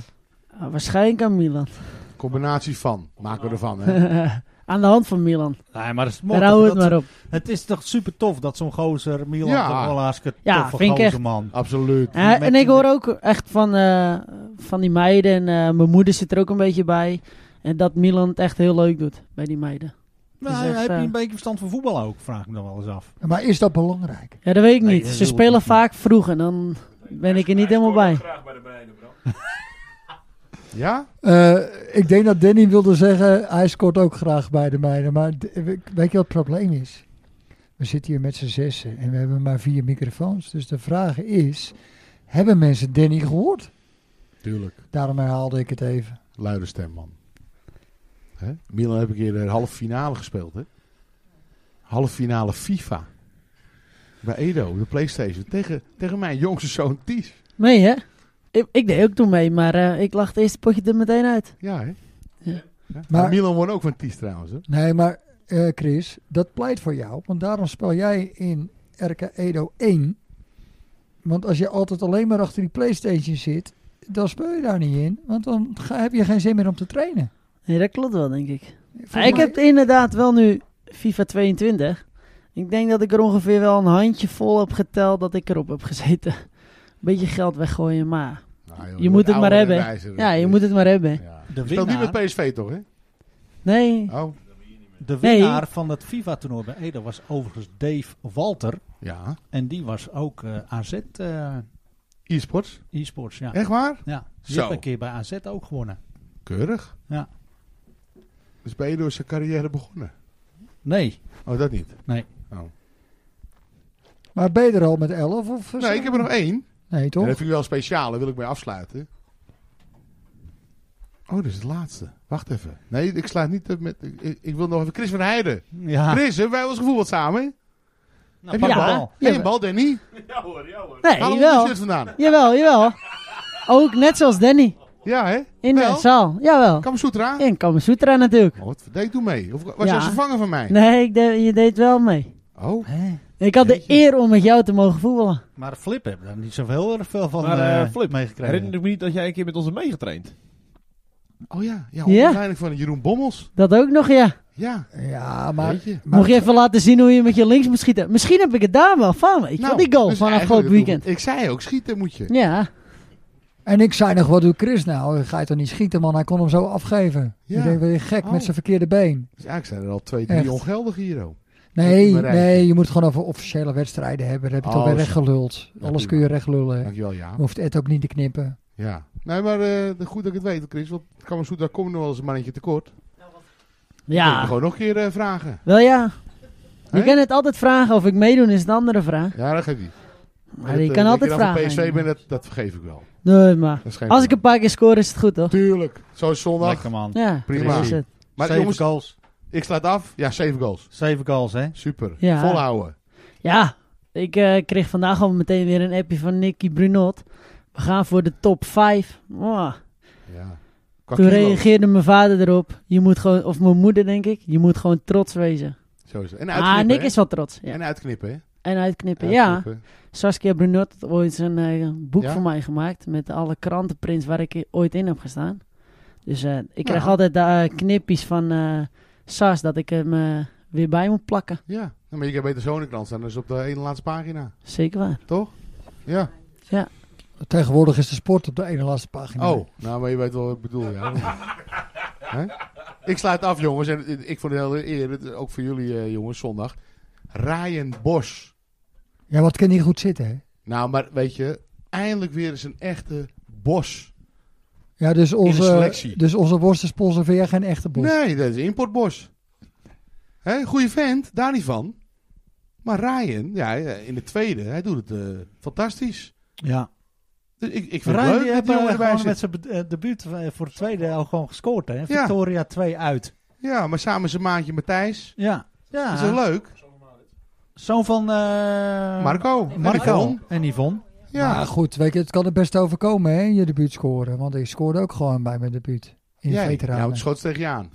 Speaker 5: Ah, waarschijnlijk aan Milan.
Speaker 2: Combinatie van. Maken we ervan,
Speaker 5: <laughs>
Speaker 2: hè?
Speaker 5: aan de hand van Milan.
Speaker 1: nee, maar het is mooi
Speaker 5: Daar houden we
Speaker 1: dat
Speaker 5: het maar op.
Speaker 1: ze- het is toch super tof dat zo'n gozer Milan
Speaker 2: Ja.
Speaker 1: toch wel een hartstikke
Speaker 5: Ja,
Speaker 1: toffe
Speaker 5: vind ik
Speaker 1: gozer
Speaker 5: echt.
Speaker 1: man.
Speaker 2: Absoluut.
Speaker 5: Ja,
Speaker 1: Met-
Speaker 5: en ik hoor ook echt van, eh, van die meiden. En eh, mijn moeder zit er ook een beetje bij. En dat Milan het echt heel leuk doet bij die meiden.
Speaker 1: Nou,
Speaker 5: Dus echt,
Speaker 1: heb je
Speaker 5: eh,
Speaker 1: een beetje verstand van voetbal ook? Vraag ik me dan wel eens af.
Speaker 4: Maar is dat belangrijk?
Speaker 5: Ja, dat weet ik
Speaker 1: Nee,
Speaker 5: niet.
Speaker 1: dat
Speaker 5: Ze
Speaker 1: wil ik
Speaker 5: spelen
Speaker 1: niet.
Speaker 5: vaak vroeg en dan ben ik er niet helemaal bij.
Speaker 2: Ja?
Speaker 4: Eh, ik denk dat Danny wilde zeggen, hij scoort ook graag bij de meiden. Maar d- weet je wat het probleem is? We zitten hier met z'n zessen en we hebben maar vier microfoons. Dus de vraag is, hebben mensen Danny gehoord?
Speaker 2: Tuurlijk.
Speaker 4: Daarom herhaalde ik het even.
Speaker 2: Luide stem, man. Hè? Milan heb ik hier de halve finale gespeeld, hè? Halve finale FIFA. Bij Edo, de Playstation. Tegen, tegen mijn jongste zoon Ties.
Speaker 5: Nee, hè? Ik, ik deed ook toen mee, maar eh, ik lag het eerste potje er meteen uit.
Speaker 2: Ja, hè?
Speaker 5: Ja.
Speaker 2: Ja.
Speaker 4: Maar-
Speaker 2: Milan won ook van Ties trouwens, hè?
Speaker 4: Nee, maar eh, Chris, dat pleit voor jou. Want daarom speel jij in RK Edo 1. Want als je altijd alleen maar achter die Playstation zit, dan speel je daar niet in. Want dan ga- heb je geen zin meer om te trainen.
Speaker 5: Nee, dat klopt wel, denk ik.
Speaker 4: Volgens
Speaker 5: Ah, ik
Speaker 4: mij-
Speaker 5: heb inderdaad wel nu FIFA 22. Ik denk dat ik er ongeveer wel een handje vol heb geteld dat ik erop heb gezeten. Beetje geld weggooien, maar
Speaker 2: Nou, joh,
Speaker 5: Je moet het maar
Speaker 2: ouder en
Speaker 5: hebben.
Speaker 2: wijzer.
Speaker 5: ja, je moet het maar hebben.
Speaker 2: Ja.
Speaker 1: De
Speaker 2: Je speelt niet
Speaker 1: winnaar,
Speaker 2: met PSV toch, hè?
Speaker 5: Nee,
Speaker 2: Oh,
Speaker 1: de
Speaker 5: Nee.
Speaker 1: winnaar van het FIFA-toernooi bij Ede was overigens Dave Walter.
Speaker 2: ja.
Speaker 1: En die was ook eh, AZ eh,
Speaker 2: E-sports.
Speaker 1: e-sports. Ja.
Speaker 2: Echt waar?
Speaker 1: Ja, die
Speaker 2: Zo.
Speaker 1: heeft een keer bij AZ ook gewonnen.
Speaker 2: Keurig.
Speaker 1: Ja.
Speaker 2: Dus ben je door zijn carrière begonnen?
Speaker 1: Nee,
Speaker 2: Oh, dat niet.
Speaker 4: Maar ben je er al met 11? Of, eh,
Speaker 2: Nee, ik heb er nog één.
Speaker 4: Nee,
Speaker 2: En
Speaker 4: toch?
Speaker 2: dat vind ik wel speciaal, daar wil ik mee afsluiten. Oh, dat is het laatste. Wacht even. Nee, ik sluit niet eh, met... Ik, ik- ik wil nog even Chris van Heijden.
Speaker 1: ja.
Speaker 2: Chris, hebben wij wel eens gevoeld samen?
Speaker 1: Nou,
Speaker 2: Heb je
Speaker 5: ja.
Speaker 2: een bal? Heb je een bal, Danny?
Speaker 5: nee,
Speaker 2: Haal hem onder
Speaker 5: jawel.
Speaker 2: de shirt vandaan.
Speaker 5: Jawel, jawel. Ook net zoals Danny.
Speaker 2: Ja, hè?
Speaker 5: In
Speaker 2: Wel?
Speaker 5: de zaal, jawel.
Speaker 2: Kamasutra?
Speaker 5: In Kamasutra natuurlijk.
Speaker 2: Oh, wat deed toen mee? Of was
Speaker 5: Ja.
Speaker 2: jij vervangen van mij?
Speaker 5: Nee, ik deed- je deed wel mee.
Speaker 2: Oh,
Speaker 1: Hè?
Speaker 5: Ik had de
Speaker 2: Jeetje.
Speaker 5: eer om met jou te mogen voetballen.
Speaker 1: Maar Flip heb daar niet zoveel erg veel van
Speaker 6: Maar, eh,
Speaker 1: eh,
Speaker 6: Flip,
Speaker 1: meegekregen.
Speaker 6: Herinner ik me niet dat jij een keer met ons hebt meegetraind.
Speaker 2: oh ja. Ja,
Speaker 5: Ja.
Speaker 2: waarschijnlijk van Jeroen Bommels.
Speaker 5: Dat ook nog, ja.
Speaker 2: Ja,
Speaker 4: Ja, maar...
Speaker 2: weet je.
Speaker 4: maar
Speaker 5: Mocht je even laten zien hoe je met je links moet schieten. Misschien heb ik het daar wel van. Ik
Speaker 2: Nou,
Speaker 5: vond die goal
Speaker 2: dus
Speaker 5: van afgelopen
Speaker 2: eigenlijk-
Speaker 5: weekend.
Speaker 2: Ik zei ook, schieten moet je.
Speaker 5: Ja,
Speaker 4: En ik zei nog, wat doet Chris nou? Ga je toch niet schieten, man? Hij kon hem zo afgeven.
Speaker 2: Ja.
Speaker 4: Ik denk, ben je gek
Speaker 2: Oh.
Speaker 4: met zijn verkeerde been?
Speaker 2: Dus eigenlijk zijn er al twee, drie
Speaker 4: Echt.
Speaker 2: ongeldig hier, oh.
Speaker 4: Nee,
Speaker 2: maar rijden.
Speaker 4: nee, je moet het gewoon over officiële wedstrijden hebben. Daar heb je
Speaker 2: Oh,
Speaker 4: toch weer
Speaker 2: zo.
Speaker 4: recht geluld.
Speaker 2: Ja,
Speaker 4: Alles
Speaker 2: prima.
Speaker 4: kun je recht lullen. hè.
Speaker 2: Dankjewel, ja.
Speaker 4: Je hoeft het ook niet te knippen.
Speaker 2: Ja. Nee, maar eh, goed dat ik het weet, Chris. Want Kamasutra komt nog wel eens een mannetje tekort. Moet je
Speaker 5: ja.
Speaker 2: Gewoon nog een keer eh, vragen.
Speaker 5: Wel ja. Je
Speaker 2: Hè?
Speaker 5: kan het altijd vragen of ik meedoen, is een andere vraag.
Speaker 2: Ja, dat geeft niet. eh,
Speaker 5: Maar je kan altijd vragen.
Speaker 2: Als PSV ben, dat, dat vergeef ik wel.
Speaker 5: Nee, maar
Speaker 2: Dat is geen
Speaker 5: als ik een
Speaker 2: probleem.
Speaker 5: paar keer score is het goed, toch?
Speaker 2: Tuurlijk. Zo is zondag.
Speaker 1: Lekker man.
Speaker 5: Ja,
Speaker 2: Prima.
Speaker 5: dat is het.
Speaker 2: Maar
Speaker 1: zeven
Speaker 2: jongens,
Speaker 1: goals.
Speaker 2: ik sluit af. Ja, zeven goals.
Speaker 1: Zeven goals, hè?
Speaker 2: Super.
Speaker 5: Ja.
Speaker 2: Volhouden.
Speaker 5: Ja, ik eh, kreeg vandaag al meteen weer een appje van Nicky Brunot. We gaan voor de top 5.
Speaker 2: Ja. Qua
Speaker 5: Toen
Speaker 2: kilo.
Speaker 5: reageerde mijn vader erop. Je moet gewoon, of mijn moeder denk ik, je moet gewoon trots wezen.
Speaker 2: Zo is het. En uitknippen.
Speaker 5: Ah, Nick
Speaker 2: hè?
Speaker 5: is wel trots. Ja.
Speaker 2: En uitknippen, hè?
Speaker 5: En uitknippen, ja.
Speaker 2: Uitknippen.
Speaker 5: Saskia Brunot had ooit een eh, boek
Speaker 2: Ja?
Speaker 5: voor mij gemaakt met alle krantenprints waar ik i- ooit in heb gestaan. Dus eh, ik krijg
Speaker 2: Nou.
Speaker 5: altijd de knippies van eh, Sas dat ik hem eh, weer bij moet plakken.
Speaker 2: Ja. Nou, maar je kan beter zo'n krant staan. Dat is op de ene laatste pagina.
Speaker 5: Zeker waar.
Speaker 2: Toch? Ja.
Speaker 4: Tegenwoordig is de sport op de ene laatste pagina.
Speaker 2: Oh. Nou, maar je weet wel wat ik bedoel, ja. Hè? Ik sluit af, jongens. En eh, ik vond het heel eer. het- Ook voor jullie, eh, jongens, zondag. Ryan Bosch.
Speaker 4: Ja, wat kan niet goed zitten, hè?
Speaker 2: Nou, maar weet je, eindelijk weer eens een echte bos.
Speaker 4: Ja, dus onze,
Speaker 2: selectie.
Speaker 4: dus onze worstensponsor vind jij geen echte bos.
Speaker 2: Nee, dat is importbos. Hè, goeie vent, daar niet van. Maar Ryan, ja, in de tweede, hij doet het eh, fantastisch.
Speaker 1: Ja.
Speaker 2: Dus ik, ik vind het
Speaker 1: Rijn
Speaker 2: leuk
Speaker 1: die
Speaker 2: dat
Speaker 1: heeft
Speaker 2: die
Speaker 1: eh,
Speaker 2: jongen erbij
Speaker 1: gewoon
Speaker 2: zit.
Speaker 1: met zijn be- eh, debuut eh, voor het tweede al gewoon gescoord, hè? Victoria 2 uit.
Speaker 2: Ja, maar samen zijn maatje Matthijs.
Speaker 1: Ja. ja.
Speaker 2: Dat is toch leuk?
Speaker 1: Zoon van... eh,
Speaker 2: Marco.
Speaker 1: Marco
Speaker 2: Yvonne.
Speaker 1: en Yvonne.
Speaker 2: Ja.
Speaker 4: Maar goed, weet je, het kan het best overkomen, hè, je debuut scoren. Want ik scoorde ook gewoon bij mijn debuut. In de
Speaker 2: Jij, nou,
Speaker 4: veteranen.
Speaker 2: het schoot tegen je aan.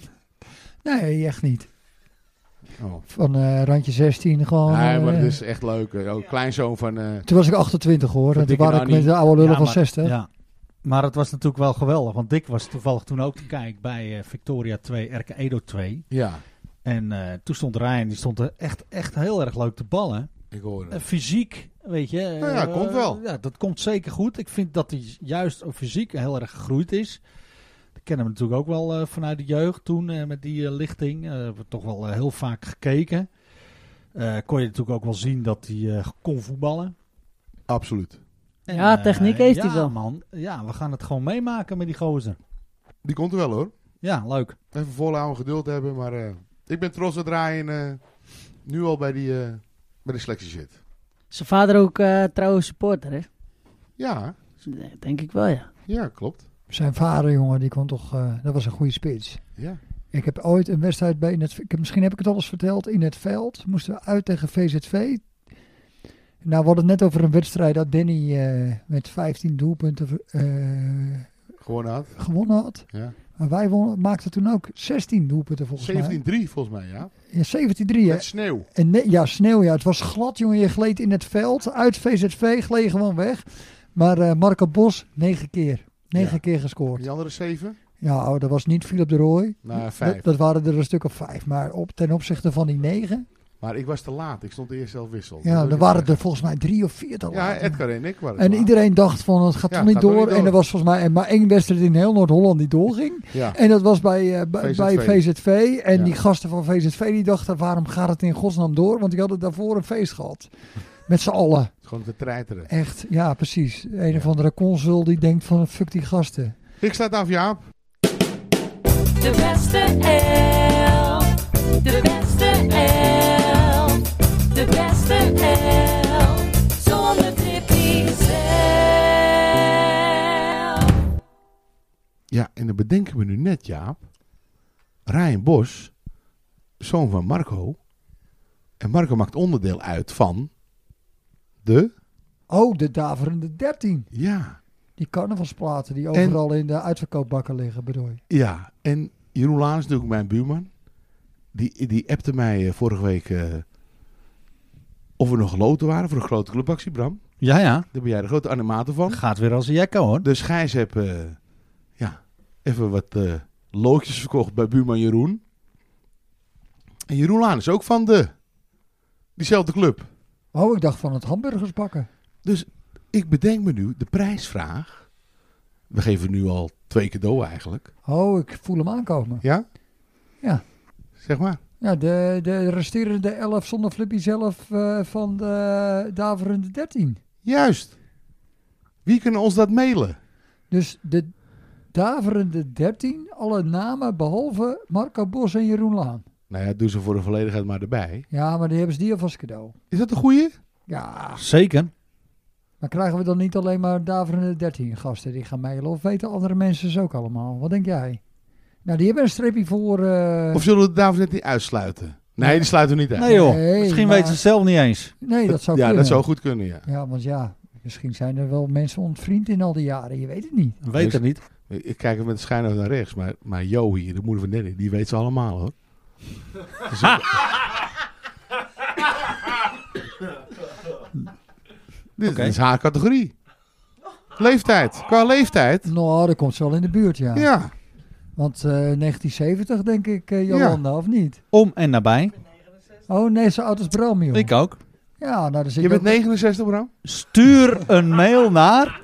Speaker 4: nee, echt niet.
Speaker 2: Oh.
Speaker 4: Van eh, randje 16 gewoon.
Speaker 2: nee, maar
Speaker 4: eh,
Speaker 2: het is echt leuk. eh, Ook kleinzoon van... eh,
Speaker 4: Toen was ik 28 hoor.
Speaker 2: Van
Speaker 4: En toen
Speaker 2: dikke
Speaker 4: waren ik
Speaker 2: Nanny.
Speaker 4: met de oude lullen
Speaker 1: Ja,
Speaker 4: van
Speaker 1: maar-
Speaker 4: 60.
Speaker 1: Ja. Maar het was natuurlijk wel geweldig, want Dick was toevallig toen ook te kijken bij eh, Victoria 2, Erke Edo 2.
Speaker 2: ja,
Speaker 1: En eh, toen stond Ryan, die stond er echt, echt heel erg leuk te ballen.
Speaker 2: ik hoor
Speaker 1: Eh,
Speaker 2: het.
Speaker 1: fysiek, weet je. eh,
Speaker 2: Nou ja, komt wel.
Speaker 1: Ja, dat komt zeker goed. Ik vind dat hij juist op fysiek heel erg gegroeid is. Ik ken hem natuurlijk ook wel eh, vanuit de jeugd toen eh, met die eh, lichting. Eh, hebben we toch wel eh, heel vaak gekeken. Eh, kon je natuurlijk ook wel zien dat hij eh, kon voetballen.
Speaker 2: Absoluut.
Speaker 1: En,
Speaker 5: Ja,
Speaker 1: eh,
Speaker 5: techniek heeft
Speaker 1: ja,
Speaker 5: hij wel.
Speaker 1: man. Ja, we gaan het gewoon meemaken met die gozer.
Speaker 2: Die komt er wel, hoor.
Speaker 1: Ja, leuk.
Speaker 2: Even volhouden, geduld hebben. Maar eh, ik ben trots dat Ryan eh, nu al bij, die, eh, bij de selectie zit.
Speaker 5: Zijn vader ook eh trouwe supporter, hè?
Speaker 2: Ja,
Speaker 5: Nee, Denk ik wel, ja.
Speaker 2: ja klopt.
Speaker 4: Zijn vader, jongen, die kon toch. eh, dat was een goede spits.
Speaker 2: Ja.
Speaker 4: Ik heb ooit een wedstrijd bij. In het, ik heb- misschien heb ik het alles verteld. In het veld moesten we uit tegen VZV. Nou, we hadden het net over een wedstrijd dat Danny eh, met 15 doelpunten eh,
Speaker 2: Gewoon had.
Speaker 4: gewonnen had.
Speaker 2: Ja.
Speaker 4: Maar wij won, maakten toen ook 16 doelpunten volgens
Speaker 2: 17-3 volgens mij, ja.
Speaker 4: mij. Ja, 17-3. hè?
Speaker 2: Met sneeuw.
Speaker 4: En ne- ja, sneeuw. Ja. Het was glad, jongen. Je gleed in het veld. Uit VZV gleed je gewoon weg. Maar eh, Marco Bos, negen keer. negen
Speaker 2: Ja.
Speaker 4: keer gescoord.
Speaker 2: Die andere 7?
Speaker 4: Ja, oh, dat was niet Philip de Rooij.
Speaker 2: Nou,
Speaker 4: Dat,
Speaker 2: vijf.
Speaker 4: dat waren er een stuk of vijf. Maar op, ten opzichte van die negen.
Speaker 2: Maar ik was te laat. Ik stond eerst zelf wissel. Dat
Speaker 4: Ja,
Speaker 2: wil
Speaker 4: er
Speaker 2: ik
Speaker 4: waren
Speaker 2: zeggen.
Speaker 4: er volgens mij drie of vier te
Speaker 2: Ja,
Speaker 4: laat.
Speaker 2: Edgar en ik waren te
Speaker 4: En
Speaker 2: laat.
Speaker 4: iedereen dacht van het gaat
Speaker 2: Ja,
Speaker 4: toch niet
Speaker 2: gaat toch
Speaker 4: door.
Speaker 2: niet door.
Speaker 4: En er was volgens mij maar één wedstrijd in heel Noord-Holland die doorging.
Speaker 2: Ja.
Speaker 4: En dat was bij, eh, bij,
Speaker 2: VZV.
Speaker 4: bij VZV. En
Speaker 2: Ja.
Speaker 4: die gasten van VZV die dachten waarom gaat het in godsnaam door? Want die hadden daarvoor een feest gehad. Met z'n allen.
Speaker 2: Gewoon te treiteren.
Speaker 4: Echt, ja precies. Een
Speaker 2: Ja.
Speaker 4: of andere consul die denkt van fuck die gasten.
Speaker 2: Ik sluit af, Jaap.
Speaker 8: De beste elf. De beste elf. De beste elf. Zonder trippie zelf.
Speaker 2: Ja, en dan bedenken we nu net, Jaap. Ryan Bos, zoon van Marco. En Marco maakt onderdeel uit van de...
Speaker 4: Oh, de daverende 13.
Speaker 2: Ja,
Speaker 4: Die carnavalsplaten die overal in de uitverkoopbakken liggen bedoel je.
Speaker 2: ja. En Jeroen Laan is natuurlijk mijn buurman. Die, die appte mij eh, vorige week eh, of we nog geloten waren voor een grote clubactie, Bram.
Speaker 1: Ja, ja.
Speaker 2: Daar ben jij de grote animator van.
Speaker 1: Gaat weer als een jekko hoor.
Speaker 2: Dus Gijs heb eh, ja, even wat eh, loodjes verkocht bij buurman Jeroen. En Jeroen Laan is ook van de, diezelfde club.
Speaker 4: Oh, ik dacht van het hamburgersbakken.
Speaker 2: Ik bedenk me nu de prijsvraag. We geven nu al twee cadeau eigenlijk.
Speaker 4: Oh, ik voel hem aankomen.
Speaker 2: Ja?
Speaker 4: Ja.
Speaker 2: Zeg maar.
Speaker 4: Ja, de, de resterende 11 zonder Flippy zelf eh, van de daverende 13.
Speaker 2: Juist. Wie kunnen ons dat mailen?
Speaker 4: Dus de daverende 13, alle namen behalve Marco Bos en Jeroen Laan.
Speaker 2: Nou ja, doe ze voor de volledigheid maar erbij.
Speaker 4: Ja, maar die hebben ze die alvast cadeau.
Speaker 2: Is dat de goeie?
Speaker 4: Ja,
Speaker 1: Zeker.
Speaker 4: maar krijgen we dan niet alleen maar daverende 13 gasten die gaan mailen? Of weten andere mensen ze ook allemaal? Wat denk jij? Nou, die hebben een streepje voor... eh,
Speaker 2: Of zullen we de dames net niet uitsluiten? Nee, die sluiten we niet uit.
Speaker 1: Nee joh,
Speaker 4: Nee,
Speaker 1: misschien
Speaker 4: maar-
Speaker 1: weten ze het zelf niet eens.
Speaker 4: nee, dat zou
Speaker 2: ja,
Speaker 4: kunnen.
Speaker 2: dat zou goed kunnen, ja.
Speaker 4: Ja, want ja, misschien zijn er wel mensen ontvriend in al die jaren. Je weet het niet.
Speaker 1: Weet
Speaker 2: Dus-
Speaker 1: het niet.
Speaker 2: Ik ik kijk even met de schijnhoofd naar rechts, maar, maar Jo hier, de moeder van Danny, die weet ze allemaal
Speaker 4: <laughs>
Speaker 2: hoor. Dus dit,
Speaker 1: Oké.
Speaker 2: is haar categorie. Leeftijd, qua leeftijd.
Speaker 4: Nou, dat komt ze wel in de buurt, ja.
Speaker 2: Ja,
Speaker 4: Want eh, 1970 denk ik, eh, Jolanda, of niet?
Speaker 1: Om en nabij.
Speaker 4: Oh nee, zo oud als Bram, joh.
Speaker 1: Ik ook.
Speaker 4: Ja, nou, dan zit
Speaker 2: je bent
Speaker 4: ook
Speaker 2: 69 Bram?
Speaker 1: Stuur een mail naar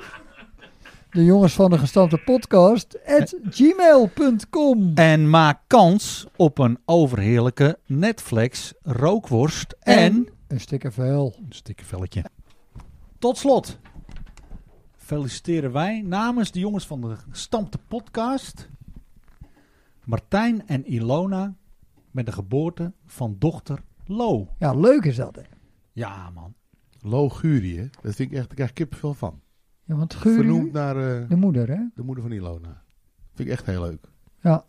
Speaker 4: de jongens van de gestampte podcast at gmail.com.
Speaker 1: en maak kans op een overheerlijke Netflix rookworst en
Speaker 4: Een sticker vuil.
Speaker 1: een stikkervelletje. Tot slot feliciteren wij namens de jongens van de gestampte podcast Martijn en Ilona met de geboorte van dochter Lo.
Speaker 4: Ja, leuk is dat, hè?
Speaker 1: Ja man.
Speaker 2: Loguri, hè? Dat vind ik echt, daar krijg ik kippenvel van.
Speaker 4: Ja, want Guri,
Speaker 2: Vernoemd naar eh,
Speaker 4: de moeder, hè?
Speaker 2: de moeder van Ilona. Vind ik echt heel leuk.
Speaker 4: Ja.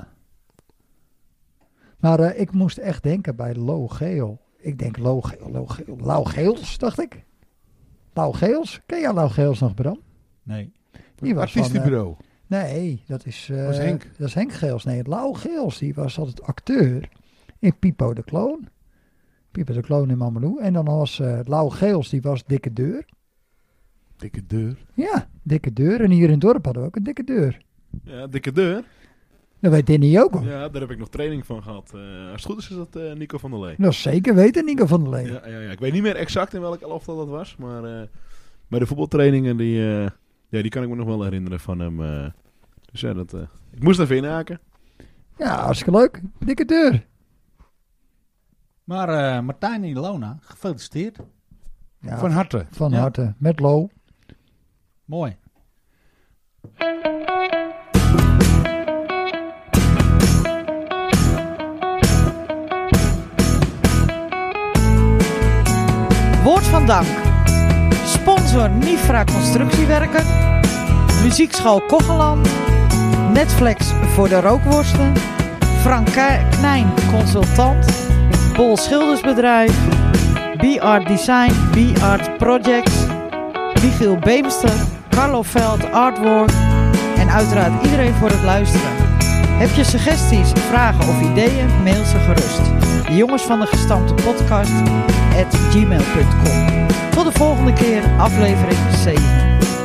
Speaker 4: Maar eh, ik moest echt denken bij Logeel. Ik denk Logeel, Logeel. Lauwgeels, dacht ik. Lauwgeels? Ken jij Lauwgeels nog, Bram?
Speaker 1: Nee.
Speaker 4: Die was van,
Speaker 2: Artiestenbureau.
Speaker 4: Nee, dat is, eh,
Speaker 2: Dat is Henk.
Speaker 4: Dat is Henk Geels. Nee, Lau Geels, die was altijd acteur in Pipo de Kloon. Pipo de Kloon in Mameloe. En dan was eh Lau Geels, die was dikke deur.
Speaker 2: Dikke deur.
Speaker 4: Ja, dikke deur. En hier in het dorp hadden we ook een dikke deur.
Speaker 3: Ja, dikke deur.
Speaker 4: Dat weet Danny
Speaker 2: Oh.
Speaker 4: ook al.
Speaker 3: Ja, daar heb ik nog training van gehad. Eh, als het goed is, is dat eh, Nico van der Lee.
Speaker 4: Dat zeker weten Nico van der Leen.
Speaker 3: Ja, ja, ja. Ik weet niet meer exact in welk elftal dat was, maar eh, bij de voetbaltrainingen, die, eh, ja, die kan ik me nog wel herinneren van hem. eh. dus ja, dat, eh, ik moest even inhaken.
Speaker 4: Ja, hartstikke leuk. Dikke deur.
Speaker 1: Maar eh, Martijn en Ilona, gefeliciteerd.
Speaker 4: Ja,
Speaker 2: Van
Speaker 4: van,
Speaker 2: harte.
Speaker 1: Ja.
Speaker 4: harte. Met Lo.
Speaker 1: Mooi.
Speaker 7: Woord van dank. Sponsor Nifra Constructiewerken. Muziekschool Kocheland. Netflix voor de rookworsten. Frank Ka- Knijn Consultant. Bol Schildersbedrijf. B-Art Design. B-Art Projects. Michiel Beemster. Carlo Veld Artwork. En uiteraard iedereen voor het luisteren. Heb je suggesties, vragen of ideeën? Mail ze gerust. De jongens van de gestampte podcast at gmail.com. Tot de volgende keer, aflevering 7.